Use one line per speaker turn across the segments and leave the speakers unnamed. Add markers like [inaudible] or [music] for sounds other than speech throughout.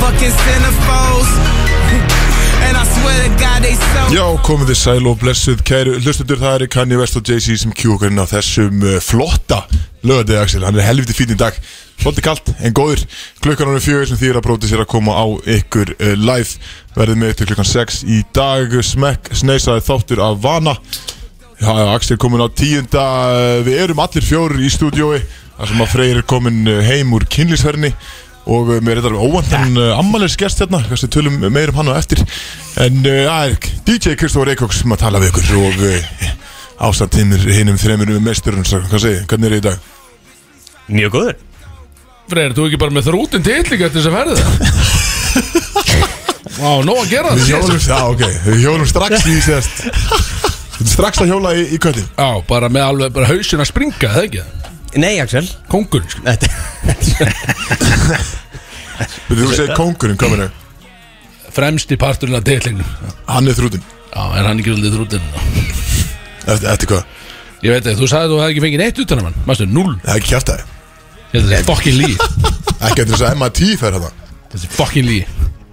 fucking centerfolds. [laughs] And I swear to God, they so.
Já, komið þið sæl og blessuð kæru Hlustendur, það eru Kanye West og Jay-Z sem kjú okkur inn á þessum uh, flotta lögadegi Axel, hann er helviti fín í dag Svolítið kalt, en góður Klukkan hann er fjögur sem þýr að bróti sér að koma á ykkur uh, live Verðið með ykkur klukkan 6 í dag Smekk sneisaði þáttur af vana Já, Axel er komin á tíunda eh, Við erum allir fjórir í stúdiói þar sem að Freyr er komin eh, heim úr kynlýsverðinni Og eh, mér er þetta alveg óvandan uh, ammalins gest hérna Kanski tölum meir um hann á eftir En eh, það er DJ Kristóf Reykjóks sem að tala við ykkur Og uh, ásamt hinnir hinnum þreymur með mesturinn Hvað segir, hvernig er það í dag?
Mjög góður
Freyr, þú ekki bara með þrútin titling eftir þess að ferða
[laughs]
Vá, nóg að gera
Við
það
hjólum, já, ok, við hjólum strax í sérst Strax að hjóla í, í köttin
Já, bara með alveg, bara hausin að springa, það ekki
Nei, Axel
Kóngur, sko
Þetta
Þú segir kóngurinn, hvað meina
Fremsti parturinn af titlingnum
Hann er þrútin,
Já, er hann ekki svolítið þrútin
eftir, eftir hvað
Ég veit það, þú sagði að þú hefði ekki fengið neitt utan af hann Mastu, null,
Það er ekki kjæft að
þetta er fucking lí
Ekki eftir þess að MIT fer hérna
Þetta er fucking lí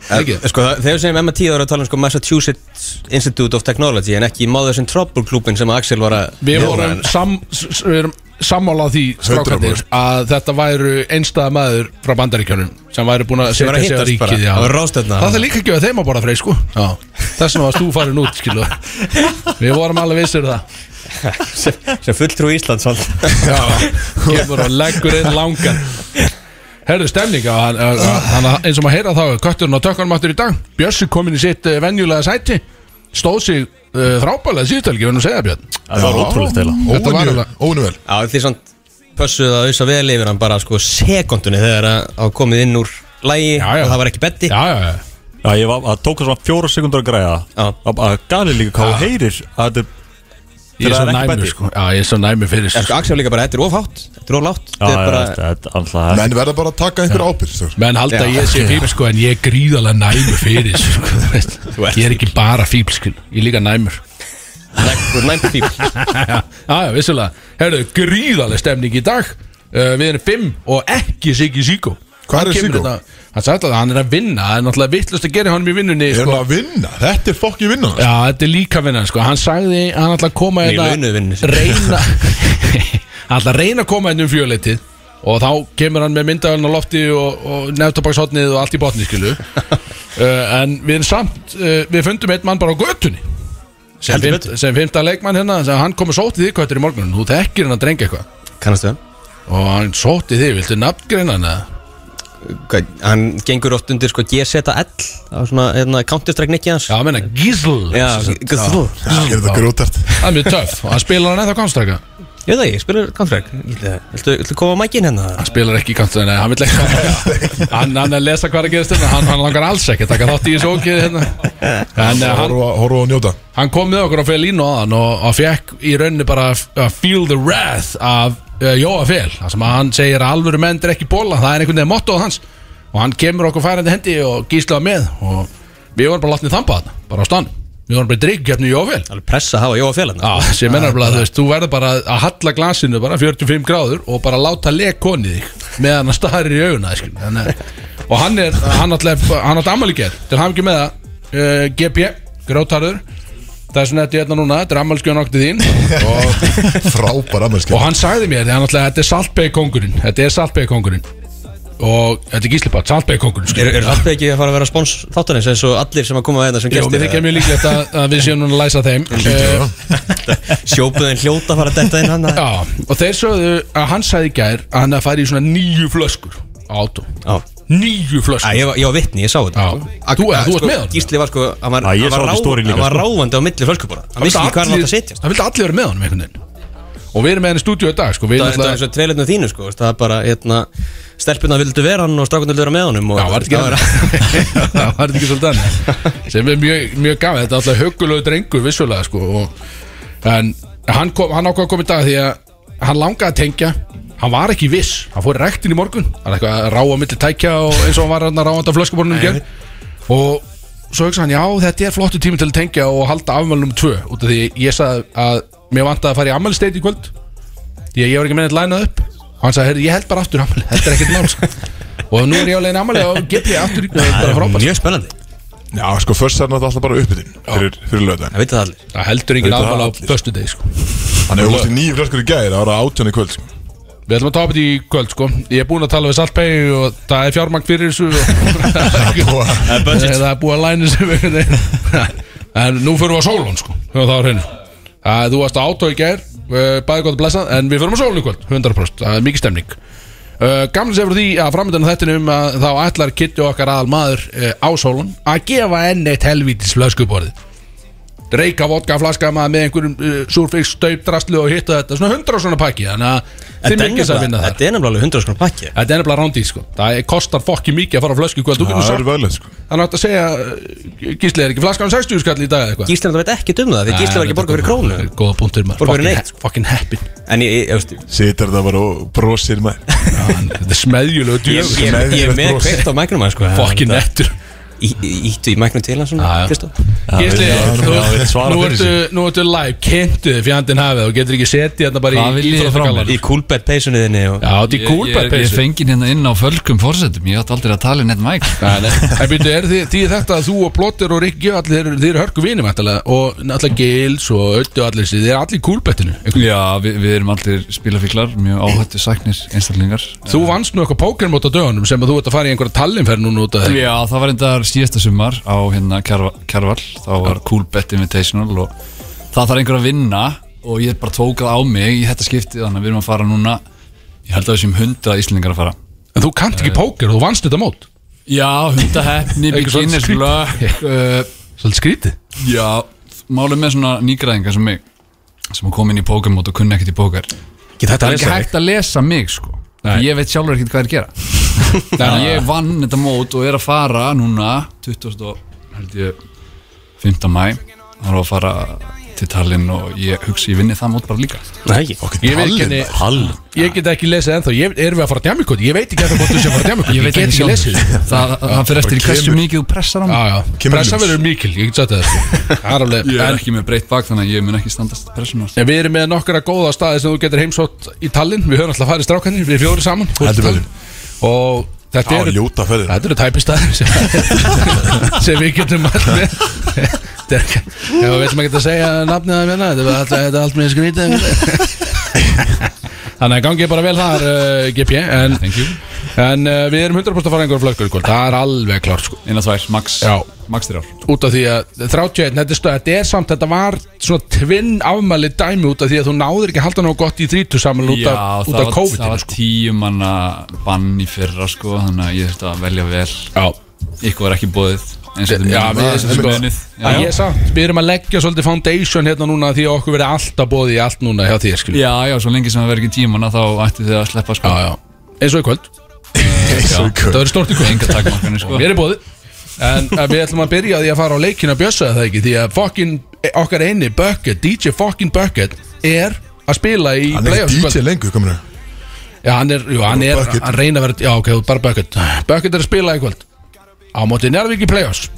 Ekki,
Sko, það- þegar við segjum Emma 10 ára að tala um sko, Massachusetts Institute of Technology en ekki Mothers in Trouble klúbin sem að Axel var að
við
Já,
vorum
en-
sam, s- s- við erum sammálað því strákandir
100%.
að þetta væru einstæða maður frá bandaríkjunum sem væru búin að
Sem var að
setja sig á
hittast bara,
ríkið, já.
það var ráðstefna.
það er líka ekki að gefa þeim að borða frey sko já. þess vegna varst þú farin út skilu við vorum alveg vissir um það
[laughs] sem, sem fulltrú Íslands alltaf
já. ég voru að leggur inn langan Herðu stemning á hann, á- á- hann eins og maður heyra þá er kötturinn á tökkanum aftur í dag Bjössi komin í sitt eh, venjulega sæti stóð sig uh, frábælega síðutelgi við erum að segja Björn
Það var ótrúlegt eða
Þetta var alveg-
Óinu vel
Já, því samt pössuðu að auðsa vel yfir hann bara sko sekundunni þegar að það var komið inn úr lægi
Já, já.
og það var ekki betti
já, já, já.
Já, ég var, það tók svona fjóra sekundur að græða
Já.
Það að gali líka hvað þú heyrir að þetta er
Ég er
Þegar
svo
það er ekki
næmi
bæti.
sko Já, ég er svo næmi fyrir
En sko,
sko.
Axel var líka bara, þetta er ofhátt, þetta er oflátt
Já,
þetta er
já,
bara,
þetta er alltaf
Menn verða bara að taka einhver ábyrg
Menn halda að
Já,
ég sé fíbl sko En ég er gríðalega næmi fyrir þessu, sko, þú veist. Ég er ekki bara fíbl sko Ég er líka næmur
þú er næmt fíl
[laughs] Já, já, vissulega Herðu, gríðalega stemning í dag uh, Við erum fimm og ekki Siggi Siggo
Hvar
Hann
er
kemur
Siggo?
hérna- Hann sagði að hann er að vinna Það er náttúrulega vittlust að gera honum í vinnunni
Er hann
sko.
að vinna? Þetta er fokki vinna
Já, þetta er líka vinna sko. Hann sagði að hann ætla að koma
Í
hérna-
launuðu vinnunni sinni. [laughs]
Reyna Hann ætla að reyna að koma hérna um fjöleitið Og þá kemur hann með myndavælun á lofti Og, og neftabakshotnið og allt í
[laughs]
botni skilu uh, En við erum samt uh, Við fundum einn mann bara á götunni Sem,
Heldur
fimt, sem fymta leikmann hérna sem Hann komur sótt í því hvað þetta er í morgun Þú þekkir hann að drengja eitthvað
Kannastu það?
Og hann sótt í því, viltu nafngreina hann eða?
Hvað, hann gengur oft undir sko GZL það var svona, hérna, counterstrike nikki hans
Já, hann menna Gísl
já
Sem sagt,
GZL
Er þetta grótart?
Það er mjög töff og hann spilar hann eða konstaka
Ég veit það ekki, spilur counterstrike Viltu- Viltu viltu koma á mækin hérna?
hann spilar ekki í kantinum, nei, hann vil ekki hann, hann er að lesa hvað er að gerast hérna hann, hann langar alls ekki að taka þátt í þessu ókið hérna en eh, hann,
Horfa horfa og njóta
hann kom með okkur á Felínu aðan og, og fekk í rauninu bara að f- að feel the wrath af uh, Jóa Fel, það sem að hann segir að alvöru menn er ekki bóla, það er einhvern veginn mottoð hans og hann kemur okkur færandi hendi og gíslaða með og við vorum bara látnið þamba þarna, bara á stann við vorum bara í dryggjafni Jóa Fel
Alveg pressa að hafa Jóa félag hérna.
Já, sem er nefnilega, þú veist, þú verður bara að halla glasinu bara 45 gráður og bara láta lekonið þig meðan hann starir í auguna, skil Þannig, að- og hann er, hann alltaf, hann alltaf ammaliger til hann ekki með það uh, GP, grótarður það er svona þetta hérna núna, þetta er ammalskjón okkur þín og,
Frábær amelski
og hann sagði mér, hann alltaf, þetta er saltbeikongurinn þetta er saltbeikongurinn og þetta er gíslipart, saltbeikongurinn
Er, er alltaf ekki að fara að vera spons þáttanins eins og allir sem að koma að hérna sem
Jó, mér
gestir
þykja mjög líklegt að, að við séum núna að læsa þeim Eh,
Sjópuðin hljóta að fara að detta inn hérna. hann Já,
Já, og þeir sögðu að hann sagði í gær að hann að fara í svona nýju flöskur á átó Nýju
Æ,
flöskur
ég, var- ég var vitni, ég sá þetta
Já.
Ak-
Þú-
að-
þú ert
sko,
með honum?
Gísli var sko, hann var,
Já, ég
hann var,
sá þetta í story líka,
hann var
sko.
ráðandi á milli flöskubora Hann vissi ekki hvað hann átt að setja
Það vildi allir vera með honum einhvern veginn Og við erum með henni í stúdíu í dag sko, við
Það er
náttúrulega-
eins og treyletnum þínu sko veist, Það er bara, hérna, stelpuna vildu vera hann og strákunna vildu vera með honum og,
Já, var þetta ekki hann? [laughs] Það var þetta ekki svolítið hann Sem er mjög, mjög gafið, þetta er alltaf höggulegu drengur vissulega sko og, En hann, kom, hann ákvað að koma í dag því að hann langaði að tengja Hann var ekki viss, hann fór í rektin í morgun Hann er eitthvað að ráa milli tækja og eins og hann var hann að ráa þetta flöskuborunum gerð Og svo hugsa hann, já þetta er flottu tími til að tengja og halda afmælum tvö Út af því ég sagði að mér vantaði að fara í afmælsteit í kvöld Því að ég var ekki mennið lænað upp Og hann sagði, heyrðu, ég held bara aftur afmæli, þetta er ekkert mál sko. Og nú er ég á leiðin amalega og get ég aftur í Það er bara frábært
Mjög spennandi,
Já, sko, fyrst er náttúrulega alltaf bara uppbytun fyrir, fyrir löðan
það veit það allir
Það heldur engin
Veitu það
afmála á
allir?
föstu deg sko.
Hann hefur hóttið nýju flöskur í gæri, það var átján í kvöld sko.
Við ætlum að tapa þetta í kvöld sko Ég er búinn að tala við Salpei og það er fjármagn fyrir þessu og [laughs]
Búa-
[laughs] Það er budget
Það er búið að læna sem við [laughs] En nú fyrir við á sólun sko Höfum það á hreinu Það- Þú varst á átó í gær eh, Bæði gott að blessa En við fyrir á sólun í kvöld 100% Það er mikið stemning Uh, gamla sem fyrir því að framöndan þetta um að þá ætlar Kitty okkar aðal maður uh, á sólun að gefa enn eitt helvítis flöskuborðið reyka vodka flaska maður með einhverjum uh, surfix, staup, drastlu og hitta þetta svona hundra svona pakki þannig að þið
Þetta er
mikið að vinna
nefnilega-
þar
þetta er nefnilega alveg 100 skrónum pakki
þetta er nefnilega rándýr sko það er- kostar fokki mikið að fara á flösku í kvöld þú
Það
getur
er
sagt
veðlega, sko
Þannig átt að segja uh, Gísli er ekki flaskan 60 skall í dag eða eitthvað
Gísli veit ekki um það, því Gísli var ekki borga fyrir krónu
Góða punktur maður
Borga fyrir
Fucking
neitt. sko.
he- Fucking happy
En ég, ég, ég veist,
Sitar það bara og brosir maður
Þetta er smæðjulegu
Ég,
djöfn
ég, ég, er með kveikt á mæknum að sko
Fucking nettur
Í- í- Íttu í mæknum til hans
Já,
svona,
já.
Kristó
Gísli,
já,
þú-
já, ég svara
nú
fyrir
ertu Nú ertu live, kynntu þið fjandinn hafið og getur ekki setið hérna bara
Hvað
í
viljið þið frá mér?
íþróttagallanum.
Í coolbed peysunni þinni og
Já, þetta er
Ég, ég, ég
kúlbæðpeysu
fengið hérna inn á fölgum fórsetum Ég átti aldrei að tala í neitt [laughs] mæk
En byrju, er þið, þið þetta að þú og Plotter og Rikki og allir, þeir eru hörku vinum ætlalega og náttúrulega Gils og Öttu og allir þeir eru allir í kúlbættinu
Já, við, við erum allir spilafíklar Mjög áhættu sæknir einstaklingar
Þú vannst nú eitthvað pókermót á dögunum sem að þú ert að fara í einhverja tallinferð núna út að
Já, það var endar síðasta sumar á hérna Kjarval Þá var Cool Bet Invitational og það þarf einhver að vinna og ég bara tók það á mig í þetta skipti þannig að við erum að fara núna ég held að við séum hundra íslendingar að fara
En þú kannt ekki póker og þú vannst þetta mót
Já, hundaheppni,
Ekki svolítið
beginners
skrítið?
luck [laughs] uh,
Svolítið skrítið
Já, málið með svona nýgræðingar sem mig sem að koma inn í pókermót og kunna ekkert í póker það
Geta þetta að
er ekki
lesa þig
hægt að lesa mig sko
Nei.
ég veit sjálfur ekkert hvað er að [laughs] gera þannig að ég vann þetta mót og er að fara núna 20. og held ég 5. mæ það er að fara til Tallinn og ég hugsa ég vinni það mót bara líka
Nei, ekki
Ég veit ekki henni-
Hall
Ég get ekki lesið ennþá, ég, erum við að fara að djamikot? Ég veit ekki að það hvort þú sé að fara að djamikot [laughs] Ég, get ekki lesið
það, [laughs] það, það fyrir eftir í hversu
kemur-
mikið þú pressar hann
Já, já, [laughs]
Kemur
pressan
ljós.
verður mikil, ég get sagt það sko. [laughs] Það er alveg-
ég
en-
er ekki með breytt bak þannig að ég mun ekki standast pressuna
En við erum með nokkra góða staði sem þú getur heimsótt í Tallinn Við höfum alltaf farið strákanir, við erum fjóri saman fórum
Heldur
til Tallinn. Og [laughs] þetta
Það var
eru
ljóta ferðir
Þetta eru tæpistaðir sem, sem [laughs] við getum allt með Þetta er ekki- Ef við veitum ekki að segja nafnið að minna Þetta er allt, þetta er allt með skrítið Þannig að gangi bara vel þar uh, GP En,
Thank you.
en uh, við erum 100% að fara einhverjum flöggur í kvöld Það er alveg klart sko
eina tvær, max,
Já.
max þrjár
út af því að 31, þetta er, stöð, þetta er samt þetta var svona tvinn afmæli dæmi út af því að þú náður ekki að halda nóg gott í 30 saman út af,
Já,
út
það
af
var-
COVID
það var
sko.
tíu manna bann í fyrra sko, þannig að ég þurfti að velja vel
Já,
ykkur var ekki bóðið eins og
já, við
þetta
sko,
munið
að ég samt, við erum að leggja svolítið foundation hérna núna því að okkur verið alltaf bóði í allt núna hjá þér skilju
já, já, svo lengi sem það verður ekki tíu manna þá ætti þið að sleppa sko
Já, já, eins og í kvöld
Svo í
Það
kvöld
verður stort í kvöld
enga takkmarkanir sko
Mér er bóði En að við ætlum að byrja á því að fara á leikina bjössa það ekki Því að fucking okkar eini Bucket, DJ fucking Bucket er að spila í
Hann er
playoffs
ekki
í kvöld.
DJ lengur, kominu
Já, hann er, jú, hann er,
Bucket.
hann reyna að vera Já, ok, bara Bucket Bucket er að spila í kvöld Á móti Njarvík í Playoffs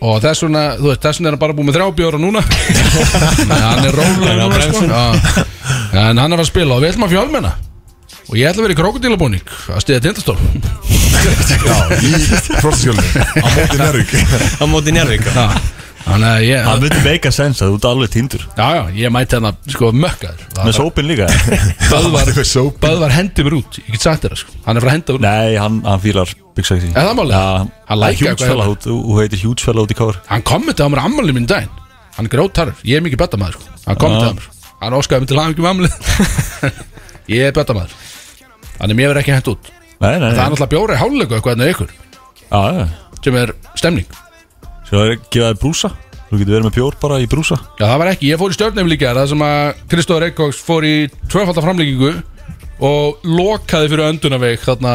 Og þess vegna, þú veist, þess vegna er hann bara búið með þrjá bjóra núna [laughs] En Hann er rólega núna, sko Já. En hann er að spila og við ætlum að fjálmenna Og ég ætla að vera í krokodilabúning Að stiða tindastól
Já, [laughs] í frostaskjölinu
[laughs]
Á móti Nervík
Á móti njárvík
Já. Þannig að ég
Það myndi meika sens að þú ert alveg tindur
Já, já, ég mæti hann að sko mökkaður
Með sópin líka
[laughs] Böðvar,
Það er sóp.
Böðvar hendi mér út Ég get sagt þér það sko Hann er frá hendi mér út
Nei, hann, hann fýlar Big Sexy
Er það málið?
Já,
Hann
hann
lækkar
lækja
eitthvað hérna.
Hjútsfæla, þú heitir hjútsfæla út í káður
Hann kommentaði á mér ammali minn daginn Hann er grótarf, ég er mikið betamæður sko. Hann kommentaði á mér Hann óskaði mér til að hafa ekki mamli [laughs] Ég er betamæður Þannig mér verð ekki hent út
Nei, nei,
Það er
nei
náttúrulega bjóri hálfleiku eitthvað enn ykkur
Já, já
Sem er stemning
Svo er gefaði brúsa Þú getur verið með bjór bara í brúsa
Já það var ekki, ég fór í stjórnum líka Það sem að Kristóður Reykjóks fór í tvöfaldar framlíkingu Og lokaði fyrir öndunaveik Þarna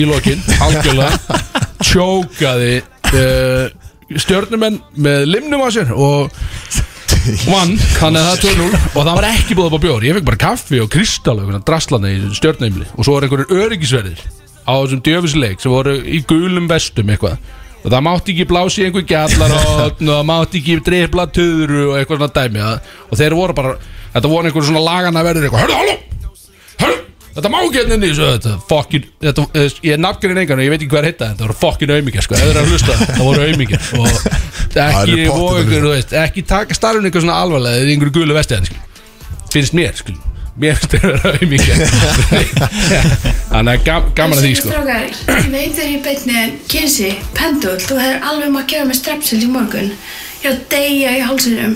í lokin Algjörlega Tjókaði uh, Stjórnumenn með limnum á sér Og vann Þannig að það er 2-0 Og það var ekki búið upp á bjór Ég fekk bara kaffi og kristall og Drastlana í stjórnumli Og svo var einhverjir öryggisverðir Á þessum djöfisleik Sem voru í gulum vestum eitthvað Og það mátti ekki blási í einhver gjallarotn Og það mátti ekki drifla töðru Og eitthvað svona dæmi Það- Og þeir voru bara Þetta voru einhverjir svona lagana verður eitthvað Hörðu, halló Hörðu Þetta má ekki hérna inn í þessu þetta, fucking, þetta, eh, Ég er nafngrin engan og ég veit ekki hvað heita Þetta voru fucking aumingja sko, ef þeir eru að hlusta Það voru aumingja Og
[laughs] Það eru
ekki,
pottet að
og
hlusta.
ykkur, þú veist, ekki taka starfinn ykkur svona alvarlega Eða í einhverju gulu vestiðan skil. Finnst mér skil. Mér finnst þeir vera aumingja [laughs] Þannig að gam, gaman að því sko.
Strákar, ég veit þegar ég beinni en kynsi, pendul, þú hefur alveg um að gera með strepsil í morgun. Ég er að deyja í hálsinum.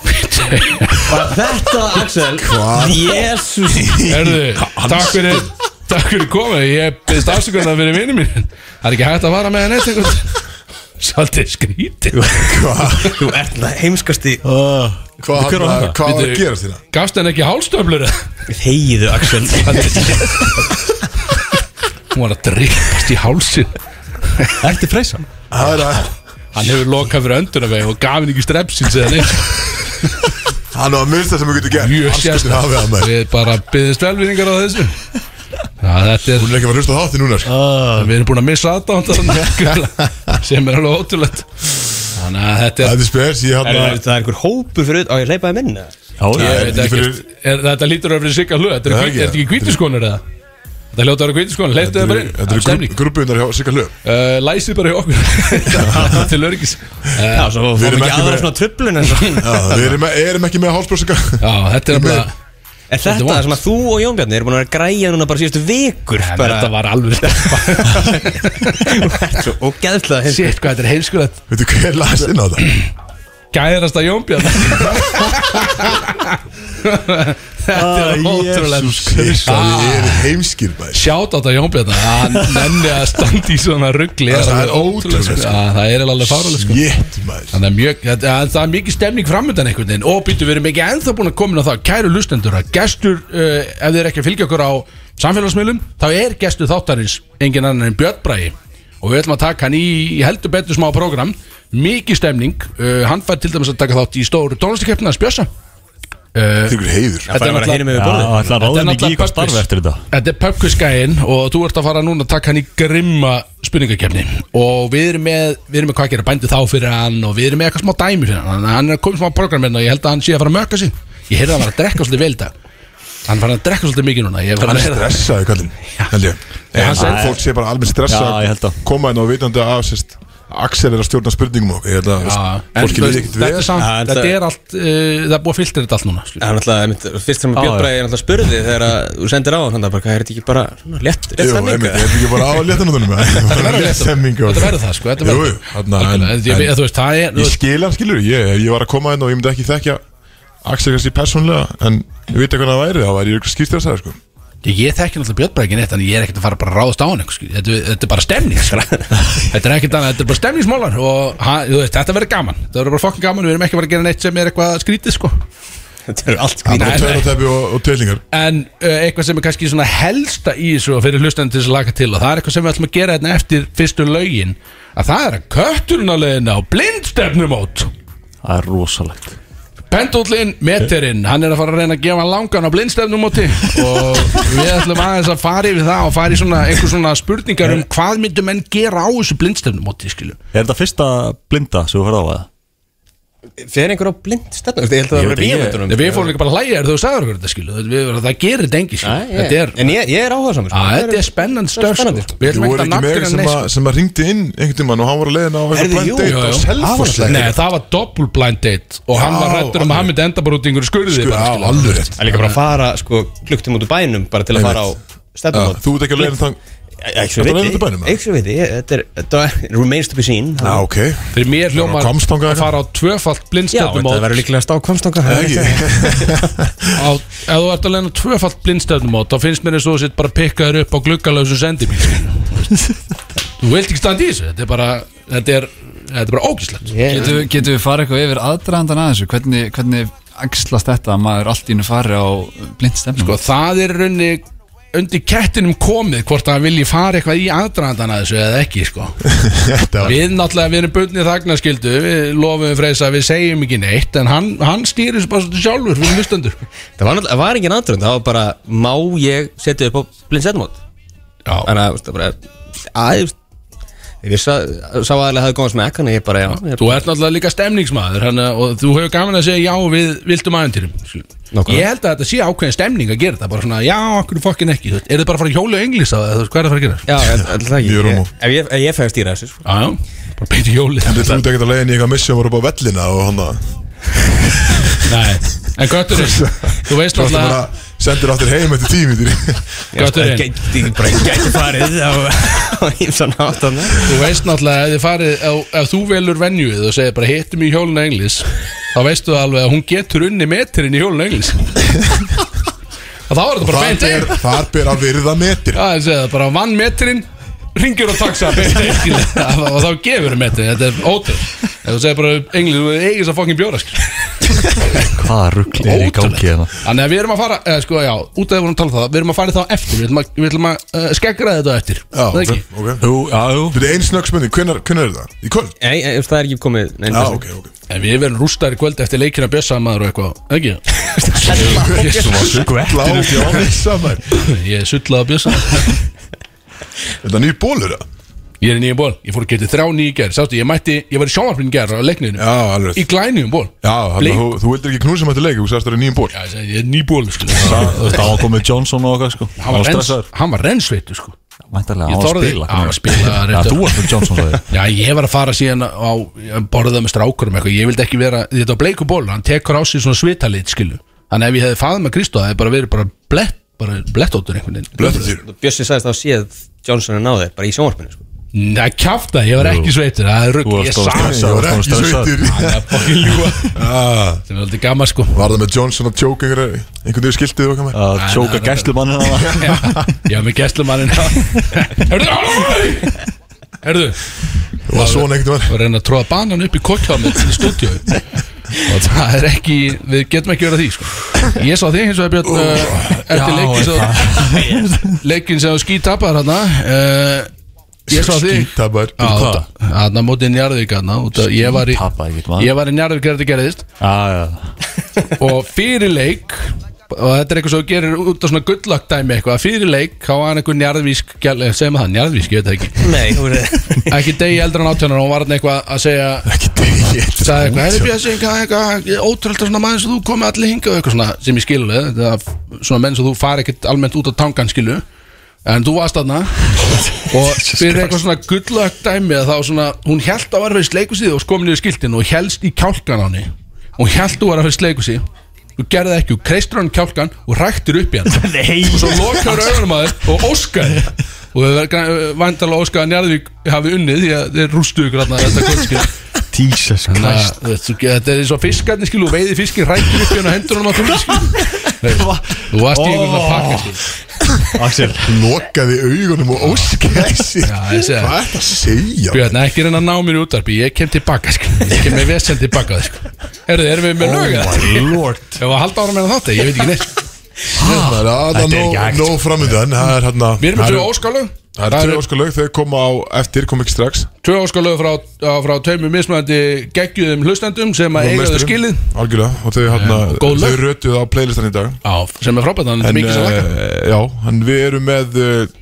Var þetta, Axel? Hvað? Jésús
Herðu, takk fyrir Takk fyrir komið, ég byrðist afsökunar fyrir vinnu mín Það er ekki hægt að vara með henni eitthvað [laughs] Svolítið skrítið
Hvað
Þú ert það heimskasti
hva, hva,
var
hva,
það?
hva að
Bíddu.
gera þína?
Gafst henni ekki hálstöflur eða?
Heiðu, Axel
Hún var að drikkast í hálsin
Ertu freysa?
Það er að
Hann hefur lokað fyrir önduna vegi og gaf henni ekki strepsins eða neitt
Hann á að minnsta sem þú getur gert
Mjög
Andskotinn
sérstæð
hafi að maður
Við bara byggðist velvinningar á þessu Já, þetta er
Hún er ekki að fara að hlusta á þátti núna sko.
Við erum búin að missa aðdándan sem er alveg ótrúlegt Þannig að þetta er
Þetta er spes Ég hann
Það
að
er einhver hópur fyrir auðvitað Á, ég leipaði minna
Já, já
Ég veit
þetta
ekki,
ekki
er, þetta lítur að vera sigga hlut Þetta
Það
eru
er
hvít-
ekki
er þetta ekki hvítiskonur eða? Þetta hljóta að vera hvítiskonur, leiftu það bara inn
Þetta
Það er
eru
stemning.
grúpiðunar hjá Sigga Löf
Uh, Læsið bara hjá
[laughs]
okkur Til Eh, örgis
Já, svo
Við
fórum
erum
ekki
ekki
aðra
með-
svona tröflun en [laughs] svona
Við erum, erum ekki með hálsbrósinga
Já, þetta er bara
Er þetta það sem að þú og Jón Bjarni eru búin að vera að græja núna bara síðustu vikur
En
bara,
Þetta var alveg steppa
Svo ógeðslega hins
Sitt hvað þetta er heilskulegt
Veitu hver las inn á þetta?
Gæðasta Jónbjörn Þetta er
Jesus
ótrúlega
Christ Það er heimskir bæs
Sjátt á þetta Jónbjörn Hann nenni að standa í svona ruggli
Það er ótrúlegt, sko.
Það er alveg fáralegt sko
Jétt maður
Þannig að mjög, að, að, það er mikið stemning framöndan einhvern veginn og býttu, við erum ekki ennþá búin að koma inn á það kæru lustendur að gestur, uh, ef þið er ekki að fylgja okkur á samfélagsmiðlum þá er gestur þáttarins engin annan en Björn Bræi og við ætlum að taka hann í, í heldur betur smá program mikið stemning, uh, hann fær til dæmis að taka þátt í stóru tónlistakeppnina hans Björsa
Þetta er ykkur heiður
Það er bara
náttúrulega-
hinum yfir
Það
borðið
ætla að
Þetta er
ráða mig ekki í
náttúrulega
hvað starfi
purpose.
eftir þetta
Þetta er pubquizgæinn og þú ert að fara núna að taka hann í grimma spurningakefni og við erum með, við erum með hvað gera bændi þá fyrir hann og við erum með eitthvað smá dæmi fyrir hann Þannig að hann er komið smá programminn og ég held að hann sé að fara að möka sín ég heyrði að hann var að drekka svolítið vel í dag hann var að drekka svolítið mikið núna ég var
Hann er
að heyra
stressaði kallinn Held ég En
sagði-
fólk sé bara alveg
Já, ég held
stressað
að.
Koma hérna og vitandi að sérst, Axel er að stjórna spurningum okkur Ég held að
Já,
veist,
en
fólki
þú
við
veist,
ekkert
þetta er
vel
samt,
Já, en
þetta
það-
er allt uh, það er búið að filtra þetta allt núna sko. skilur.
Það er náttúrulega, einmitt, fyrst sem að Björn
já.
Bræði er náttúrulega spurði þegar að þú sendir á hann, hann er bara, hvað er þetta ekki bara svona létt, létt
Jú, einmitt,
stemning?
ég held ekki bara á léttanóttunum Þetta
Þetta verður þetta. Þetta verður það, sko, þetta
Jú,
verður
þarna, en-
Algjörlega, ég-
en-
þú veist, það er þú
Ég
veist,
skil hann skilur, ég, ef ég var að koma hérna og ég myndi ekki þekkja Axel kannski persónlega en ég veit ekki hvað það væri, þá væri ég skýrst þess að sko.
Ég, ég þekki náttúrulega Björn Bragi neitt Þannig ég er ekkert að fara bara að ráðast á hann einhver, skil. þetta, þetta er bara stemning skil. Þetta er ekkert annað, þetta er bara stemningsmálar Og ha, þú veist, þetta verður gaman Þetta verður bara fokkin gaman, við erum ekki að fara að gera neitt sem er eitthvað skrítið sko.
Þetta eru allt
Það
skrýt.
er bara
Nei, nei.
tveirotæpi og, og teilingar
En uh, eitthvað sem er kannski svona helsta í þessu og Fyrir hlustandi til þess að laga til Og það er eitthvað sem við ætlum að gera hérna eftir fyrstu lögin Að það er að kötturinn að leiðina á blindstefnumót
Það er rosalegt
Pendúllinn, meterinn, hann er að fara að reyna að gefa langan á blindstefnumóti og við ætlum aðeins að fara yfir það og fara í svona, einhver svona spurningar um hvað myndum menn gera á þessu blindstefnumóti, skilju.
Er þetta fyrsta blinda sem þú ferð á að?
Fer einhver á blind stefnum? Ég held að
Ég veit
það var
ekki,
rífundunum.
Nei, við fórum líka bara að hlæja þegar þú sagður okkur þetta, skilju. Við verðum það gerir þetta engi, skilju. Þetta er,
En ég, ég er sko. áhuga samur.
að, þetta er spennand störf,
spennandi,
sko. Við
Þú
ætlum
voru
ekki að sko.
ekki með
nafnir
sem, að, sem að ringdi inn einhvern tímann og hann var að leiðina á
Heyrðu,
eitthvað
jú,
blind date og
jú, jú. Nei,
selfoslega
það var doppul blind date og hann
Já,
var rættur um að
alveg.
hann myndi enda bara út í einhverju skurði.
Skur,
bara,
á, alveg rétt
Það
skilju.
er líka bara að fara, sko, klukktum út úr bænum bara til að fara á
Já,
stefnum.
Þú ert ekki að leiðina þang
Ekki
Ertu
svo
að
veit
leiðin út úr bænum,
ég.
eða?
Ekki svo veit ég. Þetta er, þetta er- remains to be seen.
Já, ok
Fyrir mér
Það
hljómar
var Hvammstanga
að
eitthvað?
fara á
Já,
tvöfalt
þetta
blindstefnumót
verður líklega stá komstanga.
Það ekki [laughs]
á, ef þú ert að leiðin tvöfalt blindstefnumót þá finnst mér eins og þú sitt bara pikkaður upp á gluggalösu sendibíl þú vilt ekki standa í þessu þetta er bara þetta er, þetta er bara ógislegt
Getum við- getum við farið eitthvað yfir aðdraðandan að þessu hvernig, hvernig axlast þetta að maður allt í hennu fari á blindstemning
sko, það er raunni undir kettinum komið hvort að hann vilji fara eitthvað í aðdraðandana þessu eða ekki sko.
Þetta var
við náttúrulega við erum bundnið þagnarskyldu við lofum freysa að við segjum ekki neitt en hann, hann stýrir þessu bara svolítið sjálfur fyrir hlustendur
Það var, náttúrulega- það var engin aðdrönd, það var bara, má ég setja upp á blind stefnum?
Já.
Þannig að, þú veist, það bara, að, þú veist, Ég vissi að sá aðalega hafði góðan smekk Þannig að ég bara, já ég,
Þú ert náttúrulega líka stemningsmaður hana, og þú hefur gaman að segja já við viltum aðeintyrum
Nákvæmlega.
Ég held að þetta sé ákveðin stemning að gera þetta bara svona, já, okkur fokkin ekki þú veist. Er þið bara að fara að hjóla englis á það, þú veist, hvað er það að fara að gera?
Já, ég- alltaf ekki
Mjög rómó.
Ég- Ef ég, ef ég fæði að stýra þessu sko.
Já, já, bara beint í [laughs] hjóli
Þú ert ekkert að leiðin í eitthvað missi og voru upp á vellina og hann að
Nei, en götturinn, þú veist
Þú ert
náttúrulega
bara sendur aftur heim eftir tími
Ég sko, ég
Götturinn.
gæti- bara [laughs] gæti farið á á ýmsan hátt þarna.
Þú veist náttúrulega ef, þið farið, ef, ef þú velur venjuð og segir bara hittum í hjólinu englis þá veistu það alveg að hún getur unni metrinn í hjólinu [laughs] englis og þá er þetta bara beint einn
Þar, þar ber að virða metir
Já, ég segi það, bara vann metrinn ringir og taxa beint [laughs] einn og þá gefur þú metrinn, þetta er ótrú ef þú segir bara englis, þú eigir þess að fokkin bjóra skil.
Hvaða ruggli er í gangi hérna?
Þannig að við erum að fara, eða sko já, út af því vorum að tala um það við erum að fara í það á eftir, við ætlum að, við ætlum að uh, skeggra þetta á eftir
Já,
Það
ok,
ekki?
ok
Jú, já, jú
Þetta er ein snöggsmynding, hvenar, hvenar er það? Í kvöld?
Nei, ég- það er ekki komið nein,
Já,
þessu.
ok, ok
En við verðum rústaðir í kvöld eftir leikina bjössamaður og eitthvað, ekki? sko,
Jésu, var skvettir
Blá, já, samar
Ég er sullað að bjössa
Þetta er nýr bólur, það?
Ég er í nýjum ból, ég fór að geta þrjá nýjum gær Sástu, ég mætti, ég var í sjónvarpinu gær á leikniðinu
Já, alveg
Í glænum ból
Já, þannig
Bleik.
að þú, þú vildir ekki knúsa mætti leik, þú sagðist það er nýjum ból
Já, ég segi, ég er ný ból, sko
Það var komið Johnson og okkar sko
Hann
Hann
var,
var
rens,
stressaður
hann var rensveitur, sko
Mæntalega,
Ég
hann var að
þorði-
spila
hann var að spila,
Já,
rétt.
þú varst með Johnson
[laughs]
sagði ég.
Já, ég var að fara síðan á að borða með strákurum eitthvað Ég vildi ekki vera, þetta var bleiku ból Hann tekur á sig svona svitalit, skilu Þannig ef ég hefði faðið með Kristó Það hefði bara verið bara blett, bara blettóttur einhvern veginn
Blöttu þér
Bjössi sagðist þá séð Johnson að ná þér Bara í sjónvarpinu sko.
Nei, kjafta, ég var ekki sveitur Það er rugg,
Þú varst
ég
á
sagði
stressa.
Það var
Já,
ekki
stressaður.
sveitir
Það er fokkin
[laughs]
ljúga.
Ah,
Sem er aldrei gaman,
[laughs]
sko
Var það með Johnson að tjóka einhverju einhvern veginn skiltið og okkar með?
Að hérna. tjóka gæslumannin hann
Já, [laughs] já, með gæslumannin Hörðu, halló Hörðu,
Það var svona einhvern veginn
við reyna að tróða banan upp í kokkjámið til stúdíu og það er ekki, við getum ekki verið að því sko. ég sá þig hins vegar Björn uh, eftir leikin sem leikin sem þú skítapar hann uh, ég sá þig
Skítabar
hann að móti Njarðvík hann ég var í,
Skítapaði, ekkert maður.
ég var í Njarðvík þegar þetta gerðist
Já, já
og fyrir leik og þetta er eitthvað sem þú gerir út af svona gullagdæmi eitthvað, að fyrir leik þá var hann einhver njarðvísk segjum það, njarðvísk, ég veit það ekki
Nei, þú verður
ekki degi eldra en átjónar og var hann eitthvað að segja
Ekki degi
sagði eitthvað, hefði Bjössi eitthvað, eitthvað ótrúlega svona maður sem þú komið allir hinga og eitthvað svona sem ég skilur þið, þetta er svona menn sem þú fari ekkert almennt út á tangan skilu en þú varst aðna
[laughs]
og fyrir eitthvað svona gullagt dæmi að þá svona, hún held að vera fyrir sleikusið og skoði niður skiltin og helst í kjálkan á henni hún held að vera fyrir sleikusið þú gerði það ekki, þú kreistur hann í kjálkan og ræktir upp í hann
[laughs] Nei
og svo lokar augunum að þér og óskaði og þau verður vandalega óskaði að Njarðvík hafi unnið því að þeir rústu ykkur þarna þetta kvöldskil
[laughs] Jesus Christ
Næst, þú, þetta er eins og fiskarnir skilu og veiði fiskin rækir upp hérna hendunum á þú
[laughs]
skilu Nei, Þú varst í einhvern að pakka skilu
Axel
Lokaði augunum og óskæsi
Já, ég segi það.
Hvað er það að segja?
Björn, Sko, ekki reyna að ná mér í útarpi, ég kem tilbaka skilu Ég kem með vesen tilbaka skilu Herðu, erum við
Oh
með lög eða?
My lord
Ef að halda ára meðan þátti, ég veit ekki neitt
Það er
Þetta er
aða
ekki hægt.
nóg framöndan Það er hérna
Við erum með
það
tvö
eru-
óskalög
Það eru tvö óskalög, þau koma á eftir, kom ekki strax
Tvö óskalög frá, á- frá tveimur mismöðandi geggjum hlustendum sem að eiga þau skilið
Algjörlega, og þau
og góð
hérna
lög.
Þau rötuð á playlistan í dag
Já, sem er frábært, þannig
En,
mikið sem lakka
eh, Já, en við erum með uh,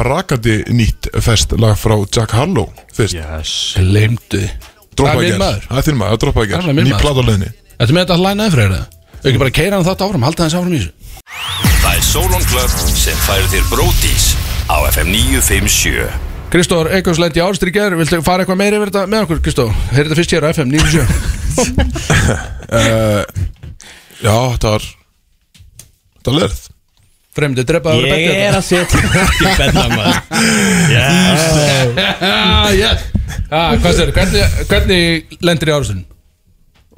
Barakandi nýtt fest lag frá Jack Harlow fyrst, yeah.
Yes
Gleimdu Það
droppaði
er
gerð
minn maður
Það er þinn maður, það droppaði
Það er
gerð,
minn
ný
maður.
platalegni
Þetta með þetta að læna eða fræðið Þau ekki bara keira hann þátt áfram, halda hans áfram í þessu
Það er Solon Club sem færir þér bródís á FM 957
Kristóður Eikos lendi ástriðger Viltu fara eitthvað meira yfir þetta með okkur, Kristóður? Heyrðu þetta fyrst hér á FM 97
Já, þetta var Þetta var lerð
Fremdi drepa að
[laughs] Ég
vera
er
bekkja
að setja Ég er benna maður
Ah, yeah. ah, hvað sér, hvernig, hvernig lendir í ástriðin?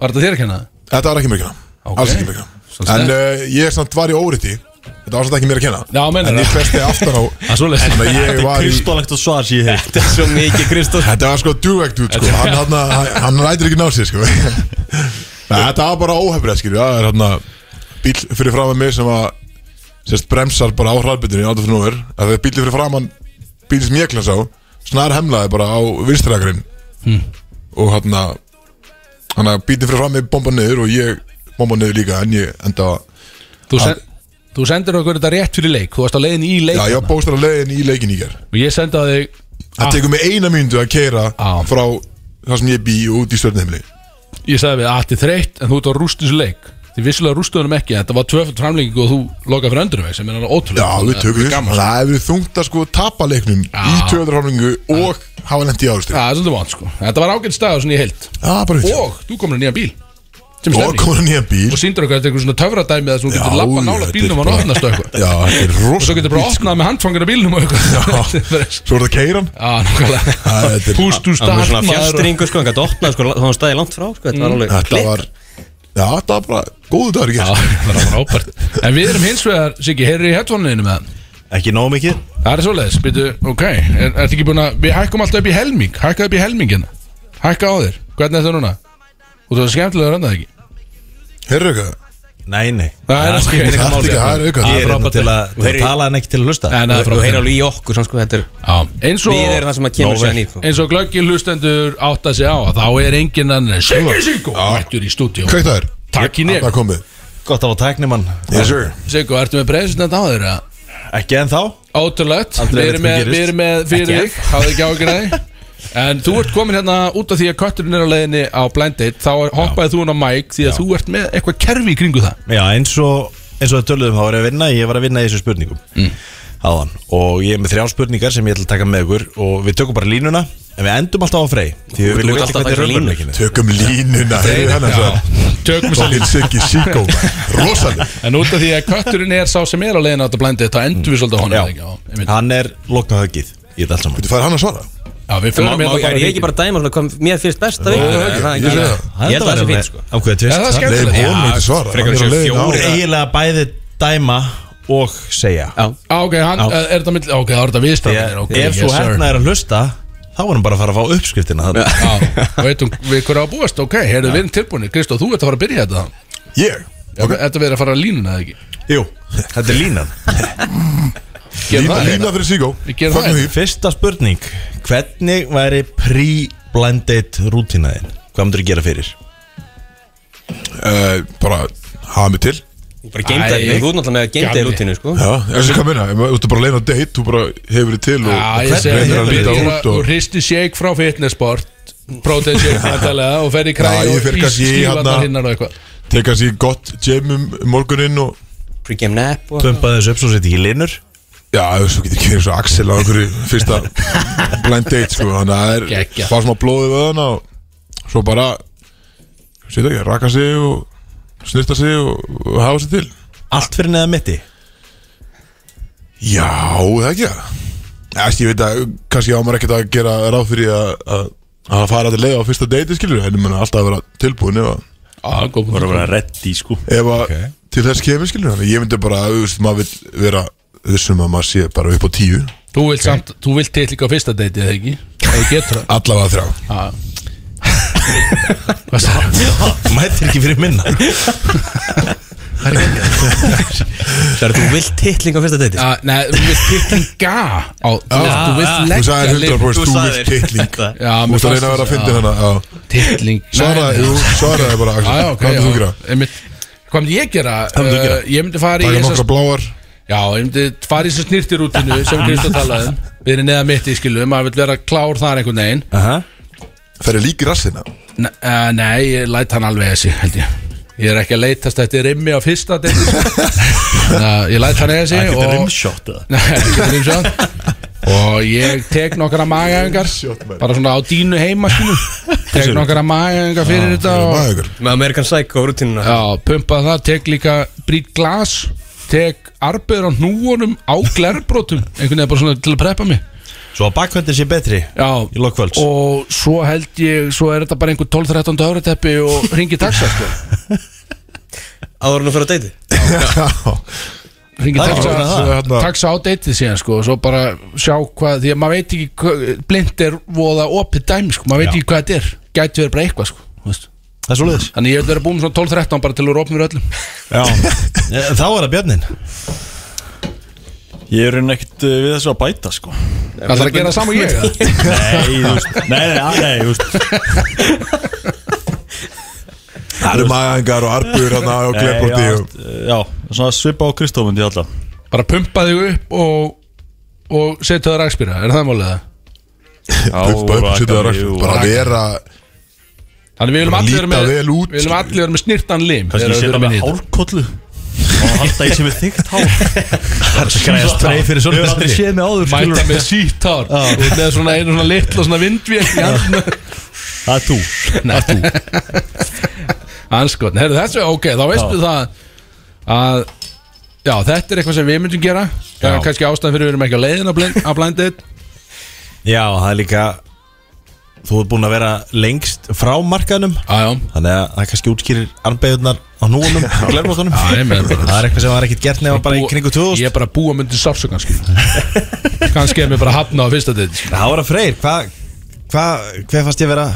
Var þetta þér að kenna það?
Þetta var ekki mér að kenna,
Ok.
alls ekki mér að
Svo
kenna En uh, ég er samt var í óriði Þetta var samt ekki mér að kenna
Já, meinar
En ég
það.
festi aftan á
[laughs] Ah, svoleiðis.
Þannig að ég
Þetta er
var í
kristalegt og svar sem ég hef
Þetta er svo mikið Kristóð
Þetta var sko dugvegt út sko Hann, hann, hann, hann rætir ekki ná sér sko Nei, Þetta var bara óhefrið skilju Það er hann bíl fyrir framan mig sem að sérst bremsar bara á hraðbytunni átta fyrir núver að þegar bílið fyrir framan bíl sem ég klasa á snar hemlaði bara á vinstrækarinn hmm. og hann að hann að bílið fyrir framan mig bomba niður og ég bomba niður líka en ég enda að
Þú, sen, þú sendir okkur þetta rétt fyrir leik Þú varst á leiðin í leik
já, ég var bóstar að leiðin í leikin í ger
Og ég sendi á þig
Það tekur mig eina myndu að keira
Ah.
frá það sem ég bý og út í stjórnheimli
Ég sagði við að þetta er þreytt en þú ert á rústisleik Þið vissulega rústuðunum ekki en þetta var tvöfald framlenging og þú lokaði fyrir öndurveg sem er alveg
Já,
ótrúlega
við tökum því Það hefur þungt að sko tapa leiknum í
Ah.
tjóðurháningu og hafa lent í áriðstu
Já, það er svolítið vant sko Þetta var ágætt staður svona í heilt
Já, bara við
Og þú komur í nýjan bíl sem er
Og
stemning
komur nýja bíl
Og síndur okkar þetta er einhver svona töfradæmi þess að þú
Já,
getur lappa nála
þetta er
bílnum og
bara- sko.
opnast og eitthvað
Já, þetta er
Og svo
rosalega
getur bara opnað með handfangina bílnum og eitthvað Þetta er-
Svo er það keiran
Já, nákvæmlega
þetta er-
Púst úr
Það var svona
starf
fjastringu sko, hann gæti opnað sko, þá hann staði langt frá sko, þetta var alveg
Þetta
klikk.
var Já, þetta var bara góðu dagur í
Já,
gerð
það var frábært En við erum hins vegar, Siggi, heyrðu í headphone-inu með það
Ekki nóg mikið
Það er svoleiðis, byrju, ok er, Ertu ekki búin að, við hækkum alltaf upp í helming Hækka upp í helmingina Hækka á þér, hvernig er þetta núna? Og það er skemmtilega að rönda það ekki
Herru eitthvað
Nei, nei
Það er
skiptir
ekki
engu
Það er
máli.
ekki, það er
Ég
eitthvað
er hérna til að
Og heyri-
til að tala en ekki til að hlusta
En það er
Þú heyrir
frábært
alveg í okkur svona, sko, þetta er,
Já, Eins
Við erum það
og,
sem að kemur sér nýtt
eins og glöggin hlustendur átta sig á Þá er enginn annar en Siggi Siggo Mættur í stúdíu
Hvað það er?
Takk í nýr
Það komið
Gott að fá tæknimann
Yes sir
Siggo, ertu með president á þér? eða?
Ekki en þá
Ótrúlegt,
Aldrei veit
við erum
hvað
með,
gerist.
við erum með fyrir
Ekki
þig, hafðu ekki ágjör að þig En þú ert komin hérna út af því að kötturinn er á leiðinni á blind date Þá hoppaði þú hún á Mike því að þú ert með eitthvað kerfi í kringu það
Já, eins og eins og það töluðum þá var ég að vinna Ég var að vinna í þessu spurningum mm. Áðan Og ég er með þrjá spurningar sem ég ætla að taka með ykkur Og við tökum bara línuna En við endum alltaf á frey Því við
Þú
viljum
ert
vita
alltaf
hvernig
að taka línur.
raunveruleikinn er.
Tökum línuna Herru þannig að
Tökum þess að
Fokkin Siggi
[laughs]
Sigó Rosaleg
En út af því að kötturinn er sá sem er á leiðinni á þetta blind date Þá endur við svolítið á honum eða ekki? Já, einmitt.
Hann er loknahöggið Í þetta allt saman
Þú fær hann að svara
Já, við
Má-
förum
má-
hérna
Er ég ekki bara að dæma svona hvað mér finnst best að vinna?
ekki,
Það
ég
er ekki-
segi
Hann
Ég held að það sé fínt sko
Ákveða tvist
Já, það er skemmt.
Leif
Já,
honum ekki svara
frekar
Hann er á
séu
leiðinni
Hún
á-
er eiginlega bæði dæma og segja
Já,
Á, Ah, ok, hann, eh,
Já.
er þetta mill, ok, það var þetta viðstæðinir
Þegar
ok,
ef þú
yes, sir.
hérna er að hlusta Þá er hann bara að fara að fá uppskriftina þarna.
Já, veitum við hverja á að búast, ok, heyrðu við erum tilbúinir Kristó, þú ert að fara að byrja þetta þá.
Ég
okay. Þetta verður að fara að línuna eða ekki
[laughs] Jú, þetta er línan
Gerum
Lína
það,
lína fyrir Sigó
Við gerum
Fögnum
það.
því
Fyrsta spurning Hvernig væri pre-blind date rútínaðin? Hvað myndur þú gera fyrir?
Eh, Bara hafa mig til
Þú bara geimd það,
Æ,
þú ert náttúrulega með geimd það
gamli.
rútinu sko
Já, þessi hvað minna, ef þú ert bara leiðin á date, þú bara hefur þið til og
Já,
og
ég segi
reynir
það
að líta út
og
og
hristi shake frá fitnessport Protein shake vantarlega og fer í
Já,
kræði
ég
og
fer kannski í
ískífarnar
hérna-
hinnar og eitthvað
teka sér gott gym um morguninn og
Pre-game nap og
Tömpaði þessu upp svo setja ekki linur
já, þú getur ekki verið svo Axel á einhverju fyrsta blind date, sko, þannig að það er
Geggjað.
fá smá blóðið við hana og svo bara setja ekki, raka sig og snirta sig og, og hafa sér til
Allt fyrir neða mitti
Já, það ekki það Æst, ég veit að kannski á maður ekkert að gera ráð fyrir að, að, að fara til leið á fyrsta date, skilur, en ég menna alltaf að vera tilbúin ef að
Já, Ah, góð
Bara
punktur.
vera reddi sko
ef að til þess kemur skilur þannig ég myndi bara þú veist, maður vil vera vissum að maður sé bara upp á tíu
Þú vilt samt, þú vilt til líka á fyrsta deiti eða ekki Það getur það
allavega þrjá
Hvað sagði það?
Mættir ekki fyrir minna
Það er þú vilt titling á fyrsta deiti
Já, Ah, Nei, þú vilt titlinga á Þú veist, þú vilt
þú
leggja
sagði
lið-
100% þú
sagðir.
vilt titling
Já,
þú veist
mér
að
fannst
reyna að vera að
þessi-
fyndi
já,
hana já.
Titling Ah,
svaraði, jú, svaraði bara
Ah,
Axel.
Hvað
hvað myndir þú gera?
Hvað myndi ég gera?
myndir þú gera?
Uh, Ég myndi fara í
taka
þessa-
nokkra bláar
Já, ég myndi fara í þessu snirtirútinu sem Kristó talaði um Við erum neða mitt í skilum, maður vil vera klár þar einhvern veginn
Aha.
fer ég líka í rassina
N uh, nei, ég læt hann alveg þessi, held ég Ég er ekki að leitast eftir rimmi á fyrsta
[laughs]
degi uh, Ég læt hann þessi
Ekki
og-
þetta rimshot eða?
[laughs] Nei, ekki þetta rimshot Og ég tek nokkra magaðingar Bara svona á dínu heima
[laughs]
skilum Tek nokkra magaðingar fyrir þetta og,
maður ykkur
Með American Psycho rútinuna
Já, pumpa það, tek líka brýt glas Tek arbeður á hnúunum á glerbrotum Einhvern veginn bara svona til að preppa mig
Svo að bakvendin sé betri
Já,
Í lokkvölds
og svo held ég svo er þetta bara einhver 12-13 ára teppi og ringi taxa sko.
Áður en þú fyrir að deiti
[laughs]
ringi
Það er
taxa,
svona
það.
taxa, taxa á deytið síðan sko, og svo bara sjá hvað því að maður veit ekki hva- blind er voða opið dæmi sko, maður veit
Já.
ekki hvað þetta er gæti verið bara eitthvað sko þú veist.
Það er svo leiðis
þannig ég vil vera búin með svona 12-13 bara til að vera opið fyrir öllum
[laughs] Eh, Þá er það björnin
Ég er raunin ekkert
eh,
uh, við þessu að bæta sko Nei,
það þarf að gera það saman og ég eða?
þú veist Nei, nei, að- nei, þú veist
það eru maður og arbjur hann á
Nei, já,
glerbróti
uh,
eh,
Já, svona svipa á Kristóf myndi ég alltaf
bara pumpa þig upp og, og setja það rækspýra, er það málið það?
Pumpa upp, setja það rækst Bara
raka.
vera
Þannig við viljum
Bara
allir vera
líta
með
vel út.
Við viljum allir vera með snirtan lim
Kanski
þegar við
setja
erum
með
inn í þetta.
hálkollu Og halda í sem er þygt hál
Græða spray fyrir svona
Hefur aldrei séð með áður
Mæta
skilurðu.
með sítt hár Og með svona einu svona litla svona vindvél í andlinu.
Það er þú Það er þú
Anskotn, herru þessu, ok, þá veistu það að Já, þetta er eitthvað sem við myndum gera já.
Já.
Kannski ástæðan fyrir við erum ekki á leiðin að blind, að blindið
Já, það er líka Þú ert búin að vera lengst frá markaðnum
[laughs] Já, já,
Þannig að það kannski útskýrir armbeiðunar á núunum og glerbóttunum
Já, ég meina bara-
Það er eitthvað sem var ekkert gert nefn bara í
Búa-
kringu 2000
Ég er bara að búa myndin sársu kannski [laughs] Kannski er mér bara að hafna á fyrsta sko. ditt
Það var að freyr, hvað hva, Hver fannst ég vera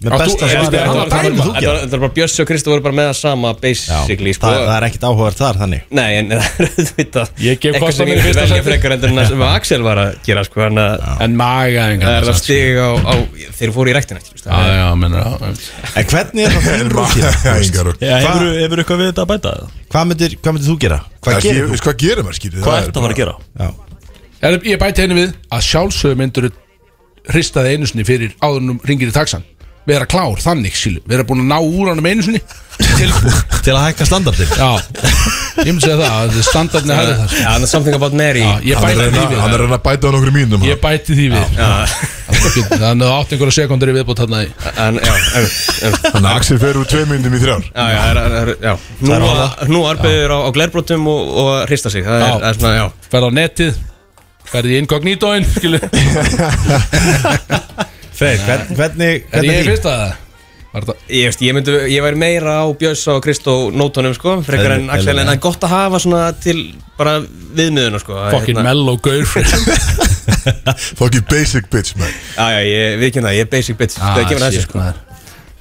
með
Átt þú-
besta
er-
svarið?
er- er-
Hvað
var dæma.
myndir þú
Þetta
gera?
var- þetta var bara Bjössi og Kristof voru bara með það sama
Já,
basically sko.
það, það er ekkert áhugavert þar þannig
Nei, en það er auðvitað
Ég gef
eitthvað
kost á
sem
mér
ég
í
vil
fyrsta
velja
sæti.
frekar heldur en það sem Axel var að gera sko, hann að
En magaðing
það er að stiga á, á þeir fóru í ræktina ekki,
Já, já, menur já.
En hvernig er það
[laughs]
þinn rúkin?
Engar
Já, hefur, hefur eitthvað við þetta að bæta það?
Hvað myndir, hvað myndir þú gera? Hvað
Hvað
gerir þú?
gerir- Hvað gerir maður skýrið?
Hvað ert að fara að gera?
Er, Ég bæti henni við að sjálfsögum myndur hristaði einu sinni fyrir áðurnum ringir í taxan vera klár, þannig sílu, vera búin að ná úr hann um einu sinni tilbúin,
Til að hækka standardin
já [laughs] ég myndi segja það, að standardni hefði það sko.
Já, það er something about Mary
já,
Hann
ég
er
bæti
að
því
reyna-
við
hann er að reyna að bæta á nokkru mínum
Ég bæti því við Þannig að það átti einhverja sekundur í viðbútt þarna í
En, já, en, en,
Þannig að Axel fer úr tvei myndum í
[laughs]
þrjár
já, já, er, er, já. Nú, að- nú arbeður á, á glerbrotum og, og að hrista sig Það er,
Já.
það er svona, já
Ferð á netið Ferð í inkognitoin
[laughs]
Skilu Er
Freyr, hvern,
ég
hvernig,
í
hvernig
fyrsta það? Var þetta
Ég, veist, ég, myndi, ég væri meira á Bjössa og Kristó nótunum sko, frekar en
Eðli-
Axel en
eðlilega.
það er gott að hafa svona til bara viðmiðuna sko að,
Fucking
hérna-
mellow
[laughs]
gaur
Fucking basic bitch man
Já, já, ég viðkynna það, ég er basic bitch
Ah,
Það gefur þessu sko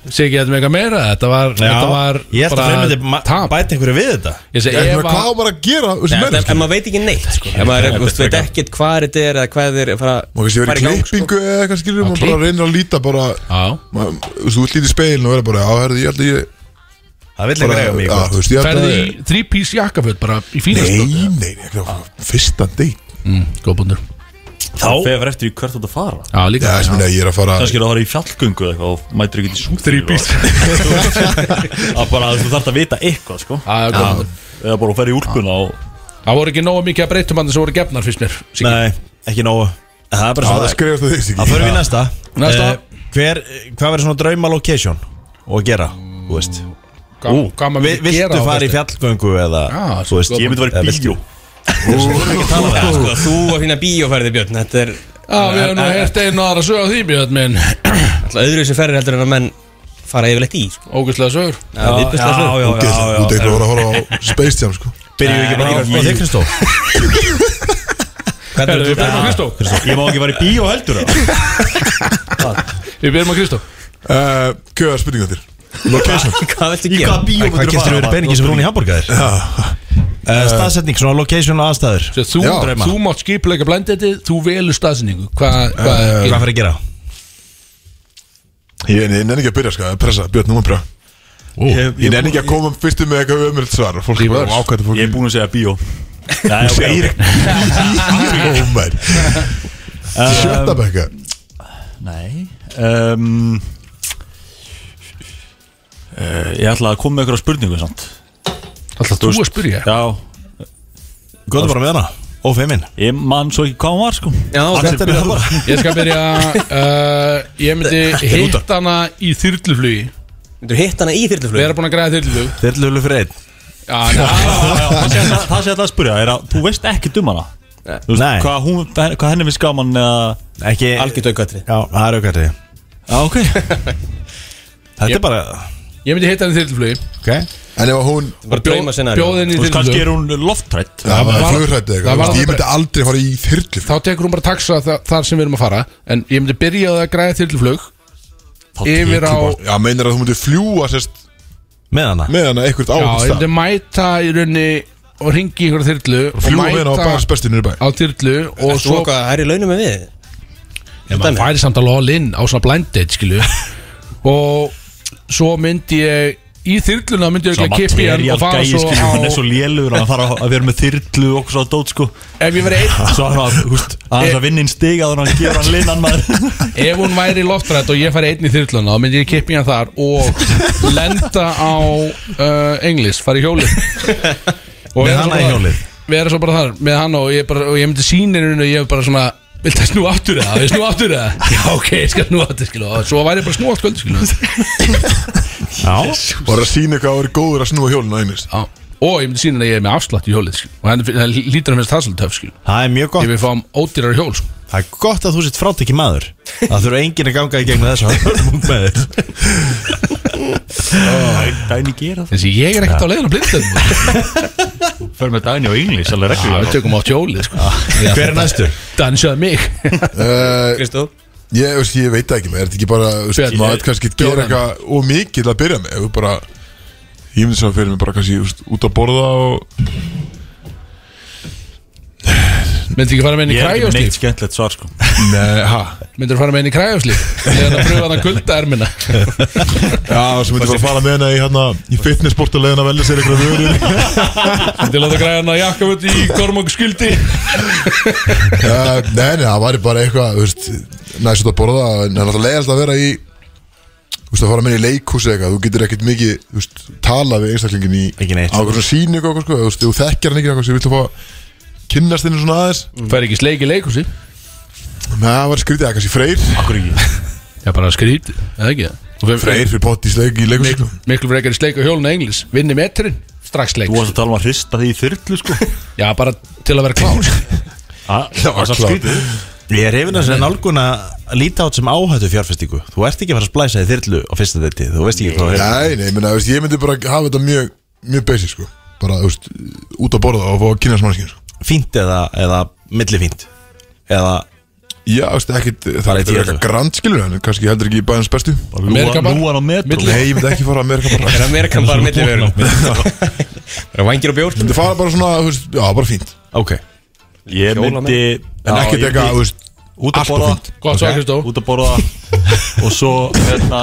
Segi ekki þetta með eitthvað meira Þetta var Þetta var
Ég ætla að freyr myndi
tap
bæta einhverju við þetta
Ég segi
Ég
ef
meina, Hvað á
að
maður að gera? þessi
Nei,
menn,
en, en
skilur?
maður veit ekki neitt sko. ef maður er, veist, veit ekkert hvað þetta er eða hvað þeir fara
Má kannski vera
fara
í klippingu eða eitthvað skilur Má bara reynir að líta bara
Já
maður- Þú veist, þú vilt líta í speilin og vera bara Já, herði, ég held að ég
Það vil
bara-
ekki reyja mig í
Já,
gott.
þú veist, ég held
Ferð
að
í þrípís jakkaföld Bara í fínast
Nei, nei, nei, fyrsta date
Góð búndur
Þá Fegur eftir í hvert þú ert að fara
Já
Já,
líka
ég meina, ég er að fara
Kannski er það að fara í fjallgöngu eða eitthvað og mætir ekki til sungur
Þrípís.
Það bara þú þarft [laughs] að vita eitthvað sko
Já, já, góð búndur
Eða bara að ferja í úlpuna og
Það voru ekki nógu mikið að breytum hann sem voru gefnar fyrst mér Siggi.
Nei, ekki nógu Það er
Já, það
bara svona
skrifast það þig,
Það
ekki
fyrir við í næsta
Næsta.
Eh, hver, Hvað verður svona drauma location og að gera? Þú veist
Hvað- Hvað maður
Vi-
myndi gera
Viltu
á
fara í
föstudaginn?
fjallgöngu eða
Já,
þú veist,
sko,
Ég myndi að fara í
eða viltu-
bíó
Já, sko, þú og hérna bíóferði Björn Þetta er
Já, við hefum nú hert einu aðra sög á því Björn minn
alltaf öðru þessu ferðir heldur en að menn fara yfirleitt í sko.
Ógustlega sögur
Það er viðbjörslega svo.
já,
Þú ert eitthvað að voru að horfa á Space Jam, sko
Byrjum við ekki bara á á þig Kristó
Herru, Við byrjum á Kristó
Ég má ekki fara í bíó heldur eða?
Við byrjum á Kristó
Eh, Gjöða spurninga þér Location
Hvað viltu
Í
gera?
hvaða bíó Hvað getur við verið beiningi sem hún í hambúrgaðir?
Eh,
Staðsetning, svona location og aðstæður
Svo Þú,
Já.
drauma. þú mátt skipleika blendetið, þú velur staðsynningu Hvað hva,
Hvað
hva,
fyrir að gera?
Ég ég nenni ekki að byrja, sko, að pressa, Björn, nú maður pressa Ég nenni ekki að koma fyrstu með eitthvað ömurlegt svar og Fólk er bara
Reverse.
ákvæmt að
Ég er
fólk
búin að segja bíó Nei,
Þú
ok,
segir
ok.
ekki Ómær Sjötta bekka
Nei um, uh, Ég ætla að koma með einhverja spurningu samt
Alltaf þú að spyrja
Já,
Góðu bara með hana, ófeimin
ég man svo ekki hvað hún var sko
Já, ok.
Þetta er það bara
Ég skal byrja uh, Ég myndi hitt hana í þyrluflugi
Myndur hitt hana í
Við
þyrluflug
erum búin að græða þyrluflug
Þeir löglu fyrir einn
Já, na,
Það sem ég ætla- það sem ég ætla að spyrja er að þú veist ekki um hana Þú veist,
Nei.
hvað, hún, hvað henni finnst gaman eða
Ekki Já,
Algjört aukvæðri
það er aukvæði
Já, ok
Þetta er bara
Ég myndi hitt hana í þyrluflugi
Ok
En ef að hún
Bara drauma scenari
Bjóð henni í
Þú veist, kannski
þyrluflug
er hún loftrætt
Það var
var-
flugrætti
það
eitthvað þú
var
veist, Ég
aldrei-
myndi aldrei fara í þyrlu
Þá tekur hún bara taxa þa þar sem við erum að fara En ég myndi byrja á því að græða þyrluflug Yfir á
Já, meinar að þú myndir fljúa sérst
Með hana
með hana eitthvað
Já,
áhugt
ég
stað
myndi mæta í rauninni Og ringi í einhverja þyrlu Og
Fljúa með hana á hérna
mæta
bara spestinu í bæ
á þyrlu Og
Ertu
svo
okkar að hærri launum en við?
Já, maður færi samt alveg all in á svona blind date, skilju Og svo myndi ég í þyrluna myndi ég
Svo
ekki að kippi hann
material
og fara
gæi
svo
skilur hann er svo
á
lélugur að fara að vera með þyrlu og okkur svo að dót sko
ef ég verið
[laughs]
einn
Svo hann var, húst,
Eh,
aðeins að vinna inn stiga þannig að hann gefur hann linnan maður
Ef hún væri loftrætt og ég færi einn í þyrluna þá myndi ég kippi hann þar og lenda á uh, Englis, fara í
[laughs]
hjólið Og
Með
vera
hana
svo
í
bara-
hjólið?
Vera svo bara þar með hana og ég, bara, og ég myndi sýnir hennu og ég er bara svona Viltu að snú aftur eða? Viltu að snú aftur
[laughs]
eða? Já, ok, ég skal snú aftur, skilu Og svo væri ég bara snú allt kvöld, skilu
Og það sýnir hvað það er góður að snúa hjólinu einnig
Já. Og ég myndi sína að ég er með afslátt í hjólið skil. Og henni finn- það lítur að finnst það svolítið töf skil.
Það er mjög
Ég
gott
vil fá um ódýrar hjól sko.
Það er gott að þú sitt frátekki maður Það þurfa enginn að ganga í gegna þessu hann verður mung með þér.
Dæni gera það
Þessi ég er ekkert á leiðin að blinda
Fyrir með Dæni og Inglis, alveg
Já, við
reglur
tökum átt hjólið sko. Já,
Hver er næstur?
Dansaði mig
Eh,
Kristó
Ég, veist, ég veit það ekki með, er þetta ekki bara þú veist,
Björn,
maður
ég-
veit kannski að gera
Björn.
eitthvað og mikið til að byrja með, ef þú bara ég myndi svo að fyrir mig bara kannski þú veist, út að borða og
Myndi ekki fara með henni í
Ég er ekki með neitt
kræjóslíf
skemmtilegt svar sko
Nei, ha?
Myndir fara með henni í kræjóslíf Leðan að pröfa þannig kuldaermina
Já, sem myndi bara að fara með hana í, hana, í fitnessportulegin að velja sér eitthvað [laughs] vörur
Myndir láta græðan að jakka völd í kormang skuldi
Eh, Nei, nei, það væri bara eitthvað þú veist, næst út að borða, en það er alltaf leiðast að vera í þú veist, að fara með henni í leikhús eða eitthvað, þú getur ekkert mikið þú veist, tala við einstaklingin í
Ekki neitt.
á hverjum síningu og eitthvað, sko, þú veist, þú þekkir hann ekki eitthvað sem vilt að fá að kynnast henni svona aðeins
Fær ekki sleik í leikhúsi
Nei, það var skrítið, það er kannski freyr
Akkur ekki
Já, bara skrít Eða ekki Og fer-
Freyr fyrir pott í sleik í leikhús
Miklu frekar í sleik á hjólun englis Vinni metrin Strax sleik
Þú varst að tala um að hrista því í
[laughs]
þyrlu sko
Já, bara til að vera klár
Ah, Það var svo
klár.
skrítið
Ég er hefina sem nálgun að líta át sem áhættu fjárfestingu Þú ert ekki að fara að splæsa í þyrlu á fyrsta detti Þú veist ekki hvað það er
Nei, nei, ég meina, þú veist, ég myndi bara hafa þetta mjög, mjög basic, sko Bara, þú veist, út að borða og fá að kynna smarskinn, sko
Fínt eða, eða milli fínt Eða
Já, þú veist, ekkit, það
Bara
er
í
ekki
tíu
eitthvað
ellefu.
grand, skilur En kannski heldur ekki í bæðins bestu
Amerika bara.
Lúan á metro
Milli.
Nei, ég myndi ekki fara að merka bara [laughs]
Er að merkan bara milli verið [laughs] Bara vangir og bjór
Myndi fara bara svona, þú veist, já, bara fínt
Ok
Ég
Hjóla
myndi
En
Já,
ekkit
ég
eitthvað, þú
myndi
veist,
Út að
allt og
borða
fínt
Gott svar, Kristó
Út að borða Og svo hérna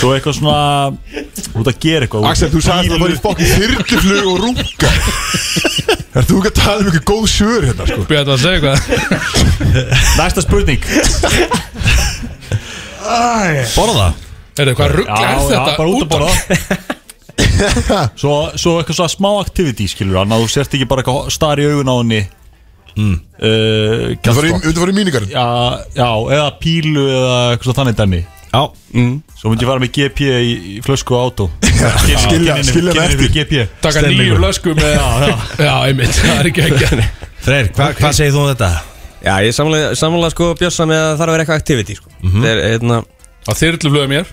Svo eitthvað svona Út að gera eitthvað
Axel, þú sagði þetta bara í fokkin þyrluflug og [laughs] runga Er þú ekki að tala um eitthvað góð sjör hérna, sko
Björn var að segja eitthvað
Næsta spurning
Borða
Herðu, hvað
Já,
ruggla er
já,
þetta?
bara út að
[laughs]
borða Svo, svo eitthvað svona smá activity skilur hann að þú sért ekki bara eitthvað star í augun á henni mm.
Þú
uh,
myndi fara í mínigarinn
já, já, eða pílu eða eitthvað svona þannig dæmi
Já
Mm.
Svo myndi ég fara með GP í, í flösku og átó
Skilja, skilja hann eftir
GP
Taka nýju lösku með [laughs] Já, einmitt, það er ekki ekki
Freyr, hva, hvað segir þú um þetta?
Já, ég samlega, samlega sko Bjössa með að það þarf að vera eitthvað activity sko. Þeir, hérna,
Á þyrluflöðu mér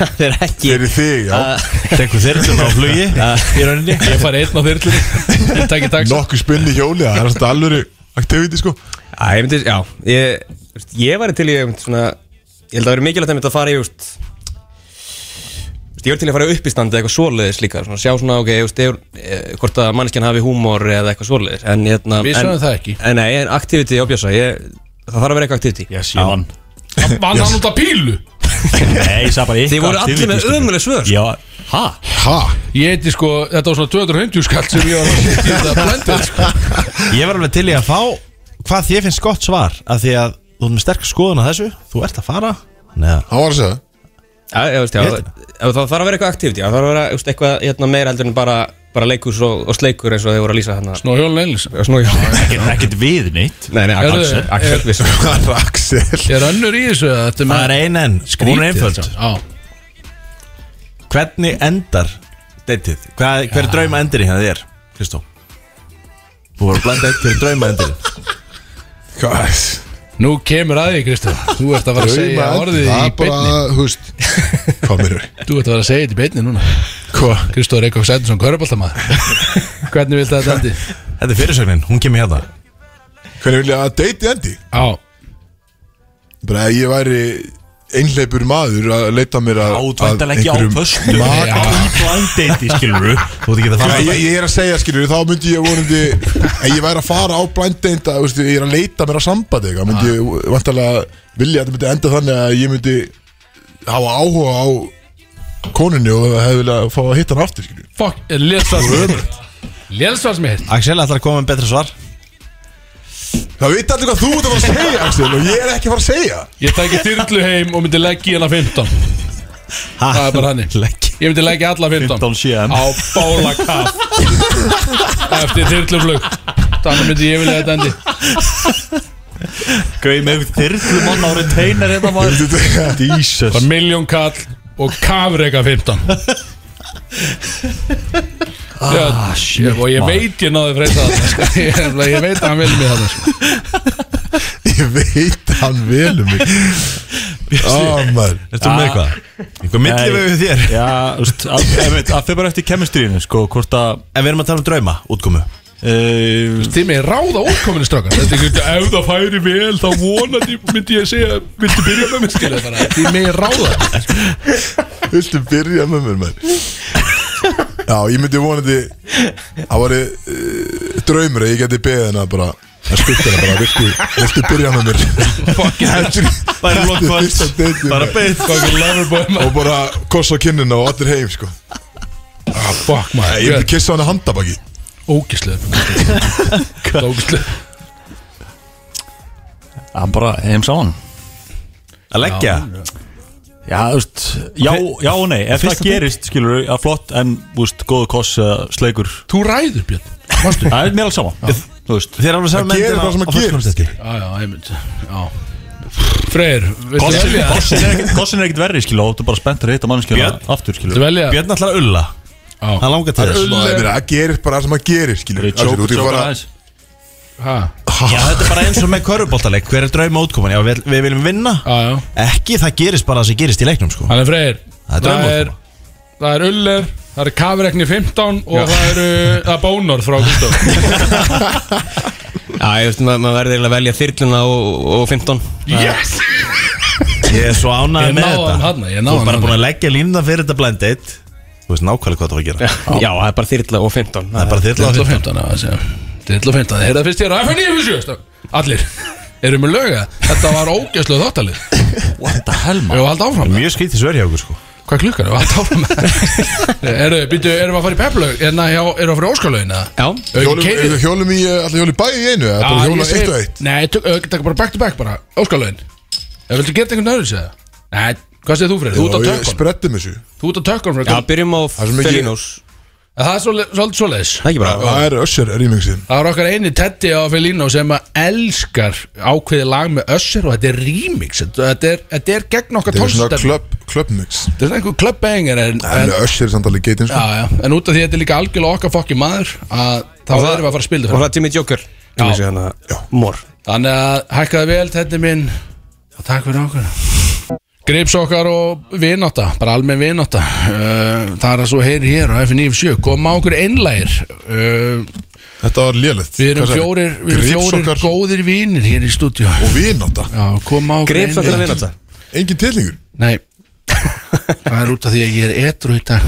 þeir er ekki
Fyrir þig, já,
Tekur þyrlun á [laughs] flugi Í rauninni
Ég fari einn á þyrlunni Ég takk í takk
nokkuð spinn í hjóli Það er svona alvöru activity, sko
Æ, ég myndi, já Ég, þú veist, ég var til í einmitt svona Ég held að það verið mikilvægt einmitt að fara í úst, Ég var til í að fara í uppistandi eitthvað svoleiðis líka svona, Sjá svona, ok, úst, er, e, hvort að manneskjan hafi húmor eða eitthvað svoleiðis en, hérna,
Við
en-
sögum það ekki.
En nei, en activity á Bjössa ég, Það þarf að vera eitthvað activity
Yes, ég vann
Vann hann út af pílu
Nei, ég sagði bara
Þið voru allir með ömuleg svör
Já, hæ?
Ha?
Ég heiti sko, þetta var svona 250 skall sem ég var að setja í þetta blendið sko.
Ég var alveg til í að fá Hvað þér finnst gott svar Af því að þú ert með sterk skoðun að þessu Þú ert að fara Neða
Hann var að segja það.
Já, ég veist, já,
Ég-
ef það þarf að vera eitthvað aktivt, já, það þarf að vera just, eitthvað hérna, meira heldur en bara, bara leikurs og, og sleikur eins og þið voru að lýsa hérna.
Nú hjólun einlis
Snú, já.
Ekkert, ekkert við neitt
Nei, nei,
Herðu,
Axel, Axel,
er-
viss.
Hvað er Axel?
Er önnur í þessu eða þetta
Það er ein en
skrítið
Hún er einföld
þetta? Já,
Hvernig endar Deitið Hvað, Hver er drauma endurinn hérna þér? Kristó Þú voru að blanda eitt Hver er drauma endurinn?
Hvað?
nú kemur að því Kristof Þú ert að fara að segja orðið í beinni
húst Hvað meður við?
Þú ert að fara að segja þetta í beinni núna
Hvað?
Kristof Reykjavík Sætinsson, köruboltamaður Hvernig vilt þetta endi?
Þetta er fyrirsögnin, hún kemur hérna
Hvernig vilja að deiti endi?
Já,
Bara að ég væri einhleipur maður að leita mér að
Átvæntan ekki á föstu
mat-
Já.
Blindati, skilur
Þú ert ekki að
Já,
fara
ég, ég er að segja skilur, þá myndi ég vonandi En ég væri að fara á blændeynda Ég er að leita mér að sambandi eitthvað Myndi ég vantalega vilja að þetta myndi enda þannig að ég myndi hafa áhuga á konunni og hefði viljað fá að hitta hann aftur skilju.
Fuck, lélsvar sem ég heilt Lélsvar sem ég heilt
Axel ætlar að koma með betra svar
Það veit allir hvað þú ert að fara að segja Axel og ég er ekki að fara að segja
Ég tæki þyrlu heim og myndi leggja í hana 15 Það er bara hannig
Legg
Ég myndi leggja alla 15
15 CM.
Á bála kaff Eftir þyrluflug Þannig myndi ég vilja þetta endi
Gauði með þyrlu mann á retainer hérna maður Jesus
Bara miljón kall og kafreika 15 ah, shit, Og ég veit ég náði freyta það sko. ég, nefnilega- ég veit að hann vil mig það sko.
Ég veit að hann vel um mig Á maður
Ertu með eitthvað? Eitthvað milli við við þér
Ah. Já, þú veist,
[laughs]
að- einmitt, að þau bara eftir kemistrínu sko, hvort að
En við erum að tala um drauma, útkomu
uh,
Þið með ráða útkominu strákar Þetta er ekki ef það færi vel þá vonandi myndi ég segja Viltu byrja með mér skilja bara Þið með ráða
Viltu byrja með mér maður Já, ég myndi vonandi Það var uh, draumur að ég geti beðið hennar bara að spyrta hennar bara, viltu, viltu byrja með mér Þetta er-
Bara
þetta er
blokkvöld.
fyrsta deitið,
bara
maður.
beint
Fucking loverboy maður
Og bara kossa á kinnina og allir heim sko
Ah, Fuck
Nei, Ég myndi
maður
kissa hann að handabaki
Ógislega Ógislega
Hann bara heim saman
Að leggja
Já, þú veist, já, já og nei Ef það gerist, skilur við, að flott en, þú veist, góðu koss, uh, sleikur
Þú ræður Björn Varstu?
Það er mér alls saman Þú veist,
Þið erum alveg saman
Það gerir það sem að gerist.
Já, já, ég myndi Já Freyr, viltu
kossin
velja?
kossin er ekkert- kossin er ekkert verri, skilur og Þú bara spenntur að hitta mannskjöna
Björn.
aftur, skilur
Viltu velja?
Björn ætlar að ulla
Já
Hann langar til þess
Það er bara að gerist bara það sem að gerist skilur
Við tjókum
Þú ert
tjókum
bara
aðeins
Ha?
Já, þetta er bara eins og með körfuboltaleik Hver er drauma útkoman? Já, við, við viljum vinna
Já, já
Ekki, það gerist bara það sem gerist í leiknum sko
Þannig Freyr
Það er draumótkoma.
Það er Uller, það er Kafrekni 15 og það eru það er Bónor frá Gustof
Já, ég veist, ma- maður verður eiginlega að velja þyrluna og, og 15
Yes!
Ég er svo
Ég
ánægð með
náði hann
þetta
þarna, ég náði
Þú er bara
hann þarna.
búin að leggja línuna fyrir þetta blind date Þú veist nákvæmlega hvað það var að gera
Já, það er bara þyrla og 15
Það er bara þyrla á
Dill og
þér
15 að segja Dill og 15, heyrða fyrst ég er FN 97 Allir, [laughs] eru með löga Þetta var ógjörslu þáttalið What the hell man? Ég var haldið áfram með
Mjög skrítið svör hjá okkur sko
Hvað er klukkan? Ég var haldið
[laughs]
áfram með Eru, býttu, erum við að fara í pepplög? Enna, já, erum við að fara í óskalögin?
Já,
Hjólum, okay. hjólum í, alltaf hjólum í bæði í einu eða bara hjóla eitt og eitt
Nei, tök- ö, taka bara back to back bara Óskalögin Ef viltu gera þetta einhvern öðru sér Nei, hvað segir þú fyrir? Þú út á
og ég
tökkunum
sprettum þessu
Þú út á tökkunum
já
frá
byrjum á
er svo mikið-
Felinos
Það er svolítið- svolítið svoleiðis
Það er ekki bara
Það er össur rýmingsinn
Það var okkar eini Teddy á Felino sem að elskar ákveðið lag með Össur og þetta er remix Þetta er, þetta er gegn okkar
Þetta er svona
tónstarfi
club, club mix
Þetta er svona einhver klubbengar en, en,
En össur samtalið geitin
já,
sko
já, en út af því að þetta er líka algjörlega okkar fokki maður að
Og
þá erum
það-
við að fara að spila
Og
það
það er Jimmy Joker hérna. sem er síðan að- Mór
Þannig að hækkaði vel Teddy minn og takk fyrir okkur Grips okkar og vináta, bara almenn vináta uh, Það er að svo heyri hér á F97 koma á okkur einlægir uh,
Þetta var lélegt
Við erum
Hvað sagði?
fjórir, við erum fjórir
Gripsokkar
góðir vinir hér í stúdíu
og vináta
Já, koma á okkur
Grips okkar
einlægir.
að vinna þetta
Engin tilningur
Nei [laughs] Það er út af því að ég er etru í dag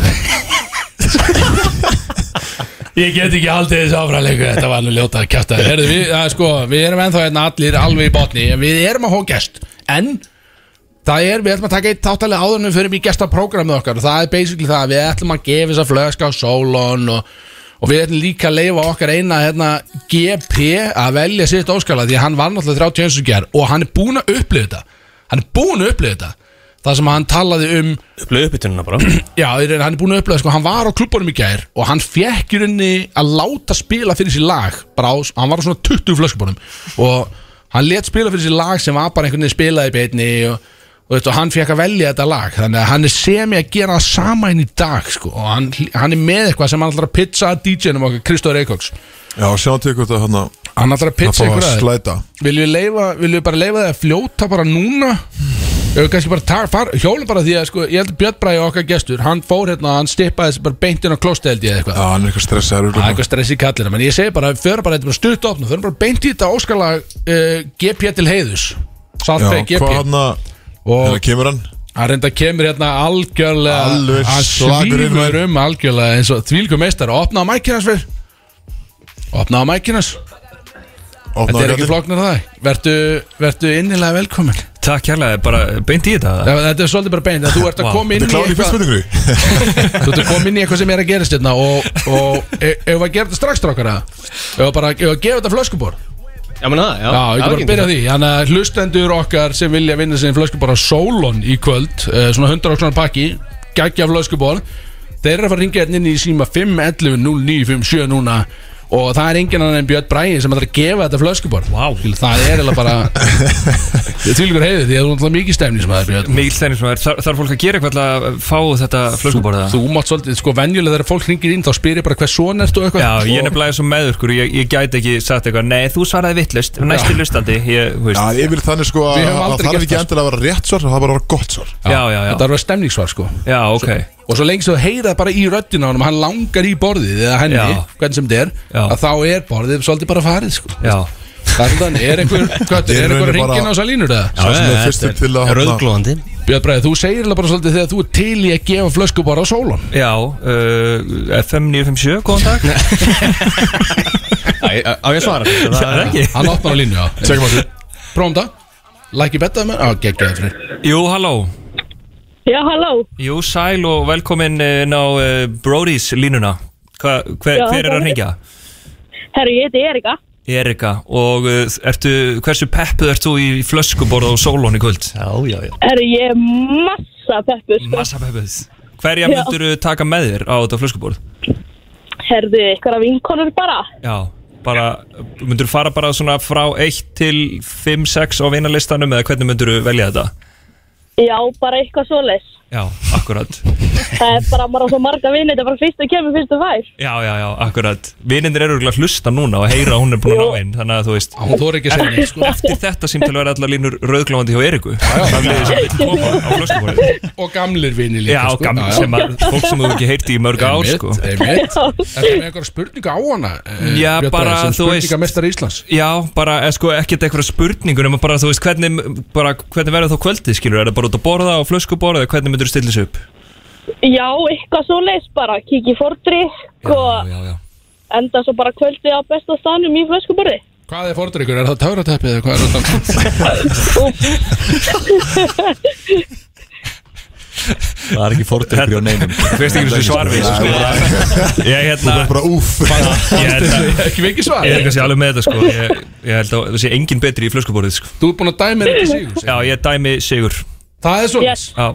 Ég get ekki haldið þessu áfram lengur Þetta var nú ljóta að kjæfta Herðu, við, það er sko, við erum ennþá hérna allir alveg í botni En við erum að hóða gest En það er, við ætlum að taka eitt tátalega áðurnum Fyrir mig gestaprógrammið okkar Og það er basically það að Við ætlum að gefa þess að flöska á sólon og, og við ætlum líka að leifa okkar eina hérna, GP að velja sitt óskala Því að hann var náttúrulega 30 einsugjar Og hann er búin að upplifa þetta Hann er búin að upplifa þetta Það sem hann talaði um
Blöðu uppbytununa bara
Já, í raun, hann er búin að upplega, sko, hann var á klubunum í gær og hann fekk í rauninni að láta spila fyrir sér lag bara á, hann var á svona 20 flöskubunum og hann let spila fyrir sér lag sem var bara einhvern veginn spilaði í beinni og, og, veist, og hann fekk að velja þetta lag þannig að hann er semi að gera það sama inn í dag sko, og hann, hann er með eitthvað sem hann ætlar að pitcha að DJ-num okkar, Kristóður Eikóks
Já, sjáum til hvort að hann að
hann ætlar að
að fá
pitcha
að
ykkur að
slæta
Viljum við, leifa, viljum við bara leifa það að fljóta bara núna Ef við kannski bara tar, far, hjóla bara því að sko, ég held að Björn Bræði okkar gestur Hann fór hérna, hann stippaði þessi bara beint inn á klósti held
Já,
ég eða eitthvað
hann er eitthvað stressaður
Það er
örugglega.
eitthvað stress í kallina En ég segi bara, við förum bara, þetta er bara stutt opna Förum bara beint í þetta óskala uh, GP til heiðus
Já,
Saltberg
hvað
GP
hann að
Og
Hérna kemur hann
hann reynda kemur hérna algjörlega
Alveg
Hann
slagurinn,
svífur
maður.
um algjörlega eins og þvílíku meistar Opna á mækinans fyrr Opna á mækinans
Opnaði
Þetta er ekki
gatið.
flóknar það Vertu, vertu innilega velkomin
takk kærlega, bara beint í þetta
Já, Þetta er svolítið bara beint að þú ert að
Vá.
koma inn
Þetta er kláðið í fyrst spurningu
[laughs] Þú ert að koma inn í eitthvað sem er að gerast hérna og, og e- ef að gera þetta strax strákara ef að bara ef að gefa þetta flöskubor
Já, menna það, já
Já,
það
ég kan
er
bara
ekki
byrja á
það.
því Þannig að hlustendur okkar sem vilja vinna sinni flöskubor á Solon í kvöld eh, svona 100 okkur pakki geggja flöskubor þeir eru að fara að ringja hérna inn í síma 511 0957 núna og það er enginn annan en Björn Bræði sem ætlar að gefa þetta flöskubor wow. það er eða bara
[laughs]
tilgur heiði því að þú er náttúrulega mikið stefni sem það er Björn
Mikið stænir sem er, þar, þarf fólk að gera eitthvað til að fá þetta flöskuborða
Þú mátt svolítið, sko, venjulega þegar fólk hringir inn þá spyrir bara hvað svona ertu og eitthvað
Já, ég er nefnilega svo meðurkur, ég, ég gæti ekki sagt eitthvað Nei, þú svaraði vittlust, næsti lustandi ég,
Já,
þú veist.
ég vil þannig sko að
Við höfum
að
aldrei
það er
gert
ekki
það,
endilega að vera rétt svar Það er bara að vera gott svar
já, já, já,
Þetta er að vera stemningssvar, sko
já, ok
Og svo lengi sem þú heyrað bara í röddina á honum Hann langar í borðið eða henni,
Já.
hvernig sem þetta er
Já.
Að þá er borðið svolítið bara farið, sko
Já,
Það er þannig, er einhver, hvað,
Ég
er
er
einhver
rauninni
ringin á
bara-
þessar línur það?
Sá sem er fyrstur til að hafna-
Rauðglóðandi
Björn Bræði, þú segir alveg bara svolítið þegar þú er til í að gefa flösku bara á sólan
já uh, FM 957, góðan
[laughs]
dag
Æ, Á á ég að svara þessu?
Það er ekki
Hann opnar á línu, já
Tjekkum að því
Prófum það Lækki bettaði með, á, geggjaði fyrir
Jú, halló
Já, halló.
Jú, sæl og velkomin eh, inn á uh, Brody's línuna Hva, hver,
Já,
hver
það
er að
er-
hringja?
Herru, ég heiti Erika.
Erika, og uh, ertu, hversu peppuð ert þú í flöskuborða og sólón í kvöld?
Já, já, já
Herru, ég er massa peppur, sko.
Massa peppuð Hverja
Já.
myndur taka með þér á þetta flöskuborð?
Herðu, ykkur af vinkonur bara.
Já, bara, myndur þú fara bara svona frá 1 til 5, 6 á vinarlistanum eða hvernig myndur þú velja þetta?
Já, bara eitthvað svoleiðs.
Já, akkurat
Það er bara, maður á svo marga vinni, þetta er bara fyrstu kemur, fyrstu fær.
Já, já, já, akkurat Vinindir eru örugglega að hlusta núna og heyra að hún er búin að ná einn Þannig að þú veist,
Hún þóri ekki að segja
[laughs]
neitt, sko
eftir þetta símtel verða allar línur rauðglóðandi hjá Eriku Það er liðið sem vil koma á flöskuborðið
Og gamlir vinni líka,
Já,
sko
gammal sem að, fólk sem þú ekki heyrti í mörg ár, sko
Einmitt, einmitt Er það með einhverja spurninga á hana? eh,
Já,
Björn Bragi,
bara,
sem
þú veist-
Spurningamestari Íslands
Já, bara, eða sko, ekkert eitthvað spurningur nema bara, þú veist, hvernig, bara, hvernig verður þá kvöldið, skilur, er það bara út að borða á flöskuborða eða hvernig myndur þú stilla þessu upp?
Já, eitthvað svoleiðs bara. Kiki fordrykk og
já, já
Sko, enda svo bara kvöldið á besta staðnum í flöskuborði.
Hvað er fordrykkur? Er það tárateppið eða hvað er það? [laughs]
Það er ekki fordrykkur á neinum
Þú veist ekki þessu svar við sko. Ég hérna
Það er bara úf
Ég held að
Ekki mikið svar
Ég er kannski alveg með þetta
[laughs]
sko Ég, ég held að það sé engin betri í flöskuborðið sko
Þú ert búin að dæma þetta sigur
Já, ég dæmi Sigur
Það er svo
Yes.
Já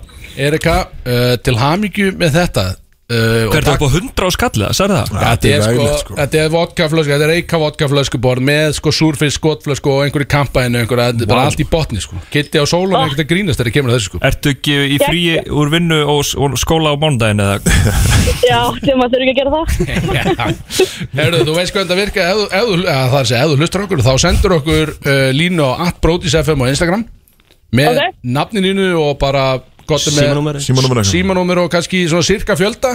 Erika, uh, til hamingju með þetta uh,
Hvað er það upp á hundra á skalla, sagði það?
Þetta er, sko,
ræðilegt, sko.
þetta er vodkaflösku, þetta er reyka vodkaflöskuborð með sko súrfisk, skotflösku og einhverju kampaðinu, einhverju, þetta er bara allt í botni sko. Kitti á sólan
Ah.
er ekkert að grínast þegar kemur að
[laughs]
þessu sko.
Ertu ekki í fríi úr vinnu og, s- og skóla á mánudaginn eða?
Já, þegar maður þurfi ekki að gera það.
Herðu, þú veist hvað þetta virkar, ef, þú- ef, þú- að það er að segja, ef þú hlustar okkur, þá sendur okkur uh, línu á atbrotisfm á Instagram með okay.
Ok.
nafnininu og bara gott er með
Símanúmeri.
Símanúmer eitthvað.
símanúmer og kannski svona cirka fjölda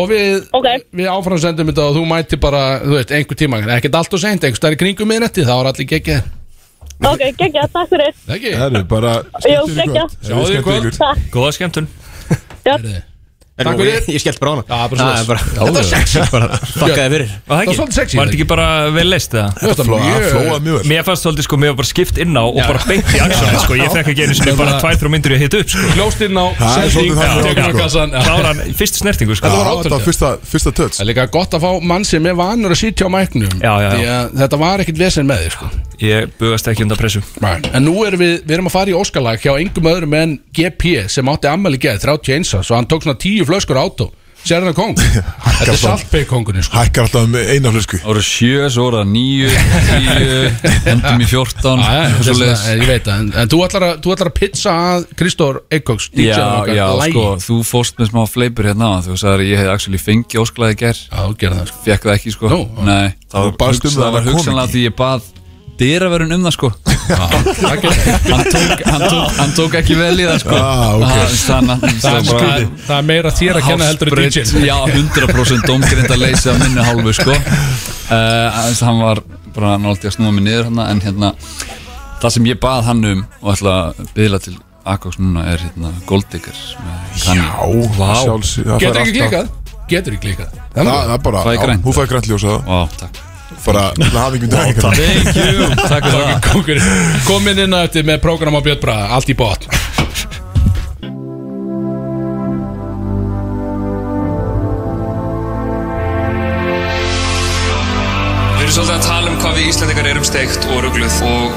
og við,
Ok.
við áframsendum þetta og þú mæti bara, þú veist, einhver tíma ekkert allt og seint, einhver stærri kringum miðnetti þá er allir geggja
Ok, geggja, takk fyrir.
Ekki?
Það eru bara
Jó, geggja.
Sjáðu í kvöld.
Takk.
Góða skemmtun
Takk fyrir.
Ég- Ég skellt bara á hana
Já, bara
Það
svoleiðis.
er bara Þetta er sexy bara Fakkaði fyrir
Var
Það var svolítið sexy,
Var þetta
ekki?
ekki bara vel leist það?
Þetta
Það flóða
mjög
mjög vel
Mér fannst svolítið sko, mér var bara skipt inn á og bara beint í axlunum sko Ég fekk ekki einu sinni bara tvær, þrjá myndir ég hitt upp sko
Klóst inn á
Það er svolítið
sending,
þannig,
tekur á
sko.
kassan Já.
Klára hann í fyrstu snertingu sko
Þetta var
Já,
átt af
átöldið.
fyrsta, fyrsta töts
Það er líka gott að fá mann sem er vanur að sitja á mæknum
Já, já, já.
Því að Þetta var ekkit vesen með þig sko.
Ég bugast ekki undan pressu
En nú erum við, við erum að fara í óskalag hjá engum öðrum en GP sem átti ammæli geði 31 árs og hann tók svona 10 flöskur átó Sér [laughs] hann að kong Þetta er saltpeikongurinn sko.
Hækkar alltaf um eina flösku
Það voru sjö, svo voru það níu, tíu, endum í fjórtán
Já, já, [laughs]
og
þetta er
svo
svona- eh, Ég veit það, en, en þú ætlar að, þú ætlar að pizza að Kristór Eikóks
Já, já, sko, þú fórst með smá fleipur hérna á Þú sagði að ég hefði actually fengið ósklaði ger
Já, þú gerði það sko.
Fekk það ekki, sko
Nú, já.
Nei, það
Þú baðst um
hugsa-
það, það
var
kom
hugsanlega
ekki.
því ég bað dyraverun um það, sko
Það gerði það
Hann tók, hann tók, hann tók ekki vel í það, sko
Ah, ok.
Þannig að
Það er
það bara
skrítið. Það er meira þér að kenna heldur en
Hafsbraut,
DJ
Já, 100% domgrind að leysa af minni hálfu sko uh, aðeins að Hann var bara náldi að snúa mig niður hann en hérna, það sem ég bað hann um og ætla að byðla til Akos núna er hérna Golddigger
Já, sjálfs það fær
Getur ekki
alltaf-
[laughs]
klikað Getur ekki klikað
Það það er bara,
Fæ
já,
grænt.
hún fæði grænt ljósa
Ó, takk
Bara til að hafa ykkur dag
Thank you, takk fyrir það Kókur, komin inn á eftir með prógram á Björn Braga, allt í botn
Við erum svolítið að tala um hvað við Íslandingar erum steikt og rugluð og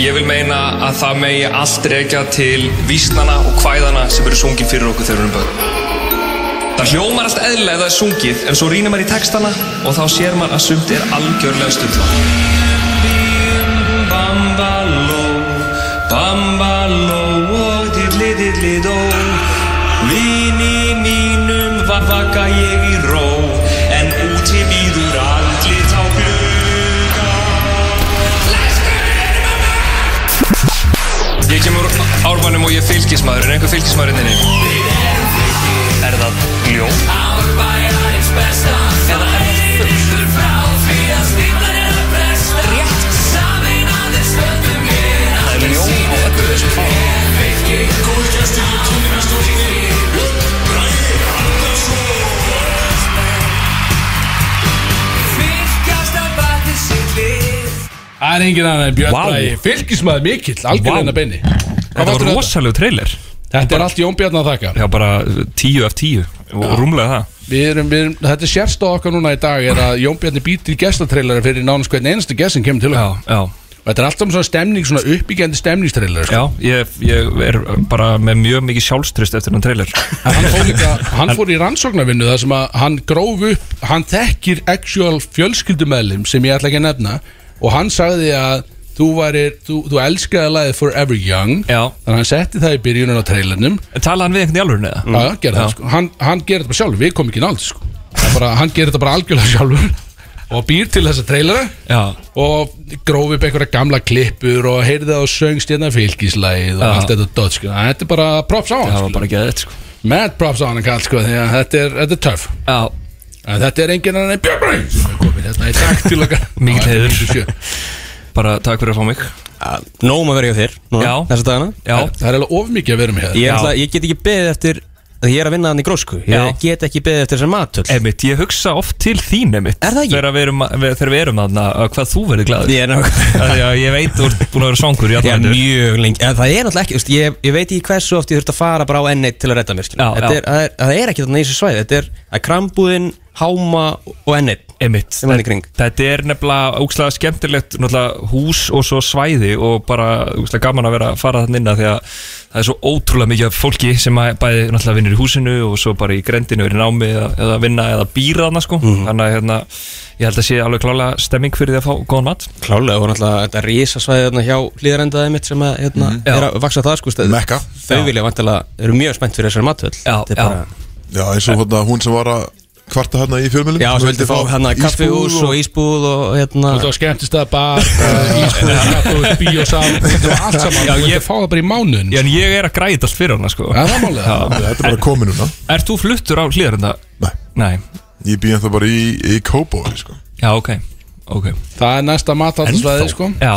ég vil meina að það megi allt reykja til vísnana og kvæðana sem eru sungin fyrir okkur þegar við erum börn. Það hljómar allt eðlilega ef það er sungið en svo rýnir maður í textana og þá sér maður að sumt er algjörlega stundla. Bambaló, bambaló og dilli dilli dó Vini mínum vaka ég í ró En úti býður andlit á glugga Ég kemur úr árbænum og ég er fylgismæður Er einhver fylgismæður inninni? Er það ljó?
Árbæjarins besta Eða er fullur frá því að stíflan er að bresta Rétt Samin aðeins stöndum við Það er ljó á öllu þessu fá Vikki Góðgjast í kynast og hér Bræði Andersson Fylgjast að bæti sitt lið
Það er engin annar en Björn
Vá.
Bragi Fylgismæður mikill, algjörlega
Vá.
hennar beinni
Þetta var rosalegu trailer
Þetta er allt Jón Bjarn að þakka
Já, bara uh, tíu af tíu og rúmlega það
Við erum, við erum, þetta er sérstáð okkar núna í dag er að Jón Bjarni býtir í gestatrailerin fyrir nánast hvern einasta gest sem kemur til okkar
já,
já. Þetta er alltaf svona stemning, svona uppbyggjandi stemningstrailer sko.
Já, ég, ég er bara með mjög mikið sjálfstrist eftir hann trailer
Hann fór, líka, [laughs] hann fór í rannsóknarvinnu þar sem að hann gróf upp hann þekkir actual fjölskyldumæðlim sem ég ætla ekki að nefna og hann sagði að þú, varir, þú, þú elskaði lagið Forever Young
já.
þannig að hann setti það í byrjunum á trailernum
Talaði hann við einhvern í alvörinu eða?
Já, já, gerði það sko Hann, hann gerir þetta bara sjálfur, við komum ekki nált sko Það er bara, Hann gerir þetta bara algjörlega [laughs] sjálfur Og býr til þessa trailera
Já.
Og gróf upp einhverja gamla klippur Og heyrði það og söngst hérna fylgislæð Og
Já.
allt þetta dot sko Þetta er bara props á hann
Það var bara geðið þetta sko
Mad props á hann kall sko Því að þetta er, þetta er töff
Já
En þetta er enginn en Björn Bragi sem er kominn hérna í dag til
[laughs]
okkar
Mikið
Já,
heiður.
þetta er 97.
Bara takk fyrir að fá mig
Nóum um að vera hjá þér núna,
Já.
Þessa dagana
Já.
Það er alveg of mikið að vera með hérna.
Ég, ætla, ég get ekki beðið eftir að ég er að vinna hann í grósku Ég
Já.
get ekki beðið eftir þessar matöl
Einmitt, ég hugsa oft til þín einmitt Er það ekki? Þegar við erum, þegar við erum þarna, að hvað þú verður glaður
Ég er nákvæmlega.
Af því að Ég veit, þú ert búin að vera svangur í
Ég er
allan hendur
mjög lengi En það er náttúrulega ekki, veist, ég, ég veit ekki hversu oft ég þurft að fara bara á N1 til að redda mér skilur.
Já,
Þetta
já.
er, það, er, það er ekki þarna í þessu svæði Þetta er að krambúðin, háma og N1
Einmitt,
sem hann í kring
Þetta er nefnilega ógslag skemmtilegt náttúrulega hús og svo svæði og bara ógslag gaman að vera að fara þannig inn að því að það er svo ótrúlega mikið af fólki sem að bæði náttúrulega vinnur í húsinu og svo bara í grendinu verið námi eða, eða vinna eða býra þarna sko
Mhm.
þannig að hérna, ég held að sé alveg klálega stemming fyrir því að fá góðan mat
Klálega, og náttúrulega þetta risasvæði hérna, hjá hlýðarendaðið mitt sem að, hérna,
Já.
er að vaksa það sko stæði
Mekka.
Þau vilja vantilega, eru mjög spennt fyrir þessar matöl Já,
já.
Já, eins og hérna, hún sem var að kvarta hérna í fjölmjölum
Já, sem vildi fá hérna kaffihús og ísbúð og hérna
Þú ert á skemmtist að
[laughs]
bar, ísbúð, kaffúð, bíósal Þetta var allt saman,
Já,
þú ert
ég-
að fá það bara í mánuðin
Já, en ég er að græta allt fyrir hana sko
Já, það er málið.
Þetta er bara komið núna
Er þú fluttur á hlýðarenda?
Nei.
Nei
Ég býði það bara í, í Kóbói, sko
Já, ok, ok
Það er næsta matalsvæði sko
Já,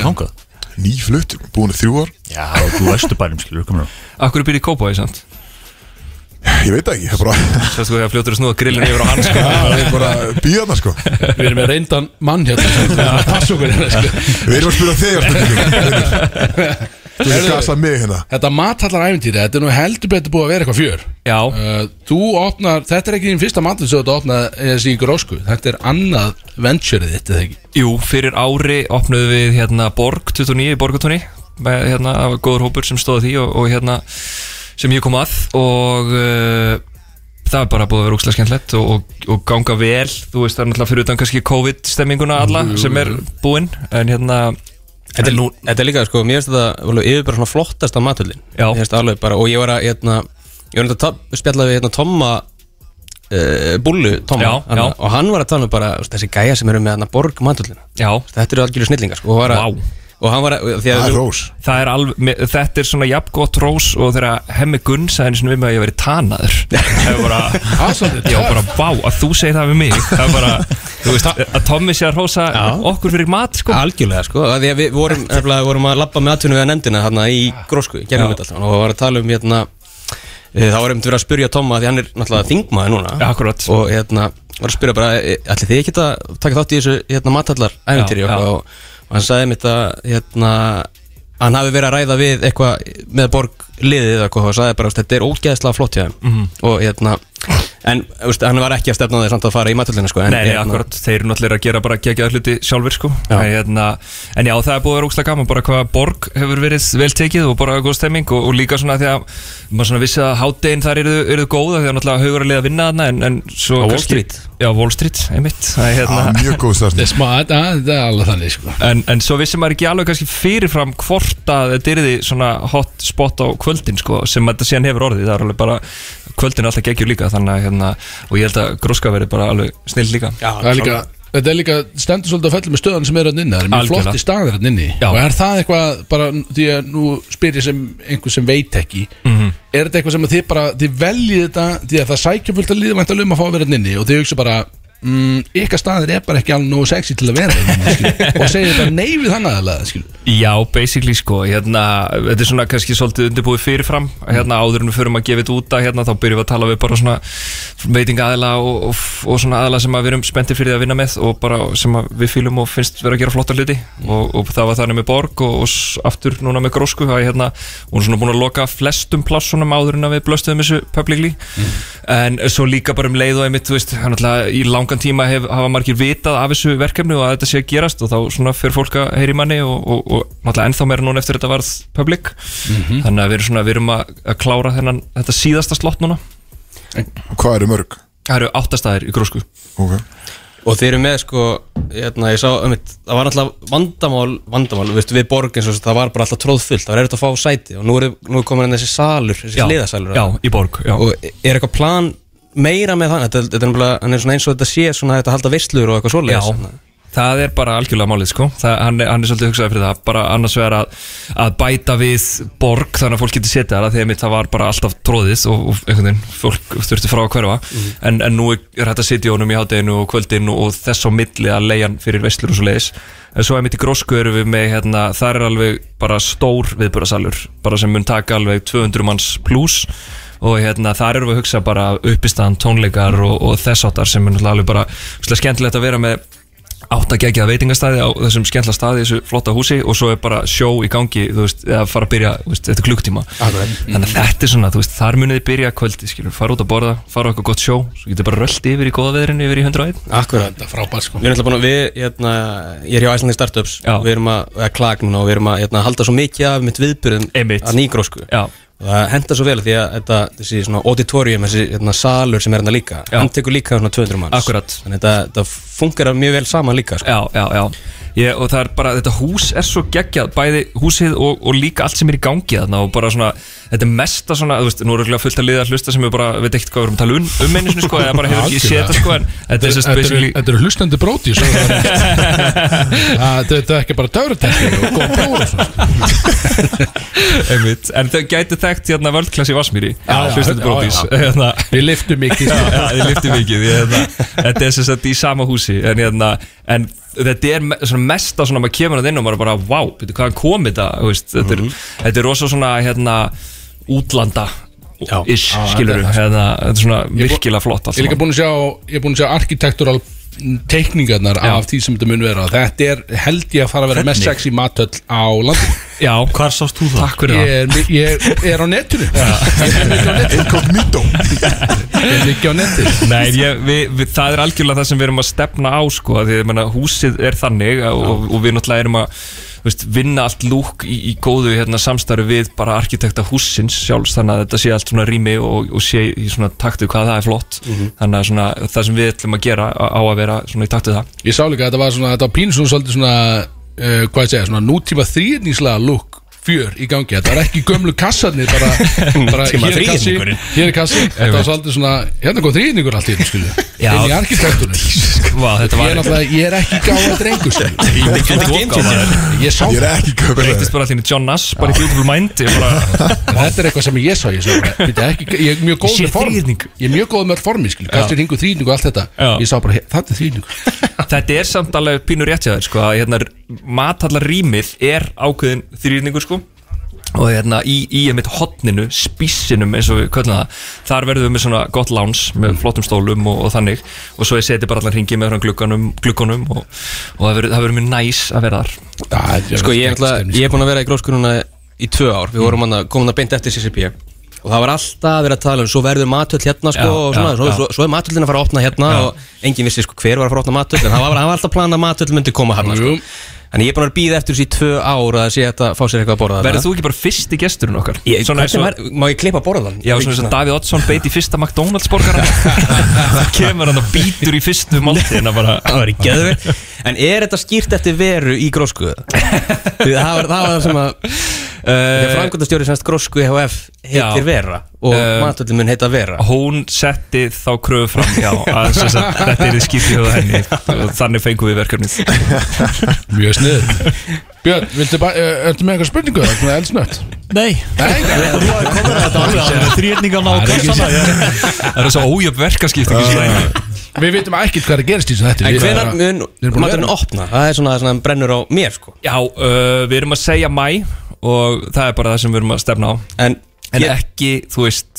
Ekki.
þangað
Nýflutt, búin í þrjú ár
Já, þú vestu bærum skilur, komur á
Akkur býr í Kópói samt
Ég veit það ekki, ég er bara,
Svo sko, ég fljótur að snúa grillin yfir á hans sko
ég er bara býða þarna, sko
Við erum með reyndan mann
[laughs]
hérna sem við erum að passa okkur hérna sko.
Við erum að spila þegar spurningum Þú veist að gasa mig hérna
Þetta matallar æfintýri, þetta er nú heldur betur búið að vera eitthvað fjör
Já,
uh, Þú opnar, þetta er ekki þín fyrsta matur sem þú ert að opna þessi í grósku Þetta er annað venture þitt eða ekki
Jú, fyrir ári opnuðum við hérna Borg 29 í Borgatóni með hérna, það var góður hópur sem stóði að því og, og hérna sem ég kom að og uh, það er bara búið að vera úkslega skemmtilegt og, og, og ganga vel þú veist það er náttúrulega fyrir utan kannski COVID-stemminguna alla sem er búin en hérna
Þetta er, þetta er líka, sko, mér finnst þetta alveg yfir bara svona flottasta matöldin
Já.
Mér finnst alveg bara, og ég var að, hérna, ég var að spjalla við, hérna, Tomma uh, Bullu, Tomma
Já,
hana,
já.
Og hann var að tala um bara, þú veist, þessi gæja sem eru með, hérna, borg matöldina
já,
Þetta eru algjörlega snillingar, sko, og, var að,
Vá.
og hann var að, því að
Það er
þú-
rós
það er alveg, me- þetta er svona jafn gott rós og þegar hemmi Gunn sagði einu sinni við mig að ég veri tanaður [laughs] það er bara, já bara vá að þú segir það við mig það er [laughs] bara, þú veist, að Tommi sé að rosa okkur fyrir mat sko
Algjörlega sko, að því að við vorum, nefnilega, vorum að labba með aðtunum við að nefndina hérna í grósku, gerðum
Ah. Já.
þetta alltaf og var að tala um hérna Eh, Það var einmitt verið að spyrja Tomma því hann er náttúrulega þingmaði núna ja,
Akkurat
Og hérna, var að spyrja bara eh, Ætli þið ekki að taka þátt í þessu hérna, matallar æfintýri
Já,
og,
já.
og, og hann sagði mitt að hérna, hann hafi verið að ræða við eitthvað með borg liðið eða eitthvað og sagði bara, "Veist, þetta er ógeðslega flott hjá þeim
Mhm.
og hérna en veist, hann var ekki að stefna á því samt að fara í matallina sko, en,
Nei, nei,
hérna,
akkurat, þeir eru náttúrulega að gera bara geggjaða hluti sjálfur sko en, hérna, en já, það er búið að vera ógslag gaman bara hvað borg hefur verið vel tekið og bara góð stemming og, og líka svona því að maður svona vissi að hátdegin þar eru, eru góða því að náttúrulega haugur að liða að vinna þarna en, en
Á
svo
Wall
kannski-
Street.
Já, Wall Street, einmitt það er hérna
Ah, mjög
góð
Þetta er smá, þetta þetta er alveg þannig sko
En, en svo vissi maður ekki alveg kannski fyrirfram hvort að þetta yrði svona hot spot á kvöldin sko, sem þetta síðan hefur orðið það er alveg bara, kvöldin er alltaf geggjur líka þannig að hérna, og ég held að gróska verið bara alveg snill líka Já,
Það er líka, þetta er líka stendur svolítið að fellum með stöðan sem er hann inni, það er mjög
Algjörlega.
flotti staðir hann inni
Já.
og er það eitthvað, bara því að nú spyr ég sem einhver sem veit ekki
Mhm.
er þetta eitthvað sem að þið bara, þið veljið þetta því að það sækja fullt að líðvænt að um að fá að vera hann inni og þið hugsa bara mm, ykkar staðir er bara ekki alveg nógu sexy til að vera þarna inni,
[laughs]
skilur. og segir þetta nei við þannig aðalega, skilur
Já, basically sko, hérna, þetta er svona kannski svolítið undirbúið fyrirfram, hérna áður en við förum að gefa þetta út að hérna, þá byrjum við að tala við bara svona veitinga aðila og, og, og svona aðila sem að við erum spenntið fyrir því að vinna með og bara sem að við fýlum og finnst vera að gera flotta hluti og, og það var þannig með Borg og, og s- aftur núna með Grósku, það er hérna, hún er svona búin að loka flestum plassunum áður en að við blöstuðum þessu publicly, en svo líka bara um leið og einmitt, þú veist, hann alltaf í langan tíma hef, hafa margir vitað af þessu verkefni og að þetta sé að gerast og þá svona fyrir fólk að heyri manni og, og, og náttúrulega ennþá meira núna eftir þetta varð public
Mhm.
þannig að við erum svona, við erum að, að klára þennan, þetta síðasta slott núna
Hvað eru mörg?
Það eru áttastæðir í grósku
Ok
Og þeir eru með sko, hérna, ég sá, um, það var alltaf vandamál, vandamál, veistu, við borgin, svo, það var bara alltaf tróðfullt, það var erfitt að fá sæti og nú er, nú er komin hérna þessi salur, þessi
Já,
hliðasalur.
já, í borg, já.
Og er eitthvað plan meira með þannig, þetta, þetta er nefnilega, hann er svona eins og þetta sé svona þetta halda veistlur og eitthvað svoleiðis.
Já, það er bara algjörlega málið sko það, hann, er- hann er svolítið hugsaði fyrir það bara annars vegar að, að bæta við borg þannig að fólk getur setið þar að þegar mitt það var bara alltaf tróðið og, og einhvern veginn fólk þurfti frá að hverfa en, en nú er hægt að sitja í honum í hátteginu og kvöldinu og þess á milli að leiðan fyrir vestlur og svo leiðis en svo einmitt í grósku erum við með hérna, það er alveg bara stór viðbúrasalur bara sem mun taka alveg 200 manns pluss og hérna þar erum við að hugsa bara uppistaðan tónleikar og, og þess áttar sem er náttúrulega alveg bara svolítið skemmtilegt að vera með átt að gegja veitingastæði á þessum skemmtla staði í þessu flotta húsi og svo er bara sjó í gangi þú veist, eða fara að byrja, þú veist, þetta er klukktíma
Akkurat. Mhm.
þannig að þetta er svona, þú veist, þar munið þið byrja að kvöldi, skilur, fara út að borða, fara á eitthvað gott sjó svo getur bara röllt yfir í góða veðrinu yfir í 101
Akkurat.
Þetta er frábært sko
Við erum alltaf búin að, við, hérna, ég er hjá Icelandic Startups, Já. við erum að, að klagna núna og við erum að hérna, halda svo mikið af mitt viðbyrðum
Einmitt.
að nýgrósku.
Já.
Og það henda svo vel því að þetta, þessi svona auditorium, þessi hérna, salur sem er hérna líka,
Já.
hann tekur líka svona 200 manns.
Akkurat.
Þannig að þetta, þetta funkar mjög vel saman líka. Sko.
Já, já, já ég, Og það er bara, þetta hús er svo geggjað Bæði húsið og, og líka allt sem er í gangi þarna Og bara svona, þetta er mesta svona Þú veist, nú eru örugglega fullt að liða að hlusta sem við bara Veit ekkert hvað við erum að tala um, um einu sinni sko Eða bara hefur ekki séð þetta sko En þetta er sérst
Þetta eru-
basically
Þetta eru hlustandi bróti
[laughs]
Ah, Þetta er ekki bara dörutekki og góð bróður
Einmitt. En þau gæti þekkt hérna völdklass í Vasmýri
Já, já,
Hlustandi
já,
brótis
já.
Hérna.
Við liftum mikið,
Já,
sko.
já, Við liftum mikið ég, hérna. Þetta er sem sagt í sama húsi En, hérna, en þetta er me- svona mesta svona maður kemur að inn og maður er bara Vá, wow, hvaðan kom þetta þú veist, þetta, er, þetta er rosa svona hérna, útlanda Ish,
Já,
skilur
þetta er það, sko.
hérna, Þetta er svona
Ég er bú-
virkilega flott allt
Ég er líka
saman.
búin að sjá, ég er búin að sjá arkitektúral teikningarnar
Já.
af því sem þetta mun vera þetta er held ég að fara að vera mest
Hvernig?
sexy matöll á landinu
Já, hvar sást þú það? Takk fyrir
ég
það
er, mi- ég er á netinu Incognito Ég er mikið á netinu
Nei, en ég, við, við, það er algjörlega það sem við erum að stefna á sko, af því að menna, húsið er þannig og, og, og við náttúrulega erum að þú veist, vinna allt lúk í, í góðu hérna, samstarfi við bara arkitekta húsins sjálfs þannig að þetta sé allt svona rými og, og sé í svona taktu hvað það er flott þannig að svona, það sem við ætlum að gera á á að vera svona í taktu það
Ég sá líka að þetta var svona, þetta var pínu svona svolítið svona, uh, hvað ég segja, svona nútíma þrýðningslega look fjör í gangi, þetta var ekki gömlu kassarnir bara,
[laughs]
bara
Sem
hér
að
er kassi
þríhyrningurinn.
hér er kassi, þetta var svolítið svona hérna kom þrýðningur allt í þetta skilju
Já.
inn í arkitektunum
Vá,
ég
þetta
er
var
náttúrulega, ég er ekki gáða drengur skilju
Ég er ekki gáfaður.
ég sá
Ég er
það
ekki Breytist bara allir í John Nash, bara í Beautiful Mind ég bara,
þetta er eitthvað sem ég sá, ég sá bara, veit ekki, ég er mjög góð
Ég sé
með form
þríhyrning.
ég er mjög góð með öll formi skilju,
Já.
kassi ringu þrýðningu og allt þetta
Já.
ég sá bara, he- þetta er þrýðningur
Þetta er samt alveg pínur rétt hjá þér sko, að hérna, matallar rýmið er ákveðin þrýrningur sko og hérna í, í einmitt hotninu spíssinum eins og við köllum það þar verðum við með svona gott láns með flottum stólum og, og þannig og svo ég seti bara allan hringi með frá gluggunum, gluggunum og, og það verður- það verður mjög næs að vera þar
Já,
Sko ég, ætla, ég er búin að vera í gróskununa í tvö ár Við vorum hana, komum það beint eftir CCP Og það var alltaf verið að tala um Svo verður matöll hérna sko
Já,
og svona,
já,
svo,
já.
Svo, svo er matöllin að fara að opna hérna Og enginn vissi sko hver var að fara að opna matöll En það var, það var alltaf planað að matöll myndi koma hérna sko. En ég er búin að býða eftir þessi í tvö ár Að það sé þetta fá sér eitthvað að borða
Verður þú ekki bara fyrsti gesturinn okkar?
Ég,
Svona eins og-
hvernig var- Má ég klippa borðan?
Já, svona eins og Davíð Oddsson beit í fyrsta McDonalds borgaran
[laughs]
Það kemur hann og bítur í fyrstu máltíðina bara
Það var í geðvið En er þetta skýrt eftir veru í grósku? Því það var það, var það sem að Þegar frangöndastjóri semst grósku EHF heitir
Já.
Vera Og uh,
Eh,
matöllin mun heita Vera
Hún setti þá kröfu fram Já, að, sem sagt, þetta er í skipti hjá henni og þannig fengum við verkefnið
Mjög snið Björn, viltu bara, eh, ertu með eitthvað spurningu? Það er svona eldsnött
Nei Þrýrningarna á
Það er ekki-
kassana ég-
Það er svo ójöf verkaskipting í slæðinu
Við vitum ekkert hvað er að gerast í þessu þetta
En hvenar mun maturinn opna? Það er svona það sem brennur á mér sko
Já, uh, við erum að segja mæ og það er bara það sem við erum að stefna á
En,
en ekki, þú veist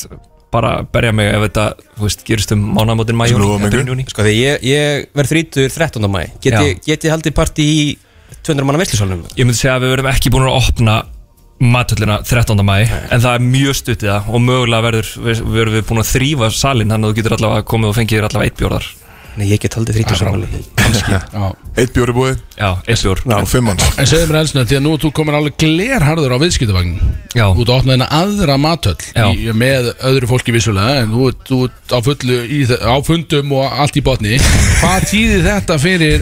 bara berja mig ef þetta, þú veist, gerist um mánamótin mæ júní, eða byrjun júní.
Sko því ég, ég verð þrítur 13. mæ Get
Já.
ég, get ég haldið partí í 200 manna veislisólnum?
Ég myndi segja að við verðum ekki búin að opna matöllina 13. mæ en það er mjög stutt í það og mögulega verður við, verður við búin að þrýfa salin þannig að þú getur allavega komið og fengið þér allavega eitt bjórðar
Nei, ég get haldið 30 samanlega
Eitt bjóri búið
Já, eitt bjór
Já, fimm manns
En segðu mér elsnöð, því að nú er þú komin alveg glerharður á viðskiptavagn
Já
Þú ert að opna þennan aðra matöll í, Með öðru fólki vissulega En þú ert- þú ert á fullu í, þe- á fundum og allt í
[laughs]
botni Hvað týðir þetta fyrir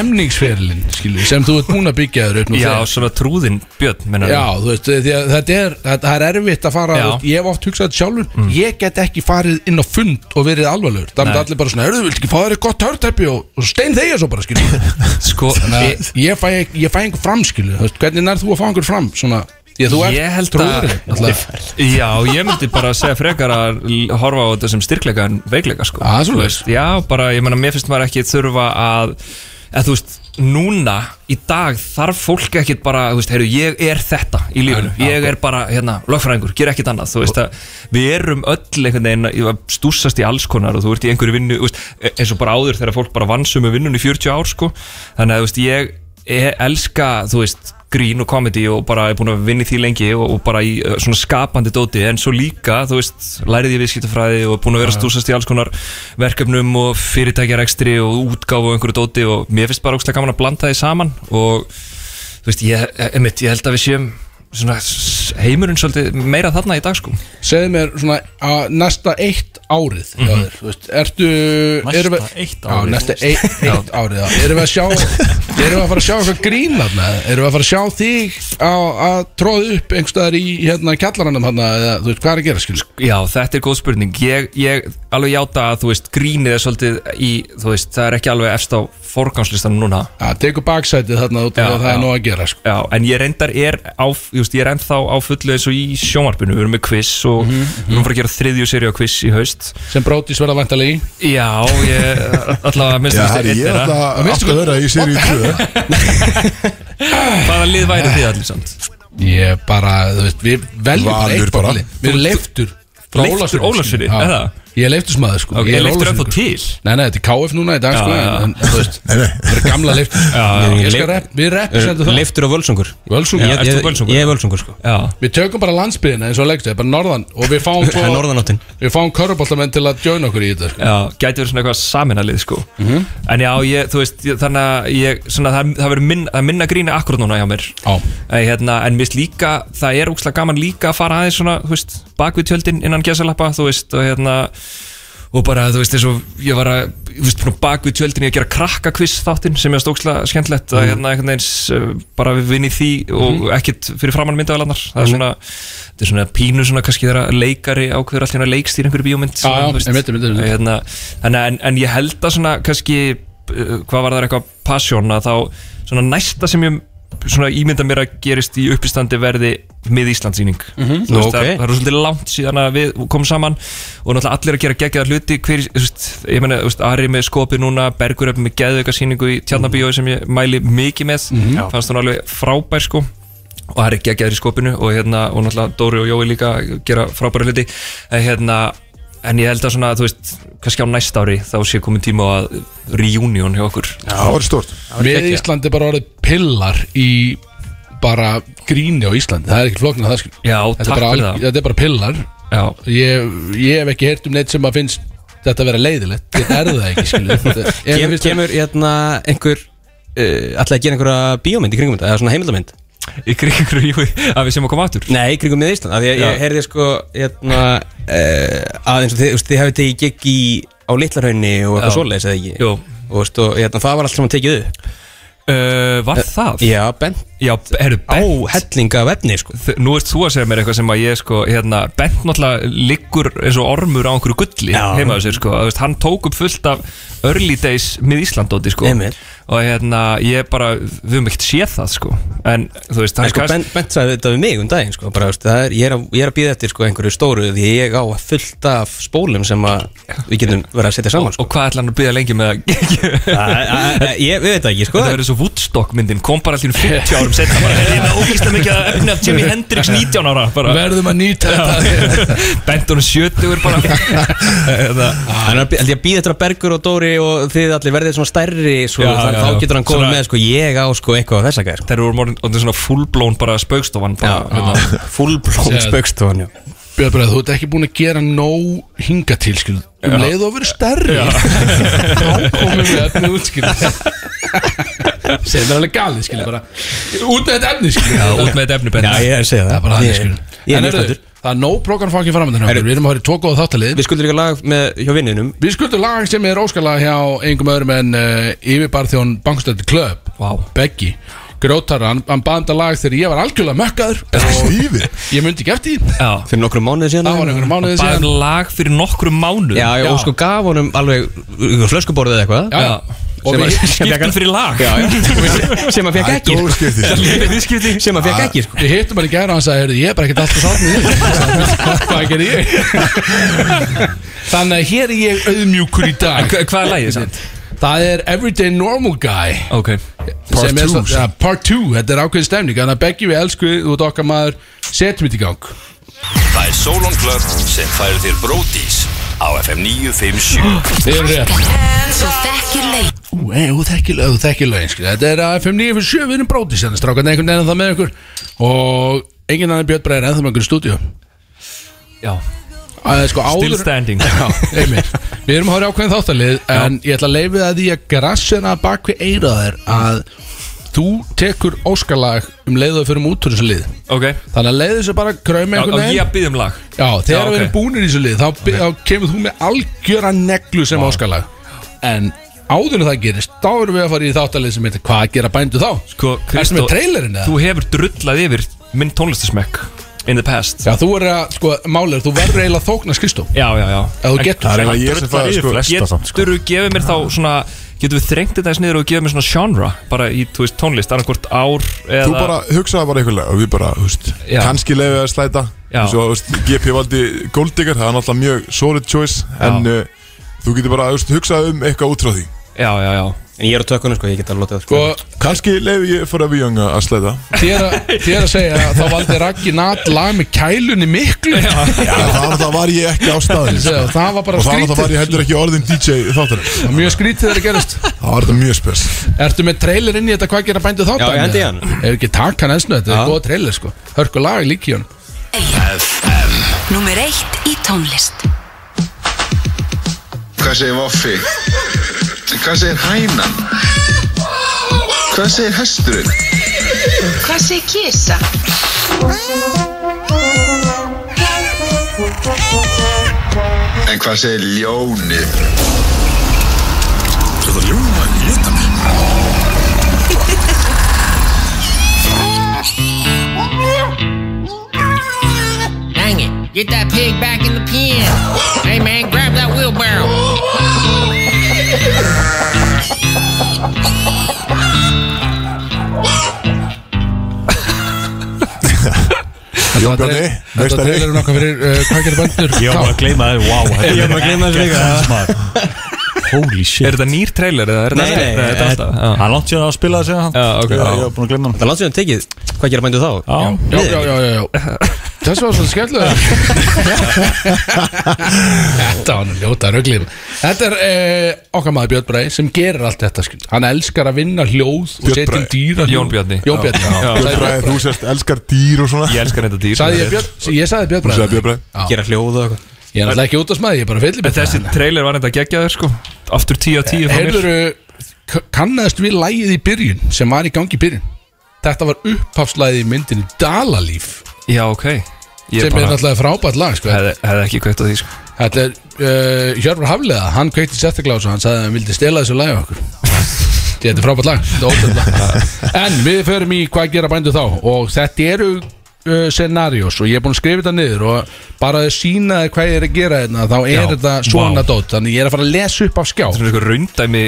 stemningsferlin skilur, við, sem þú ert búin að byggja þér upp nú
Já,
þegar?
svona trúðin björn mennur
Já, þú veist, því að þetta er, þetta það er erfitt að fara,
Já. Mm.
þú veist, ég hef oft hugsað þetta sjálfur, ég get ekki farið inn á fund og verið alvarlegur, það myndi
Nei.
allir bara svona, hörðu, viltu ekki fá þér eitthvað gott hörtæpi og, og stein þeir svo bara, skilju.
[laughs] Sko,
ég, ég fæ, ég fæ einhver fram, skilju, þú veist, hvernig nær þú að fá einhver fram, svona, ég [laughs] þú
Ég
ert
held
trúður,
að- Já, ég myndi bara að segja frekar að l- horfa á þetta sem styrkleika en veikleika sko.
Ah,
Þú
svoleiðis.
veist, Já, bara, ég menna, mér finnst maður ekki þurfa að eða þú veist, núna í dag þarf fólk ekkit bara þú veist, heyru, ég er þetta í lífinu ég er bara, hérna, lögfræðingur, ger ekkit annað þú veist að við erum öll einhvern veginn að stúsast í alls konar og þú ert í einhverju vinnu, þú veist, e- eins og bara áður þegar fólk bara vannsum með vinnun í 40 ár sko þannig að, þú veist, ég ég elska, þú veist, grín og komedi og bara er búin að vinna í því lengi og, og bara í uh, svona skapandi dóti en svo líka, þú veist, lærið ég viðskiptafræði og er búin að vera að stúsast í alls konar verkefnum og fyrirtækjarekstri og útgáfu og einhverju dóti og mér finnst bara ógstlega gaman að blanda því saman og þú veist, ég, emitt, ég held að við séum svona s- heimurinn svolítið meira þarna í dag sko
segðu mér svona, að næsta eitt árið, mm
Mhm.
þú veist, ertu,
Næsta
erum við-
eitt
já,
árið.
næsta eitt, eitt árið, já, erum við að sjá, erum við að fara að sjá eitthvað grín þarna, erum við að fara að sjá þig á, að tróða upp einhverstaðar í, hérna, kjallaranum þarna, eða, þú veist, hvað er að gera, skilju?
Já, þetta er góð spurning Ég, ég alveg játa að þú veist grínið er svolítið í, þú veist, það er ekki alveg efst á forgangslistanum núna
Já, tekur baksætið þarna út af að það er nóg að gera sko.
Já, en ég reyndar er á, just, ég er ennþá á fullu eins og í sjónvarpinu Við erum með quiz og við erum að fara að gera þriðju seri á quiz í haust
sem brótis verða vantalega í
Já, ég allavega minnst
Já, herri, ég ætla aftur að vera í seríu 2
Hvaða lið væri þið allir samt?
Ég bara, þú veist, við veljum bara
Valur
eitt
bara.
orðið. Við erum leiftur frá
Leiftur
Ólafsfirði,
Ólafsfirði,
skilur.
er
Já.
það?
Ég er leiftursmaður sko
Ok,
Ég er
leiftur
Ólafsfirði,
ennþá
sko.
til?
Nei, nei, þetta er KF núna í dag
Já,
sko
já, já.
en- en, Þú veist, við erum gamla leiftur Ég skal rep, Við
Eh,
representum það
Leiftur og völsungur
Völsungur?
Ég-
Ert þú
ég-
Völsungur?
Ég er völsungur sko
Já
Við tökum bara landsbyðina eins og leggstu, bara norðan og við fáum
Það er norðanáttin
Við fáum körubóltamenn til að djöna okkur í þetta sko.
Já, gæti verið svona eitthvað saminalið sko En já, ég, þú veist, ég, þannig að ég, svona, það, það verður minn, það er minna gríni akkurat núna hjá mér
Já.
en, hérna, en mér finnst líka, það er úkslega gaman líka að fara aðeins svona, þú veist, bak við tjöldin innan gæsalappa, þú veist, og hérna og bara, þú veist, eins og ég var að þú veist, svona bak við tjöldin í að gera krakkakviss þáttinn sem ég varst ókslega skemmtlegt
Mhm.
að hérna einhvern veginn uh, bara við vinni því og ekkert fyrir framann myndavælarnar það
Mhm.
er svona, þetta er svona pínu svona kannski þegar að leikari ákveður alltaf hérna leikstýr einhverju bíómynd
Já, já,
þú veist.
einmitt, einmitt, einmitt.
Og hérna, þannig að- en, en ég held að svona kannski uh, hvað var það eitthvað passion að þá svona næsta sem ég svona ímynda mér að gerist í uppistandi verði mið Íslandsýning mm
Nú,
það,
ok.
það er svolítið langt síðan að við komum saman og náttúrulega allir að gera geggjaða hluti hver, þú veist, ég meina, þú veist, Ari með skopi núna Bergur er með geðveika síningu í Tjarnabíói sem ég mæli mikið með, fannst hún alveg frábær sko og það er ekki að gera í skopinu og hérna, og náttúrulega Dóri og Jói líka gera frábæra hluti en hérna, en ég held að svona, þú veist kannski á næsta ári þá sé komin tíma á að reunion hjá okkur Já,
það var stort
Við Íslandi bara orðið pillar í bara gríni á Íslandi Það er ekki flókn að það skil
Já,
þetta,
takk
er bara
fyrir
alg-
það.
þetta er bara pillar ég, ég hef ekki heyrt um neitt sem að finnst þetta að vera leiðilegt Þetta er það ekki
[laughs]
skil
Kem, Kemur hérna einhver uh, Ætlaði að gera einhverja bíómynd í kringum þetta Eða svona heimildamynd
Í kringum, jú, [laughs] að við sem að koma aftur
Nei, í kringum með Ísland Af því að
Já.
ég heyrði sko hérna uh, Að eins og þið, þú veist, þið hefði tekið gig í Á Litlarhaunni og eitthvað
Já.
svoleiðis eða ekki
Jú.
Og, veist, og hérna, það var allt sem að tekið upp
Uh, var það?
Já, bent
Já, eru bent
Á hellinga af efni, sko
Þ- Nú ert þú að segja mér eitthvað sem að ég sko hérna, Bent náttúrulega liggur eins og ormur á einhverju gulli
Já.
heima á sér sko Þú veist, Hann tók upp fullt af early days mið Íslandóti sko
Einmitt.
Og hérna, ég bara, við höfum ekkert séð það sko En þú veist,
En
hann
sko, bent, bent sagði þetta við mig um daginn sko, bara, veist, það er, ég, er að, ég er að býða eftir sko, einhverju stóru því ég á fullt af spólum sem að við getum verið að setja saman sko.
Og hvað ætla hann að býða lengi með að
Ég við veit það ekki sko
Þetta verður svo Woodstock myndin, kom bara allir 40 árum setna bara, Ég er með ógísla mikið að efni af Jimi Hendrix 19 ára bara.
Verðum að nýta þetta
Bent honum 70 bara Hérna,
Hann er að bí- held ég að býða eftir að Bergur og Dóri og þið allir verðið svona stærri sko,
Já,
þannig
já,
að
já.
þá getur hann komið
Svona-
með sko, ég á sko, eitthvað af þessa gæði sko.
Þeir eru orðin- orðin svona fullblown bara spaukstofan bara, hérna.
Fullblón
Sér-
spöggstofan já.
Björn Bræð, þú ert ekki búin að gera nóg hinga til skil Um
Já.
leið og verið [laughs] stærri Þá komum við efni út skil
[laughs]
Segir mér alveg galið skil bara Út með þetta efni skil
Já, út með þetta efni Bent
já, ég er að segja
Það
það
er bara það
Ég-
skil
Ég er
En
mjög
heyrðu,
spenntur
það er nóg prógram fangin framöndan Við erum að höra í tvo góða þáttalið
Við skuldum líka lag með hjá vinninum
Við skuldum lag sem er óskalag hjá einhverjum öðrum en uh, yfirbarþjón Bankstöldi Klöp
Vá.
Beggi Grótara, hann, hann baðum þetta lag þegar ég var algjörlega mökkaður
Stífi
Ég myndi ekki eftir því
Já
fyrir nokkrum mánuði síðan
Það var einhverjum mánuðið
Bara
síðan
lag fyrir nokkrum mánu
Já, já,
Já.
og sko gaf honum alveg uh, flöskuborðið eða eitthvað
Já, já. Og
Sem að-
við-
sem fékk
Skiptum
hann-
fyrir lag
Já, já. sem að fekk
Það er
ekki sko.
góð skipti
Viðskipti
[laughs] sem að fekk ekki sko.
Við hittum hann í gæra og hann sagði, "Heyrðu, ég er bara ekkert alltaf sátt með því Hvað gerði
[laughs]
ég? Þannig að hér er ég auðmjúkur í dag
Hva- Hvað er lagið samt?
Það er Everyday Normal Guy
Ok
Part 2 ja, Part 2, þetta er ákveðin stemning Þannig að Beggi við elsku, þú ert okkar maður Setjum þetta í gang
Það er Solon Club sem færir þér Bródís á FM 957
Þið eru rétt
Þú þekkir leik
Ú, ei, Þú þekkir lög, þú þekkir lögin skilja. Þetta er að FM 957, við erum brótið Þannig strákan einhvern veginn það með ykkur Og enginn annar Björn Bræðir ennþá með ykkur í stúdíu
Já
að, sko, áður...
Still
[laughs]
standing.
Já, einmitt Við erum að horfa ákveðin þáttalið En ég ætla að leifi það því að grassina bak við eira þær Að þú tekur óskalag um leiðu fyrir um út úr þessu lið
Ok
Þannig að leiðu þessu bara kraumi
Já, og
einhvern
ég
veginn
að byggja um lag
Já, þegar
Já,
við erum
ok.
búinir í þessu lið þá, okay. þá kemur þú með algjöra neglu sem áskalag En áður en það gerist Þá erum við að fara í þáttalið sem heitir Hvað gera bændu þá?
Sko,
Erstu með trailerinn eða?
Þú hefur drullað yfir minn tónlistasmekk In the past
Já, þú er að, sko, málið er Þú verður eiginlega að þóknast Kristó
Já, já, já
Ef þú getur
Það er eiginlega ég sem fæði sko
flesta samt sko
Getur þú gefið mér þá svona Getur við þrengt þetta eins niður og gefið mér svona genre Bara í, þú veist, tónlist Annarkvort ár eða
Þú bara hugsaði bara einhverlega og við bara, þú veist,
Já.
kannski leiðið að slæta
Já.
Svo, þú veist, GP valdi Goldigger, það er náttúrulega mjög solid choice En uh, þú getur bara, þú veist, hugsað um eitthvað út frá því
Já, já, já
En ég er á tökunum, sko, ég get að lotið það sko.
Sko,
Kannski leiði ég fyrir að við jönga að slæta
þér að, þér að segja að Þá valdi Raggi Nat lag með kælunni
[laughs]
miklu Já,
Já, það var, var ég ekki á
[laughs]
staðin
Og það var bara
Og það var,
skrítið
var ég heldur ekki orðin DJ þáttur
Það var Mjög skrítið þegar það gerist
Það var þetta mjög spes
Ertu með trailer inn í þetta Hvað gera bændu þá?
Já, ég hendi í hann.
Ef ekki takk hann ensnu Þetta
Já.
er góð trailer, sko Hörku lag líki hann
Númer eitt í tónlist
Hvað segir Voffi? Hvað segir Hænan? Hvað segir Hesturinn?
Hvað segir kisa?
En hvað segir Ljónið?
Þetta ljóma í þetta
Dang it, get that pig back in the pen Hey man, grab that wheelbarrow
Jón Bjarni,
Þetta
meistari
trailerinn okkar fyrir uh, Hvað gera bændur
Ég var bara að gleyma það, wow þetta
Ég var bara að
er
gleyma þessu líka.
geggjað, maður. Holy shit
Er þetta nýr trailer eða er þetta
Nei, nei,
þetta er alltaf Já.
Hann langt sér að spila þessu hann
Já, ok.
Ég var búin að gleyma hann
Það er langt sér að tekið Hvað gera mændu þá?
Já, já, já, já, já. Þessi var svolítið skemmtilega Þetta var nú ljóta rugglið Þetta er eh, okkar maður Björn Bræði sem gerir allt þetta skil. Hann elskar að vinna hljóð og
Björn
setja um
Bragi.
dýra
Jón Bjarni.
Jón Bjarni
Já.
Já.
Björn Bræði,
Sagði Björn
þú
Bragi.
sést elskar dýr og svona
Ég elskar þetta dýr
Sagði ég Björn, ég sagði Björn
Þú
Bræði
sagði Björn Bragi.
Gera hljóð og eitthvað Ég er náttúrulega ekki út af smæði, ég er bara fyllir
En þessi trailer var enda geggjaður sko Aftur 10 á 10 frá mér.
Heyrðu, kannast við lægið í byrjun sem var í gangi í byrjun Þetta var upphafslæðið í myndinu Dalalíf
Já, ok Ég
sem er
bara-
náttúrulega frábært lag sko.
Hefði hefði ekki kveikt á því sko
Þetta er uh, Hjörvar Haflega, hann kveikti sérstaklega á þessu, hann sagði að hann vildi stela þessu lagi
[laughs]
okkur Þetta er frábært lag, þetta er ótrúlega lag En við förum í hvað gera bændu þá og þetta eru uh, scenarios og ég er búin að skrifa þetta niður og bara að sína þér hvað ég er að gera hérna þá er
Já,
þetta
vá.
svona dót þannig ég er að fara að lesa upp af skjá
Þetta er eitthvað raundæmi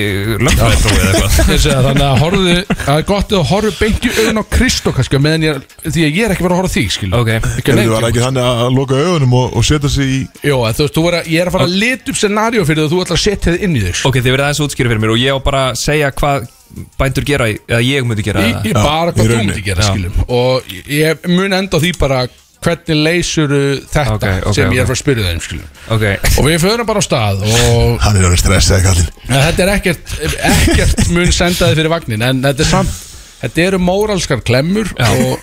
lögfræðiprófið eða eitthvað
Ég segi það, Þannig að horfðu, það er gott að horfðu beint í augun á Kristó kannski á meðan ég, því að ég er ekki verið að horfa á þig skilur
[laughs] Ok
Ekki á
Þetta
neinn
var
tíma.
ekki þannig að loka augunum og, og setja sig í
Jó, en þú veist, þú er að, ég er að fara að lita upp scenario fyrir það og þú ætlar að setja þið inn í þig sko.
Ok, þið verðið aðeins að útskýra fyrir mér og ég á bara að segja hvað bændur gera í- eða ég myndi gera
í,
eða-
í bara
í
hvað þú
rauninni.
myndi gera
Já.
skilum og ég- ég mun enda á því bara hvernig leysur þetta
Ok, ok,
sem ég
ok.
er frá að spyrja þeim skilum
Ok
og við förum bara á stað og
Hann er alveg stressaði kallinn
en þetta er ekkert, ekkert mun senda þið fyrir vagnin en þetta er samt Þetta eru móralskar klemmur og,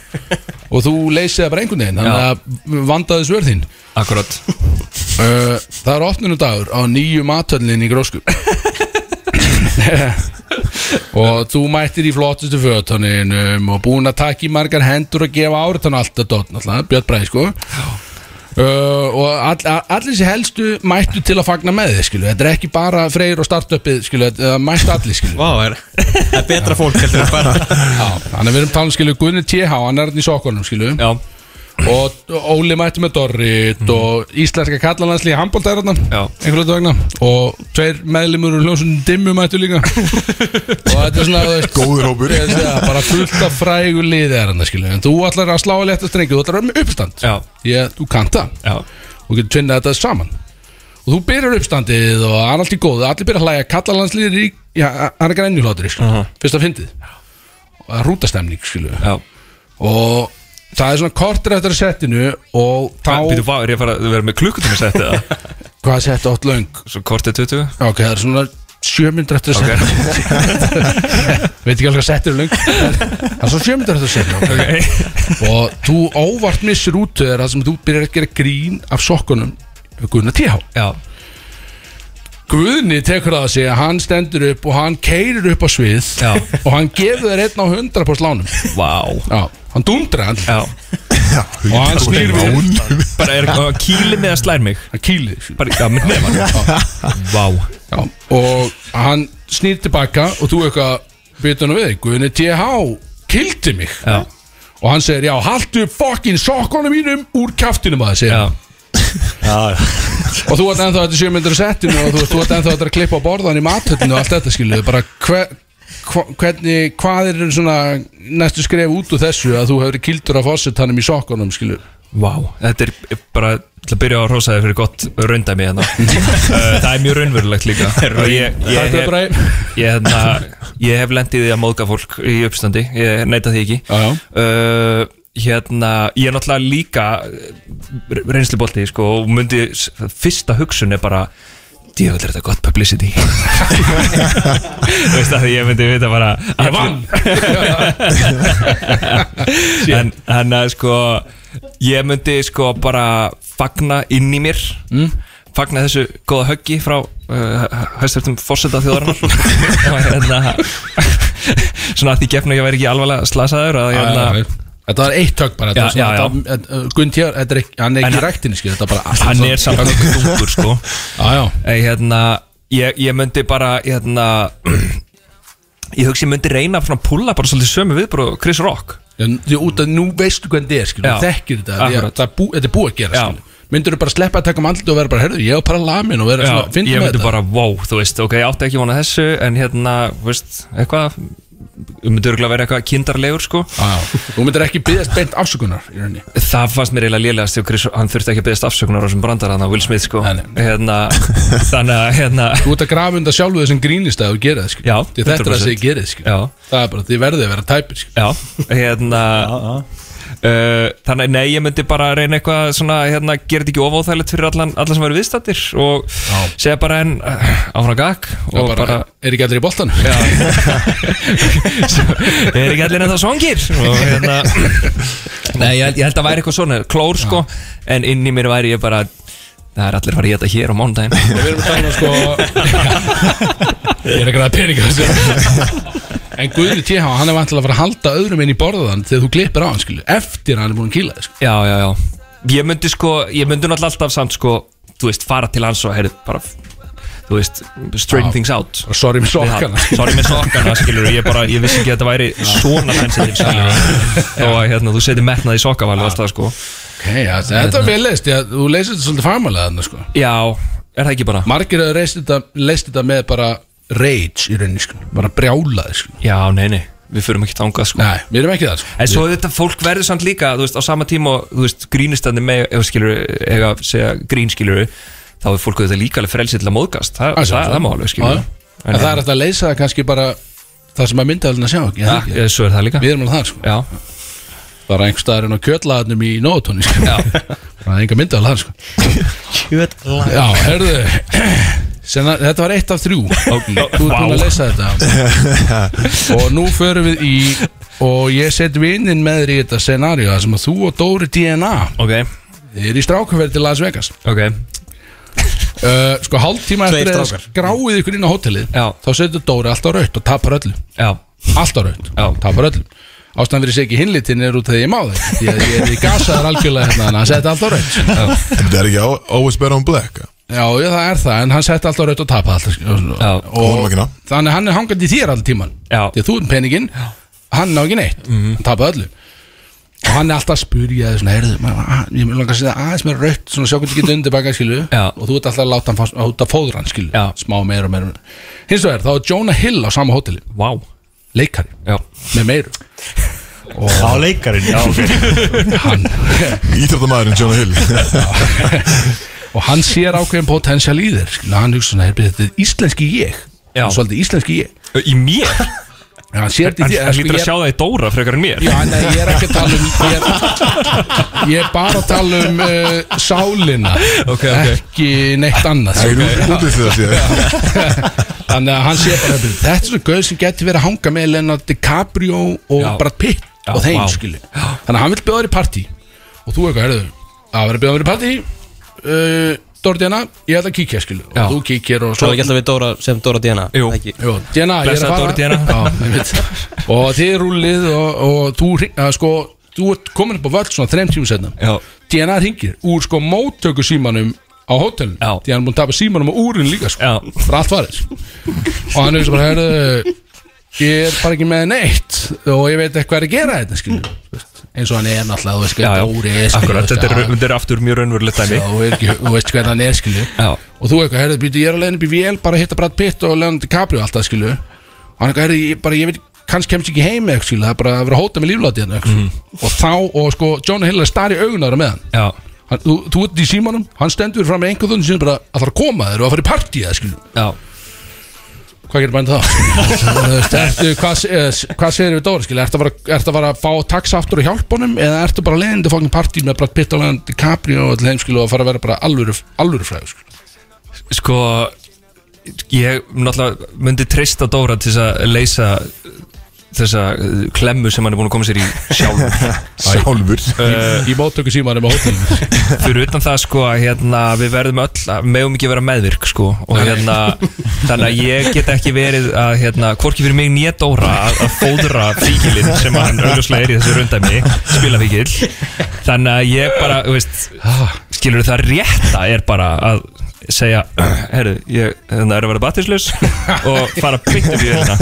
og þú leysið það bara einhvern veginn þannig að vandaði svörðin
Akkurat
uh, Það er opnunudagur á nýju matöllin í grósku og þú mættir í flottustu fötunum og búin að taka í margar hendur og gefa áritan allt að dotna alltaf, Björn Bræði sko Uh, og all, all- allir þessi helstu mættu til að fagna með þið skilu þetta er ekki bara freyr og startupið skilu þetta mættu allir skilu
Vá, er, það er betra fólk heldur en bara
Já, þannig að við erum talað um, skilu Guðni TH, hann er hann í sokkunum skilu
Já
og Óli mætti með Dorrit
Mm.
og íslenska kallalanslíði handbólda er hann
Já
einhvern veit vegna og tveir meðlumur og hljómsunum dimmu
[laughs]
mættu líka og þetta er svona þú veist,
Góður hópur.
ég segi það, bara fullt af frægu liði er hann skilu en þú ætlar að slá að leta strengi þú ætlar að vera með uppstand
Já
ég, þú kannt það
Já
og getur tvinnað þetta saman og þú byrjar uppstandið og hann er allt í góðu allir byrjar að hlæja kallalanslíðir í já, hann er grænjuhlátur uh -huh. fyrst að fyndið og að rútastemning skilu
Já
og það er svona kortur eftir að settinu og
Hvað, býtu,
þá
vá, er ég að fara að vera með klukkutum að
[laughs]
setja það?
hvað sett átt löng
Svo kortið 20
ok, það er svona sjömyndur eftir að
Ok.
settinu [laughs] veit ekki alveg hvað settir er löng en það er svona sjömyndur eftir að settinu ok
Ok
og þú óvart missir út þegar það sem þú byrjar að gera grín af sokkunum Guðna TH
Já
Guðni tekur það að segja, hann stendur upp og hann keirir upp á svið
Já.
og hann gefur þér einn á 100 på slánum
Vá
Já, hann dundrar hann
Já
og hann snýr við
Bara er og kýli með að slær mig
hann kýlir
Bara, já, með með
[laughs]
hann Vá
Já, og hann snýr tilbaka og þú eitthvað bytun og við, Guðni TH kildi mig
Já.
og hann segir, já, haltu fokkin sokkunum mínum úr kaftinum að það segja
Já
[laughs] og þú ert ennþá þetta sjömyndur að settinu og þú, þú ert ennþá þetta að klippa á borðan í mathöllinu og allt þetta skiluðu, bara hver, hva, hvernig, hvað er svona næstu skref út úr þessu að þú hefur kildur af fósettanum í sokkunum skiluðu
Vá, þetta er bara til að byrja á að rosa þér fyrir gott raundæmi [laughs] hérna Uh, Það er mjög raunverulegt [laughs] líka Og ég, ég,
Þetta er
hef,
bara
ég, hérna, ég hef lendið því að móðga fólk í uppstandi Ég neita því ekki
Já, já.
uh, Hérna, ég er náttúrulega líka uh, reynslubolti sko, og myndi, s- fyrsta hugsun er bara Djöfull er þetta gott publicity [laughs] Þú veist að ég myndi vita bara Ég vann en, en að sko Ég myndi sko bara Fagna inn í mér Fagna þessu góða höggi frá uh, Hæstöftum fórseta þjóðarinnar Og hérna Svona að því gefna ég væri ekki alvarlega slasaður að, hérna,
Ah, Þetta var eitt högg bara
Já, já, já.
Guntjár, þetta er ekki, hann er ekki
En-
í ræktinni skiluðu, þetta er bara
Hann er samt nokkuð þungur sko
Já, já,
Ei, hérna, ég, ég myndi bara hérna, [clears throat] ég hugsi ég myndi reyna að púla bara svolítið sömu við bara Chris Rock
Já, Því út að nú veistu hvernig þið er skilur,
Já.
þekkir þetta, því að
Akkurat.
það er bú, þetta er búið að gera
Já.
skilur. Myndur þú bara sleppa að taka um andlut og vera bara, herðu, ég er bara lamin og vera svona,
ég
fyndum með
myndi
þetta
bara, wow, þú veist ok, ég átti ekki vona þessu en hérna, þú veist, eitthvað þú myndir örgulega vera eitthvað kindarlegur sko
Já, þú myndir ekki byggðast beint afsökunar í rauninni
Það fannst mér eiginlega lélegast þegar Chris, hann þurfti ekki að beðast afsökunar á þessum brandar hann á Will Smith sko hérna, Þannig að hérna
Þú ert að grafa undan sjálfu þessum grínist að þú gera það sko.
Já,
Því Þetta er að segja gerið sko.
Já,
Það er bara, þið verðið að vera tæpir sko.
já, hérna Uh, þannig, nei, ég myndi bara reyna eitthvað svona, hérna, gera þetta ekki ofáþægilegt fyrir allan, allan sem eru viðstættir og segja bara en uh, áfram gag
Já,
og
bara, er ekki allir í boltan?
Já Er ekki allir en það svangir og hérna [coughs] Nei, ég, held- ég held að væri eitthvað svona klór sko en inn í mér væri ég bara það er allir farið í þetta hér á mánudaginn [laughs]
Við erum að tala um, sko Ég er ekki að ræða peninga sko. [laughs] En Guðni TH, hann er vantilega að fara að halda öðrum inn í borðan þegar þú klippir á hann skilu, eftir að hann er búin að kýla þig sko.
Já, já, já Ég myndi sko, ég myndi náttúrulega alltaf samt sko þú veist, fara til hans og heyrðu bara þú veist, straighten
Já.
things out
Sorry með
Við hann.
sokkana.
Sorry með sokkana, skilur ég bara, ég vissi ekki að þetta væri svona sensitive, skilur þó að hérna, þú setir metnað í sokkavali og allt það sko
okay, já, Þetta er vel leist, já, þú leist þetta svolítið fagmælega þarna sko.
Já, er það ekki bara
Margir hefur leist þetta, leist þetta með bara rage í rauninni sko, bara brjálaði sko.
Já, nei, nei, við förum ekki þangað sko
Nei, við erum ekki það sko.
En svo þetta fólk verður samt líka, þú veist, á sama tíma og, þú veist, grínistandi með, ef skilur, ef að segja grín skilur þá er fólk auðvitað líka alveg frelsið til að móðgast það, það, það, það má alveg
sko. Já,
skilur
já. En það er hægt að leysa það kannski bara það sem að myndaðalina sjá ekki,
Já,
það ekki.
ég, svo er það líka
Við erum alveg það sko.
Já,
bara einhver staðar inn á kjötlaðanum í nótóni sko. það er enga myndaðal það sko.
Kjötlaðan
Já, herðu Senna, Þetta var eitt af þrjú Þú ert búin að leysa
[laughs]
þetta Og nú förum við í Og ég set vinnin með þér í þetta scenaríu Það sem að þú og Dóri DNA
Ok
Þið eru í strákaferð til Las Vegas
Ok
Uh, sko hálftíma
Tveir
eftir að
strákar.
skráið ykkur inn á hótelið
Já.
þá setur Dóri alltaf raut og tapar öllu
Já.
alltaf raut, Já. tapar öllu ástæðan fyrir sig ekki hinlitin er út af því að ég má þig því að ég er í gasaðar algjörlega hérna þannig að hann setja alltaf raut
Þetta er ekki á- always better on black
Já, já, það er það, en hann setti alltaf raut og tapaði alltaf sko,
Já.
og, Þannig að hann er hangandi í þér alltaf tíman
Já.
Því að þú er peningin, hann ná ekki neitt Hann tapaði öllu Og hann er alltaf að spyrja þig svona, heyrðu, maður- að- Ég vil langa að segja aðeins meira raut Svona sjá hvernig getur undirbaka, skilu Já. Og þú ert alltaf að láta hann fá- láta fóðra hann, skilu Já. Smá meira og meira, og meira. Hins vegar, þá er Jonah Hill á sama hóteli
Vá
Leikari
Já.
Með meiru og...
Á leikarinn, já, ok.
Hann
Ítróttamæðurinn Jonah Hill
og hann sér ákveðin potensial í þér skilur, hann hugsa svona, "Heyrðu, þetta er íslenski ég
Já.
svolítið íslenski ég
í [laughs] mér?
Já, hann sér þetta í
Hann-
þér
hann
sko,
lítur að
ég-
sjá það í Dóra frekar en mér.
Já, nei, ég er ekki að tala um ég er, ég er bara að tala um uh, sálina
okay, okay.
ekki neitt annað
Það er út- út við það, sér.
þannig að hann sér bara "Heyrðu, þetta er svona gauð sem getur verið að hanga með Leonardo DiCaprio og
Já.
Brad Pitt
Já,
og þeim
vá.
skilu þannig að hann vil bjóða þér í partí og þú eitthvað, herðu, að vera að bjóða þér í partí uh, Dóra Diana, ég ætla að kíkja skilu og þú kíkir og
Svo ekki alltaf við Dóra, sem Dóra Diana Jú,
Jú Diana, ég er að fara Já, ég veit. Og þið rúlið og, og þú, hring- að, sko, þú ert komin upp á völl svona þreim tímum setna
Já.
Diana hringir úr sko móttöku símanum á hótelinu Já. Diana er búin að tapa símanum og úrin líka sko Já. Það er allt farið sko. Og hann er svo bara, herðu Ég er bara ekki með neitt og ég veit eitthvað er að gera hérna, þetta skilju eins og hann er náttúrulega, þú veist
Já,
hvað
já.
Dóri er skilur,
Akkurat,
þú veist,
þetta er,
hann-
þetta er aftur mjög raunverulegt dæmi
Já, þú er ekki- þú veist hvernig hann er skilju
Já.
og þú eitthvað, herðu, býtu, ég er að leiðin upp í VL bara að hitta Brad Pitt og Leonardo DiCaprio alltaf, skilu og hann eitthvað, herðu, ég bara, ég veit, kannski kemst ekki heim eða, eitthvað, skilu, það er bara að vera að hóta með lífláti hérna, mm.
Mhm.
og þá, og sko, John Hill er starri augunar með hann,
Já.
hann þú, þú ert í símanum, hann stendur fram með einhver þunni sinni bara að fara að koma þér og að fara í partíð, skilu
Já.
Hvað gerir bændi þá? Þú veist, [laughs] ertu, hvað, eh, hvað segir við Dóri, skilu, ertu að, fara, ertu að fara að fá taxa aftur og hjálpa honum eða ertu bara leiðindi fókin partíð með Brad Pitt og Leonardo DiCaprio og öll þeim, skilu, og að fara að vera bara alvöru, alvöru frægur, skilu
Sko Ég náttúrulega myndi treysta Dóra til þess að leysa þessa uh, klemmu sem hann er búin að koma sér í sjálfur
Sjálfur
Eh,
Í- Í móttöku símanum á
[laughs]
hótelinu
Fyrir utan það sko að hérna, við verðum öll að meðum ekki að vera meðvirk sko og hérna, þannig að ég get ekki verið að hérna, hvorki fyrir mig nýja Dóra að, að fóðra fíkilinn sem hann augljóslega er í þessu rundæmi spila fíkil, þannig að ég bara þú veist, skilur það rétta er bara að segja herru, ég hérna, er að vera battislaus og fara byggt upp í hérna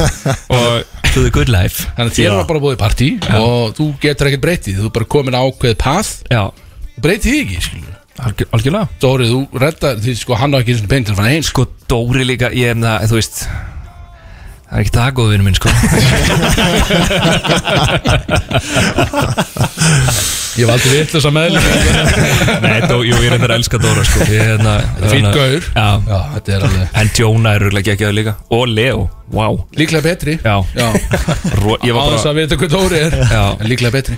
og to the good life
Þannig Þér var bara búið í partí
Já.
og þú getur ekkert breytið Þú er bara komin á ákveðið path
Já.
Breytið því ekki, skilur
Algjör, Algjörlega
Dóri, þú reddar því sko hann á ekki eins og pening til að fara heim
Sko Dóri líka, ég er það, þú veist Það er ekki það góð vinnu minn sko
Ég valdi vitlausa meðlum.
[laughs] sko. Nei, dó, jú, ég reyndar að elska Dóra sko Ég, hérna,
Fínn
hérna-
gaur.
Já,
Já, þetta er alveg-
En Jóna er röglega geggjaður líka Og Leo, wow
Líklega betri
Já,
Já.
Ró, Ég var
Án þess
bara
að vita hvað Dóri er
Já.
En líklega betri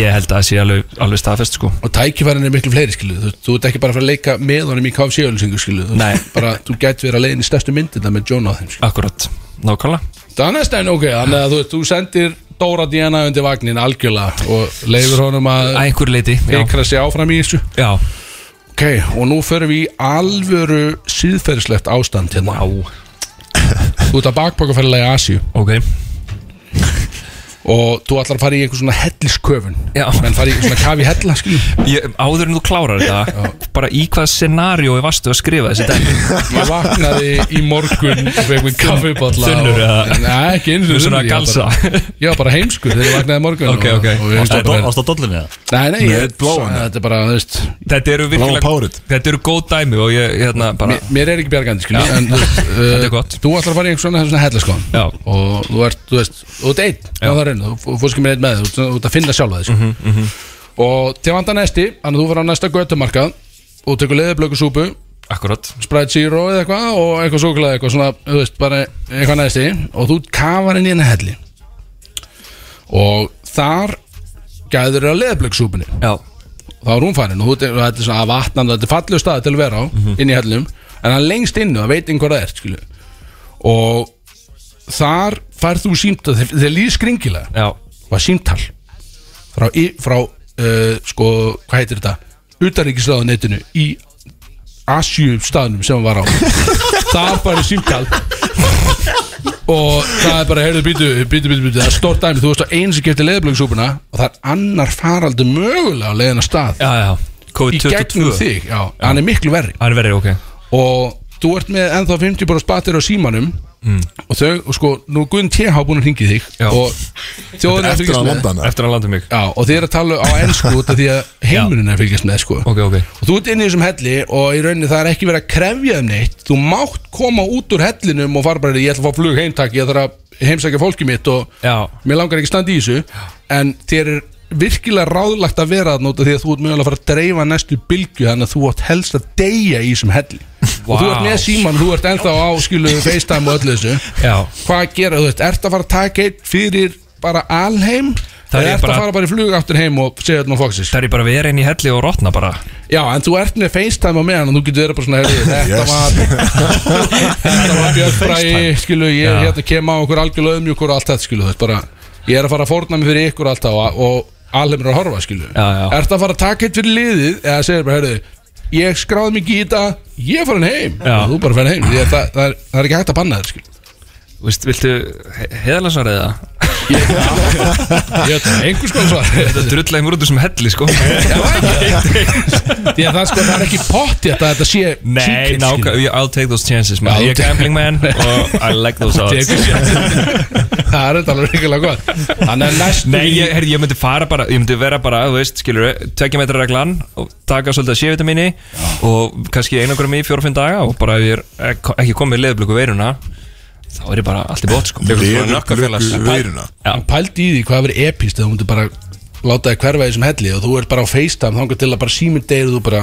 Ég held að það sé alveg, alveg staðfest sko
Og tækifærin er miklu fleiri skilu Þú, þú ert ekki bara að fara að leika með honum í KFC-ölsingu skilu þú,
Nei.
bara, þú gæti verið að leiðin í stærstu myndina með John á þeim skilu
Akkurat, nákvæmlega
Þannig að ok, þannig að þú, veist, þú sendir Dóra Diana undir vagnin algjörlega og leifir honum að
Að einhverju leiti, já.
Ekra sig áfram í þessu
Já
Ok, og nú förum við í alvöru síðferðislegt ástand hérna wow. Þú ert að bakpokkaferðilega í Asíu
Ok
Og þú ætlar að fara í einhver svona hellisköfun
Já.
Menn fara í svona kafi hella skil
ég, Áður en þú klárar þetta Bara í hvað scenariói varstu að skrifa þessi dag
Ég vaknaði í morgun og fekk mér kaffibotla
Þunnur eða?
Nei, ekki eins og
Svona galsa?
Ég var bara heimskur þegar ég vaknaði í morgun
Ok, ok.
og, og ég veist
Ástu
það bara-
á dollunni það?
Nei, nei,
Með
ég,
bláan.
þetta er bara, þú veist
Þetta eru
Bláa
virkilega Þetta eru góð dæmi og ég hérna bara
Mér- Mér er ekki bjargandi, skil
Já.
en, þú
[laughs]
veist, uh,
Þetta er gott.
Þú ætlar að fara í einhver svona, svona hellisköfun
Já
og þú ert, þú veist, þú ert einn á það reynu, þú fórst ekki með einn með þér, þú ert- þú ert að finna sjálfa þessu
Mhm,
og til vanda næsti, þannig að þú fyrir á næsta göttumarkað og tekur leðiblöku súpu
Akkurat
Sprite Zero eða eitthvað og eitthvað súkulega eitthvað svona, þú veist, bara eitthvað næsti og þú kafar inn í henni helli og þar gæður þér að leðiblöku súpunni
Já
þá er hún farin og þú- þetta er svona að vatnan þetta er fallegur stað til að vera á inn í hellum en hann lengst innu, það veit einhver það er skilu. og þar færð þú símt þeir, þeir líð skringilega
Já
var símtal frá, í- frá uh, sko, hvað heitir þetta utaríkisraðunetinu í Asjú staðnum sem hann var á það er bara símtal og það er bara heyrðu býtu, býtu, býtu, býtu það er stort dæmi, þú veist á eins sem kefti leðblöksúpuna og það er annar faraldi mögulega á leiðin að stað
Já, já
í
COVID-22
gegnum þig, já, hann er miklu verri
Hann er verið, ok
og þú ert með ennþá 50 bara á símanum og þau, og sko, nú er Guðn TH búin að hringi þig
Já.
og þjóðin er að
Eftir
fylgjast
að
með
landa hana
Eftir að hann landa mig
já, og þið er að tala á ennsku út af því [laughs] að heimurinn er að fylgjast með sko.
Ok, ok
og þú ert inn í þessum helli og í rauninni það er ekki verið að krefja um neitt þú mátt koma út úr hellinum og fara bara ég ætla að fá flug heimtak, ég þarf að heimsækja fólki mitt og
Já
mér langar ekki að standa í þessu en þér er virkilega ráðlagt að vera þarna út af því að þú ert mögulega að fara að dreifa næstu bylgju þannig að þú átt helst að deyja í þessum helli og þú ert með síman, þú ert ennþá á skilu FaceTime og öllu þessu
Já
hvað að gera, þú veist, ert að fara að taka eitt fyrir bara alheim
Það
eða
er
ert
bara-
að fara bara í flug aftur heim og segja öllum að fóksis
Það er ég bara verið inn í helli og rotna bara
Já, en þú ert með FaceTime á meðan og þú getur verið bara svona heyrðu, Þetta
Yes.
[laughs]
var Þetta var Björn Fræi, skilu Ég er
Já.
hérna að kema á okkur algjörlega öðmjúkur og allt þetta, skilu þú veist, bara, Ég er að fara að fórna mig fyrir ykkur alltaf og, og alheim er að horfa, skilu
Já, já.
Ertu að fara að taka eitt fyrir liðið eða segir bara, heyrðu Ég skráði mig í þetta, ég er farin heim
Já.
Þú er bara farin heim, ég, það, það, er, það er ekki hægt að banna þér, skilu
Vist, Viltu heðalansar eða?
Ég veit það, einhvers konar svar
Þetta drullaði mér út úr sem helli, sko
Því að það, sko, það er ekki pott þetta, þetta sé
[laughs] Nei,
secret, skilur.
nákvæm, I'll take those chances, man
Já,
Ég er
þú-
gambling [laughs] man og I like those odds
Tekur sér. [laughs] Það er þetta alveg reyngilega gott Þannig að næstu
Nei, ég, her, ég myndi fara bara, ég myndi vera bara, þú veist, skilur Tvekja metra reglan og taka svolítið að sévita minni Og kannski einangra mig í fjóra-fimm daga Og bara ef ég er ek- ekki komið leðblöku veiruna Þá er ég bara allt í bótt, sko
Leðurblöku veiruna
Hann pældi í því hvað verið epist Þegar hún myndi bara láta þig hverfa í þessum helli Og þú ert bara á FaceTime Þangar til að bara síminn deyri og Þú bara,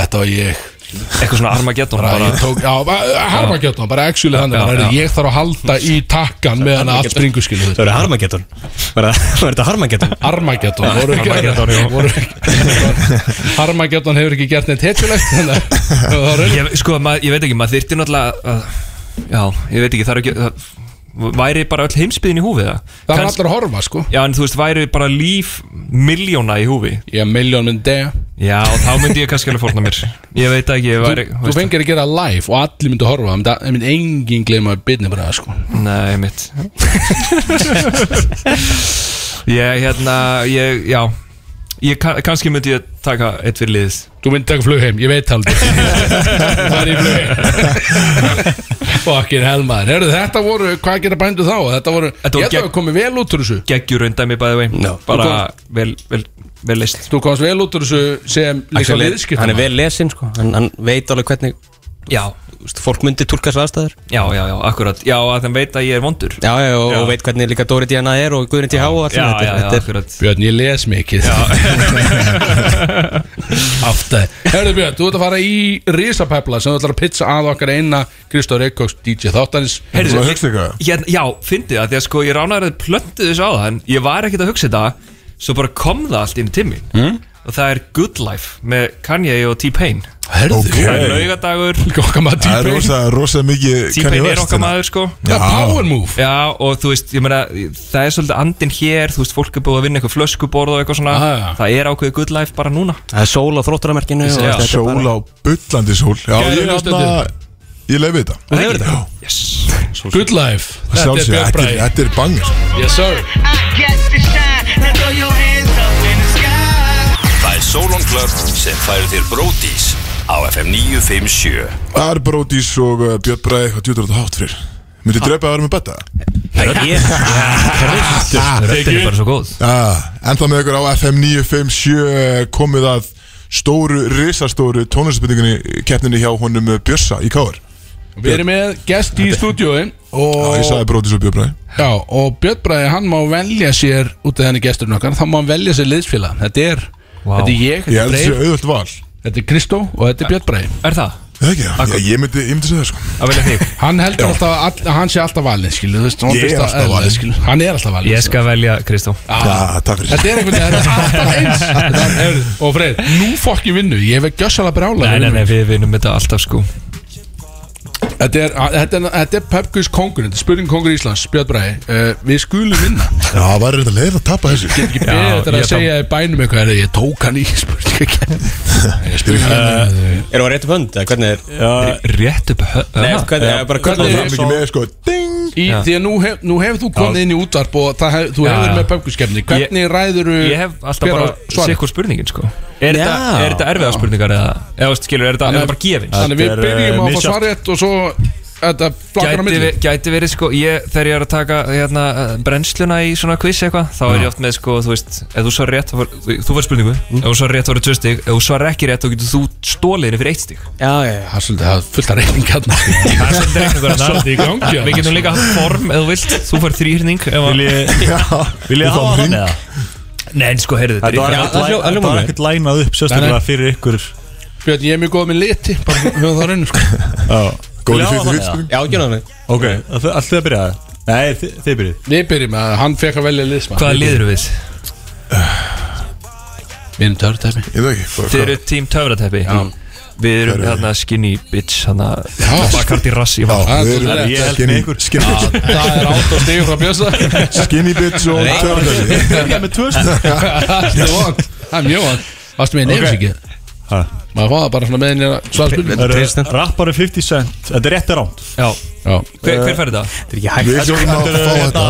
þetta var ég
Eitthvað svona Armageddon
bara,
bara
ég tók, Já, bara- harma gett hann Bara actually þannig
Já,
bara, heyrðu,
já.
Ég þarf að halda í takkan Meðan að allt springu skilu
Það verður harmagettun Það verður harmagettun
Armageddon voru ekki-
Armageddon, já.
voru ekki- Armageddon hefur ekki gert neitt hetjulegt Þannig að
[laughs]
það var raunin.
ég, Sko, mað, ég veit ekki, maður þyrfti náttúrulega að, Já, ég veit ekki, það er ekki það, Væri bara öll heimsbyðin í húfið
Það var allir að horfa sko
Já, en þú veist, væri bara líf miljóna í húfi
Ég er miljón minn dega
Já, þá myndi ég kannski alveg fórna mér Ég veit ekki, ég væri
Þú fengir að gera live og allir myndi horfa Það myndi- Það myndi enginn gleyma að byrni bara sko
Nei, mitt [laughs] Ég, hérna, ég, já Ég, ka- kannski myndi ég taka eitt fyrir liðið
Þú myndi taka flug heim, ég veit haldi Það er í flug [laughs] heim Fokkin helmaður Herðu þetta voru, hvað gera bændu þá? Þetta voru,
Þetta voru
ég það
gegn-
komið vel út úr þessu
Geggjur undæmi, by the way
Já.
Bara vel, vel, vel list
Þú komst vel út úr þessu sem líka
Axel er-
viðskiptum
hann er vel lesinn sko hann, hann veit alveg hvernig
Já,
veist, fólk myndi tólka þessar aðstæður
Já, já, já, akkurat Já, að þeim veit að ég er vondur
Já, já, og, og veit hvernig líka Dóri Díana er og Guðrinn T.H. og allt
Já,
þetta.
já, já,
Þetta er-
akkurat
Björn, ég les [laughs] mikið Aftæði Herðu Björn, þú ert að fara í risapepla sem þú ætlar að pizza að okkar eina Kristóf Reykjóks DJ Þáttanins
Heyrðu, Hérna, já, fyndið það, því að sko ég ránaði að plöntu þessu á það en ég var ekkert að hugsa þetta svo bara kom það allt inn til mín
Hmm?
mm? og það er Good Life með Kanye og T-Pain
Herðu
Það er laugadagur
Okkar maður
Það er rosa, rosa mikið Kanye
T-Pain er
West,
okkar
hérna.
maður sko
Já. Power
move
Já, og þú veist, ég meina, það er svolítið andin hér þú veist, fólk er búið að vinna eitthvað flöskuborð og eitthvað svona
Já, já.
Það er ákveðið Good Life bara núna
Ah, Það er sól á þróttaramerkinu
og þetta er
Sól á
bara-
bullandi sól Já,
Gæðið
ég er
stundir.
alltaf Ég leiði þetta
Þú hefur þetta?
Yes
Good Life Þetta er
Sjálfsög,
Björn
þetta er-
Bræði
þetta er bangar
Yes sir
Það er Solon Club sem færir þér Bródís á FM 957
Ar Brodís og uh, Björn Bræði og djúður þetta hátt fyrir Myndi drepa að vera með betta?
Röddin er bara svo góð
Já, Ah, ennþá með ykkur á FM 957 eh, komið að stóru, risastóru tónlistbyrningunni keppninni hjá honum uh, Björsa í Káar
Við erum með gest í stúdíói og,
Já, ég sagði Brodís og Björn Bræði
já, og Björn Bræði, hann má velja sér út af henni gesturinn okkar, þá má hann velja sér liðsfélag Þetta er, þetta er ég,
Ég held
þetta er
þessi
Breif
auðvöld val
Þetta er Kristó og þetta er Björn Bræði
Er það?
Það ekki, já, ég, ég myndi, ég myndi segja það sko
Að velja þig
Hann heldur alltaf að all, að hann sé alltaf valinn, skilu þú veist, hann
Ég er
finnst það
alltaf
eðlilegt,
valinn.
skilur. Hann er alltaf valinn sko.
Ég skal velja Kristó
Já, Ah, takk fyrir
Þetta er einhvern
[laughs]
veginn, þetta er alltaf eins Þetta er- heyrðu, Og Freyr, nú fokkin vinnu Ég hef gjössalega um brjála
Nei, nei, nei, við vinnum þetta alltaf sko
Þetta er, þetta er, þetta er Pepkus kongur Þetta er spurning kongur Íslands, Björn Bræði uh, Við skulum vinna Ég
Já, það var reynda leið að tapa þessu Get ekki
er
[laughs] Já,
þetta er
ég
að segja í bænum eitthvað heyrðu, Ég tók hann í
[laughs] Eh,
spurning
Erum við að rétt upp hönd? eða Hvernig er...
Rétt upp höfn
Nei, hvernig er bara
Hvernig
hvernig
er-
er...
ekki með sko Ding
Í, því að nú, hef, nú hefur þú komið inn í útvarp og það hef, þú
Já,
hefur
já.
með pöpkuskefni Hvernig ræður þú
Ég hef alltaf bara sikkur spurningin sko Er
Já.
þetta er þetta erfiða spurningar eða Eða veist, skilur, er þetta er þetta bara gefins
Þannig við
Þetta er,
byrjum á að
eh,
fá
misjafnt.
svarið og svo Þetta flakkar á
Gæti,
milli
vi, gæti verið sko, ég, þegar ég er að taka hérna, eh, brennsluna í svona quiz eitthvað þá er ég oft með sko, þú veist, ef þú svarar rétt þá var, þú, þú var spurningu, ef þú svarar rétt þá var það tvö stig ef þú svarar ekki rétt þá getur þú stólið henni fyrir eitt stig
Já, já, já.
Það er svolítið að fullta
[laughs]
reyningarna
það er svolítið reikningur [laughs]
Það er
þarna.
svolítið í gangi,
við
annars.
getum líka haft form ef þú vilt, þú fær þrýhyrning ef að-
Vil ég, vil ég
Við fáum
hafa hann
hring.
eða?
nei, en sko, heyrðu,
Þetta
þetta
var
er
það hljómar
ekkert læ- þetta var
vel.
ekkert lænað upp sérstaklega fyrir ykkur
Björn, ég er mjög góð með liti Bara höfum það rauninu sko
Góði
Já,
fyrir
það
því
er
fyrir
Já, ekki náðu
Ok, það- allt þið að byrja Nei, þið, þið byrjið
Við byrjum að hann fekk að velja sko. liðsmann
hvaða liður við?
Við erum törutæmi
Ég veit ekki sko. bara
Þið
hvað-
eru tím töfrateppi Við erum
Hver er
hérna skinny bitch Hérna
Já.
bakkart í rassi Ég
Já,
Það er
við
svolítið
erum
Ég held með
skinny-
ykkur
Skinny bitch
Það er átt og stigur frá Björsa
[laughs]
Skinny bitch og törnæði
Byrja með tvö stig
Það er vant Það er mjög vant Varstu með nefns ekki?
Ha.
Maður fá það bara svona með henni að svara spilum
Það eru Rappari 50 cent Þetta er rétt er ránt
Hver, hver fær þetta?
Þetta er ekki hægt
Við hljóðum að fá þetta
hérna,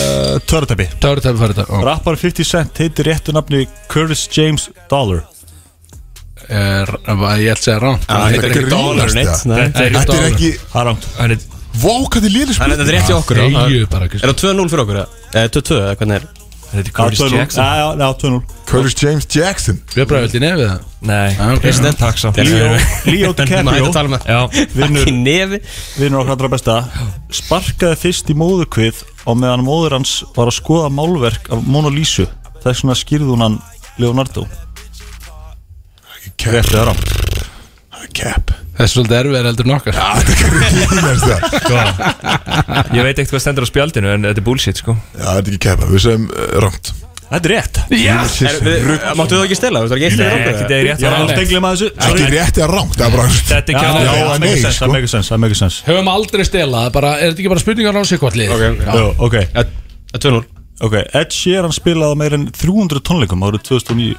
Þetta törutæpi
Törutæmi farið þetta Ó.
Rappari 50 cent heitir réttu nafni Curtis James Dollar
Er- var- Ég held að segja ránt
Þetta er grínast það.
Þetta er-
Þetta er ekki
Það er ránt
Hann er
Vákandi lélis
Þannig að þetta er rétt hjá okkur já.
Eyju bara
Er það 2-0 fyrir okkur? eða? Eða 2-2 Eh, eða hvernig er?
Þetta er Curtis Jackson
Já, já, 2-0
Curtis James Jackson
Við bræðum alltaf nefið það Ah,
Nei,
ok.
Kristinn Takk samt
Leo, Leo
Maður hægt að
DiCaprio
tala með
Já,
Vinnur
Ekki nefi
vinnur okkar allra besta sparkaði fyrst í móðukvið og meðan móður hans var að skoða málverk af Mona Lisa þess vegna skýrði hún hann Leonardo
Cap Rétt eða rám Cap [laughs]
Það er svolítið erfið heldur nokkar
Ah, Þetta er grínast það
ég veit ekkert hvað stendur á spjaldinu En þetta er bullshit sko
Já, þetta er ekki cap Við segjum uh, rámt
Þetta er rétt
Er- við- Eh, Máttu þú ekki stela? Þú veist, Það er ekki eitt
Nei,
fyrir okkur eða?
ekki
Ég
þetta er rétt
var að
Þetta
stengla maður þessu
Ekki
Sorry.
rétt eða rámt Það er bara
er ekki
Já,
að
já,
Já,
það
nei,
make sense,
sko.
það make sense, það make sense
Höfum aldrei stelað það er bara- Er þetta ekki bara spurningar á sig hvort lið?
Ok, ok.
Jú,
Já, það er 2-0
Ok, ok Ed Sheeran spilaði á meir en 300 tónleikum árið 2009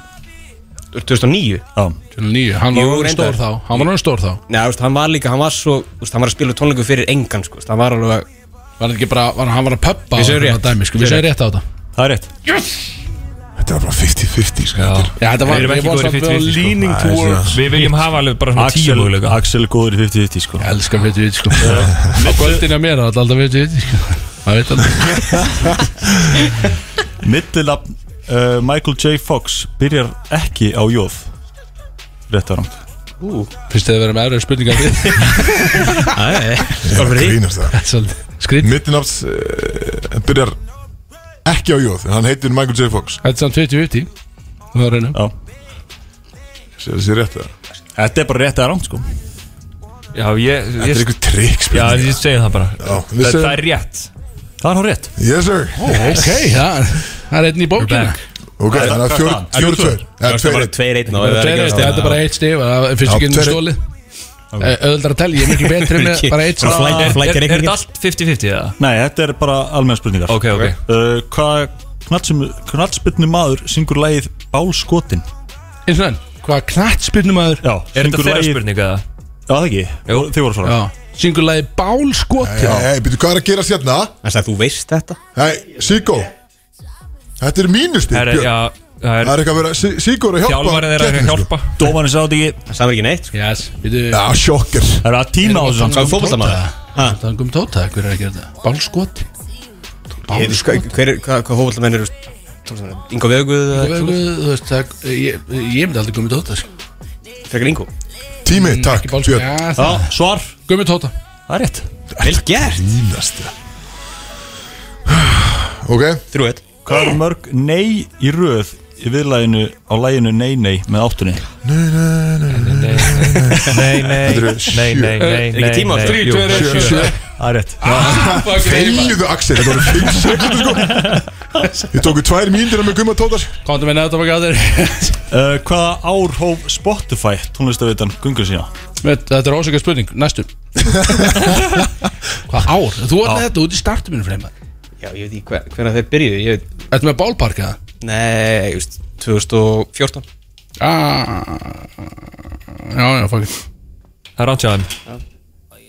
Þú ert 2009
Já,
Níu, hann var
Jú,
orðinn
reyndar.
stór þá Hann var orðinn stór þá
Nei, þú veist, hann var líka, hann var svo þú veist, Hann var að spila tónleiku fyrir engan, sko þú veist, Hann var alveg að-
Var hann ekki bara, var, hann var að pöppa
Við segjum rétt.
dæmi, sko. Við
Við
séum
segjum
rétt á þetta
það er rétt
Þetta er bara 50-50 sko, þetta er-
Já, þetta
Við
var,
erum
við
ekki
vorum
góðir í
samt við
50-50, sko.
leaning
Æ,
towards
Við viljum hafa alveg bara svona tíu
Axel,
möguleika
Axel er góður í 50-50 sko
Ég elska 50-50 sko Á kvöldinu að mér er þetta alltaf 50-50 sko Það veit alveg
Mittilafn uh, Michael J. Fox byrjar ekki á jóð Rétt að rámt
Ú. Fyrst þið að vera með aðra spurningar við
Það grínast
það Skrýt
Middinátt uh, byrjar ekki á jóð en hann heitir Michael J. Fox
Þetta er samt 20-20 Það var reynum
Sér þessi rétt það
Þetta er bara rétt eða rangt sko
Já, ég
Þetta er einhver trikk
Já, ég segi það bara
Já, við
Þetta
segjum-
er rétt Það er hún rétt
Yes sir
Ó, ok, það er- það er einn í bókina
Ok, þannig að fjóru- fjóru tveir
Það er bara tveir einn og það er ekki að
Þetta er bara eitt stig Það finnst
Já,
ekki um einu
tveir-
stóli Öðvöldar að telja, ég er mikið betri með bara eitt stig.
Er er þetta allt 50-50 eða?
Nei, þetta er bara almenn spurningar
Ok, ok.
uh, Hvað knallspilnu maður syngur lagið Bálskotin?
Eins og enn, hvað knattspyrnum aður
Já,
Er þetta
syngur
þeirra
lagið-
spurning eða?
Já, það ekki, Jú. þið voru svona
Já, syngur lagi Bálskoti
Hei, hei, byrju, hvað er að hérna? gera sérna?
Þannig að þú veist þetta
Hei, Siggo Þetta er mínusti
Herra, já, það
Það
er
er eitthvað að vera Sig- Siggo er að hjálpa
Þjálfarið er að
keppnum,
hjálpa
Dómanin sá þetta ekki
Það er ekki neitt sko.
Yes, við
Já, sjokker
Það er að tíma á þessu samt,
Hvað er fótballtamaður?
Það er um tóta, hver er að gera þetta? Bálskoti
Ég veit, sko, hver er- Hvað fótballtamenn eru Ingo Veguð eða eitthvað svoleiðis?
Þú veist, það, ég, ég myndi aldrei gummi tóta sko.
Frekar Ingo
Tími,
Mm,
takk
Ekki bálskoti
Björn.
Já,
Já,
það-
svar
Gummi tóta
Það er rétt
Vel gert
Mínasti Ok,
Þrjú eitt
Hvað eru mörg nei í röð í viðlæginu á læginu Nei Nei með áttunni?
Nei, nei,
Þetta eru
nei,
sjö.
nei, nei
Ekki tíma á þessu.
Jú,
sjö, sjö
Það er rétt
Þegiðu Axel, þetta voru fimm sekundur sko Ég tóku tvær mínútur með Gumma Tótar
Komdu með nefnda baka á þér [laughs]
uh, Hvaða ár hóf Spotify tónlistavitan gungu sína?
Veit, Þetta er ósöka spurning,
[laughs]
næstu Hvað ár? Þú ert með þetta út í startuminu fremma
Já, ég veit ekki hver- hvenær þeir byrjuðu Ég veit
Þetta með bálparka
Nei, ég veist 2014
ah, Já, já, fuck it
Það er áttjáðum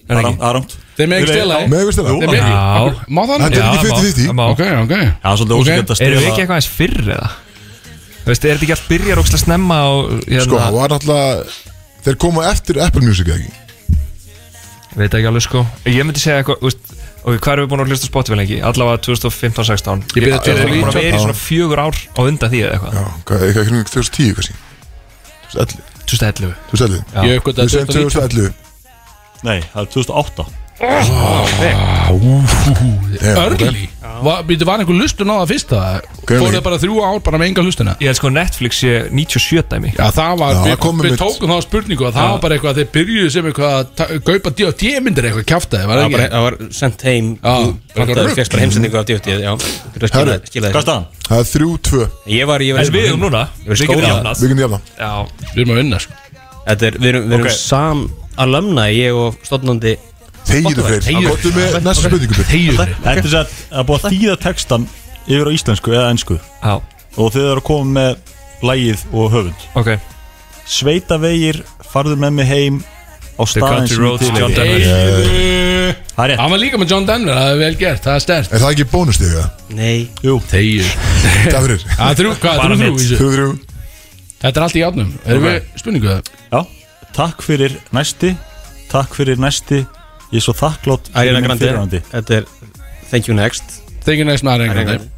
Það er rangt- það er rangt
Þeir með ekki stela
Með ykkur stela
Þeir með
Já.
ekki Má það
Þetta
nú?
er ekki 50-50
má
Ok, ok
Já, svolítið
Ok.
ósökjönd að
Erum við
stela
ekki eitthvað eins fyrr eða? Þú veist, er þetta ekki allt byrjar ógst að snemma á
Sko, það
hérna,
var náttúrulega Þeir koma eftir Apple Music eða ekki
Veit ekki alveg sko Ég myndi segja eitthvað, þú veist Ok, hvað erum við búin að hlusta á Spotify lengi? Allavega 2015-16
Ég byrjaði
Ég er ekki
2019.
búin að vera í svona fjögur ár á undan því eða eitthvað
Já, hvað, eitthvað kringum 2010 kannski 2011
2011
2011
Já.
Ég uppgötta
Við segjum
2019
2011
Nei, það er 2008
Örli Býtu, var einhver lustun á það fyrst það?
Greinilega.
Fóruðu bara þrjú ár bara með enga lustuna?
Ég held sko Netflix sé 97 dæmi
Já, það var,
Já,
við,
það kom
við
einmitt.
tókum þá spurningu að það var bara eitthvað að þeir byrjuðu sem eitthvað að ta- kaupa D.O.D. myndir eitthvað kjáftaði, var
Það
það
var,
ekki?
það var sendt heim
Já, bara
Það
eitthvað
fegst bara heimsendingu af D.O.D. Já, þú skilaði-
Herru,
skilaði
Hvað er
þessu.
staðan?
Það er 3-2
Ég var, ég var
En við erum núna
Ég var í
Við getum
skóla.
jafnað
Við getum jafna
Já,
Við erum að vinna, sko.
Þetta er, við erum, við erum
Ok.
sam alumna Ég og stofnandi
Þegiðu
Þegiðu.
fyrir Góttu með næsta spurningu Björn.
Þegjur.
Þetta er sem sagt- það er búið að þýða textan yfir á íslensku eða ennsku
já,
og þið eru að koma með lægið og höfund
ok
Sveitavegir, farðu með mig heim á
The
staðin
Country
sem ég
Roads, John
til
Denver
Þegjur.
Það er rétt,
Hann var líka með John Denver, það er vel gert, það er stert.
Er það ekki bónustega?
Nei
Þegjur.
Takk fyrir
Það er Ah, þrjú, hvað,
Bara
þrjú, þrjú,
mitt.
vísu?
3-3
Þetta er allt í átnum. Erum við spurningu það?
já Takk fyrir næsti, takk fyrir næsti Ég er svo þakklátt
Ariana
fyrir minn
Grande
fyrrverandi.
Þetta er Thank you next
Þegjur næst með aðra
Ariana
engan.
Grande.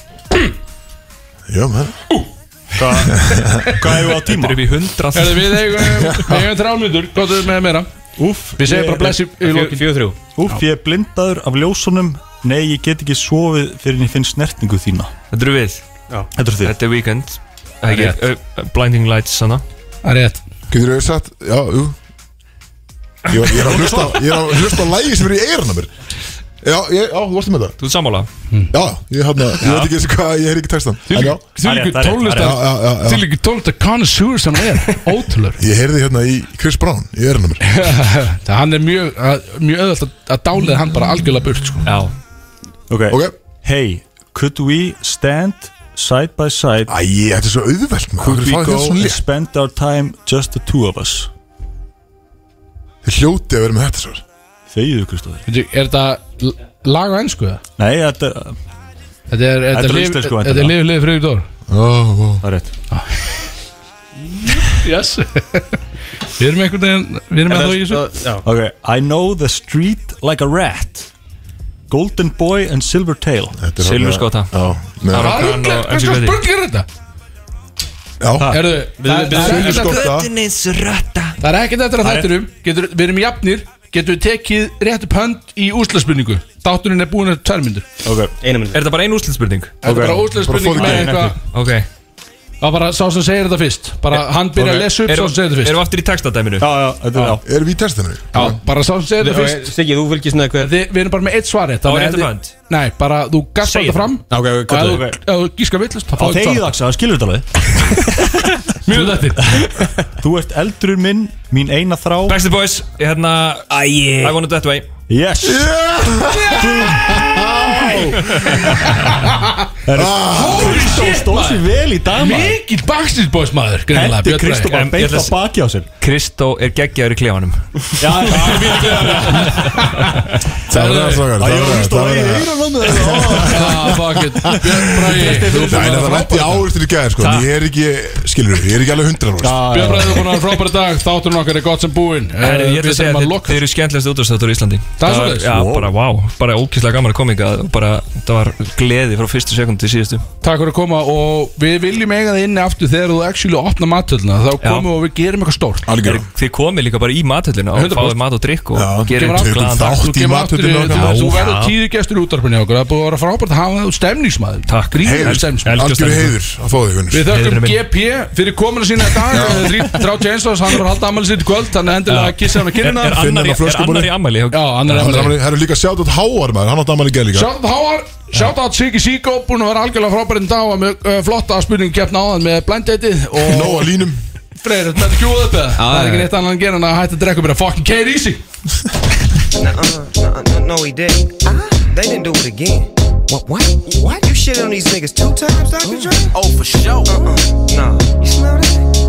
Hárrétt
Já, maður
Hva- Hvað hefur á tíma?
Þetta er upp í 100
Erum við eigum eigum þrjálmyndur, gott við með meira.
Úff,
Við segjum bara bless í í
Fjö-
lokin.
Fjögur þrjú
Úff, ég er blindaður af ljósunum Nei, ég get ekki sofið fyrir en ég finn snertningu þína
Þetta eru við
Þetta er þið
Þetta er Weekend Ekki, ö, ö, Blinding Lights sanna
Það er rétt.
Getur þau sagt Já, jú Ég, var- ég er að hlusta Ég er að hlusta á lægi sem er í eyrun á mér Já, ég, já, þú varstu með það
Þú ert sammála
Já, ég hann að Ég veit ekki eins og hvað Ég er ekki textan En já
Þú
rétt,
líkur
það er
Já,
rétt,
já,
tólista,
já,
þú
já
líkur tólista connoisseur sem hann er. Ótrúlur.
Ég heyrði hérna í Chris Brown Í eyrun á mér
Það hann er mjög, að- mjög öðvöld að, að dálið hann bara algjörlega burt sko.
Já
okay.
Ok
Hey, could we stand side by side
Æ, þetta Ah, er svo auðvelt maður.
Could
Hverju
we
fáið
go
þetta svona
and
létt?
spend our time just the two of us
Þið hljótið að vera með þetta svar
Þegiðu Kristofur
Veitu, Er þetta l- lag á ennsku það?
Nei, þetta
Þetta er,
Þetta er
lif-
á íslensku
þetta er
væntanlega.
lifið lifið friður dór
Ó, ó
það er rétt
Yes [laughs] Við erum einhvern veginn, við erum eitthvað í þessu
Já
Ok, I know the street like a rat Golden boy and silver tail
Þetta er
Silvur
þarna-
skota
Já, með
Það
Hvað er
Rockan
hvað
og MC
slags
Gauti.
spurning er þetta?
Já
Herðu,
Við-
það-
við-
það er
við-
ekkert-
skotta.
Það er ekkert eftir að
Það er-
þættinum getur, Við erum jafnir Getur við tekið réttu pönd í úrslagsspurningu Þátturinn er búin að tvær myndur
okay.
Er
þetta bara ein úrslitsspurning?
Þetta er bara úrslagsspurning með eitthvað
Ok
Það var bara sá sem segir þetta fyrst Bara hann byrja að lesa upp sá sem segir þetta fyrst
Erum við aftur í textadæminu?
já, þetta er- já. Erum við í textinu?
Já, bara sá sem segir þetta fyrst
Siggi, þú fylgist neða hver
Þi, Við erum bara með eitt svar rétt
Á
þannig að
réttu
þið-
hönd?
Nei, bara þú gast
Segir
þetta fram
það. Ok, ok,
Og ef þú-
ok.
Ef þú gíska villast
Það þegið Axel, það skilur þetta alveg
Mjög þetta
Þú ert eldurinn minn, mín eina þrá
Backstreet Boys, hérna Æi I want it that way
Yes
Holy
Kristó
shit,
stóð sér
maður.
vel í dag maður.
Mikið Backstreet Boys maður greinilega,
Hendi
Björn Bragi.
Kristó bara
En ég
beint
ætla
á
að-
baki á sér
Kristó er geggjaður í klefanum
Já,
Það var það svakar Það var það var það
Ah, fuck it Björn Bragi þú
Nei,
búin að
það
frábæra
vænti áristin í gæðir sko en Ég er ekki, skilur við, ég er ekki alveg hundra
Björn Bragi þú búin að hafa frábæra dag Þátturinn okkar er gott sem búinn
Herri,
Eh,
ég ætla
Við
að
þurfum
segja að
að
þið-
lokka
þið eru skemmtilegst útastáttur í Íslandi
Það er svoleiðis?
Já,
Wow.
bara vá, bara ókýrslega gaman að koma hingað og bara, það var gleði frá fyrstu sekundi til síðustu
Takk fyrir að koma og við viljum eiga það inni aftur þegar þú actually opna matöldina þá
Já.
komum við og við gerum eitthvað stórt
Herri, Þið komið líka bara í matöllina og
100%.
fáið mat og drikk og
Já,
gerir
Kemur aftur.
glæðan dag
Þú
Þátt í
kemur aftur
maturinn
í- Þú
okkar
þú verður
Já.
tíðu gestur í útarpinni okkar Það er búið að vera frábært að hafa þú stemningsmaður
Takk.
Gríður
Heiður,
stemningsmaður
algjöru heiður að fá þig Gunnur.
Við
Heiðurinn
þökkum
minn.
GP fyrir komuna sína í dag eh, þrít- 30 eins og hann er bara að halda ammæli sitt í kvöld þannig að endilega kissa hann að
Er,
kynna
er, annar,
á
í- er
flöskubúri.
annar í ammæli?
Já, hann er
Það
ammæli
er- það eru líka sjátt átt háar maður, hann átt ammali gæð líka
Sjátt Háar, sjátt átt Siggi Síkó búin að vera algjörlega frábærið dag og með eh, flotta spurningu keppna áðan með blendetið
Nó
og
að línum
Freyr, þetta er kjúð upp eða? Það
já,
er ekki neitt annan að gera en að hætta að drekka og byrja að fucking kæra í sig
Uh-uh, no, no, he didn't. They didn't do it again. What? What? What? You shit on these niggas two times, Dr. Dre? Oh, for sure. Uh-uh,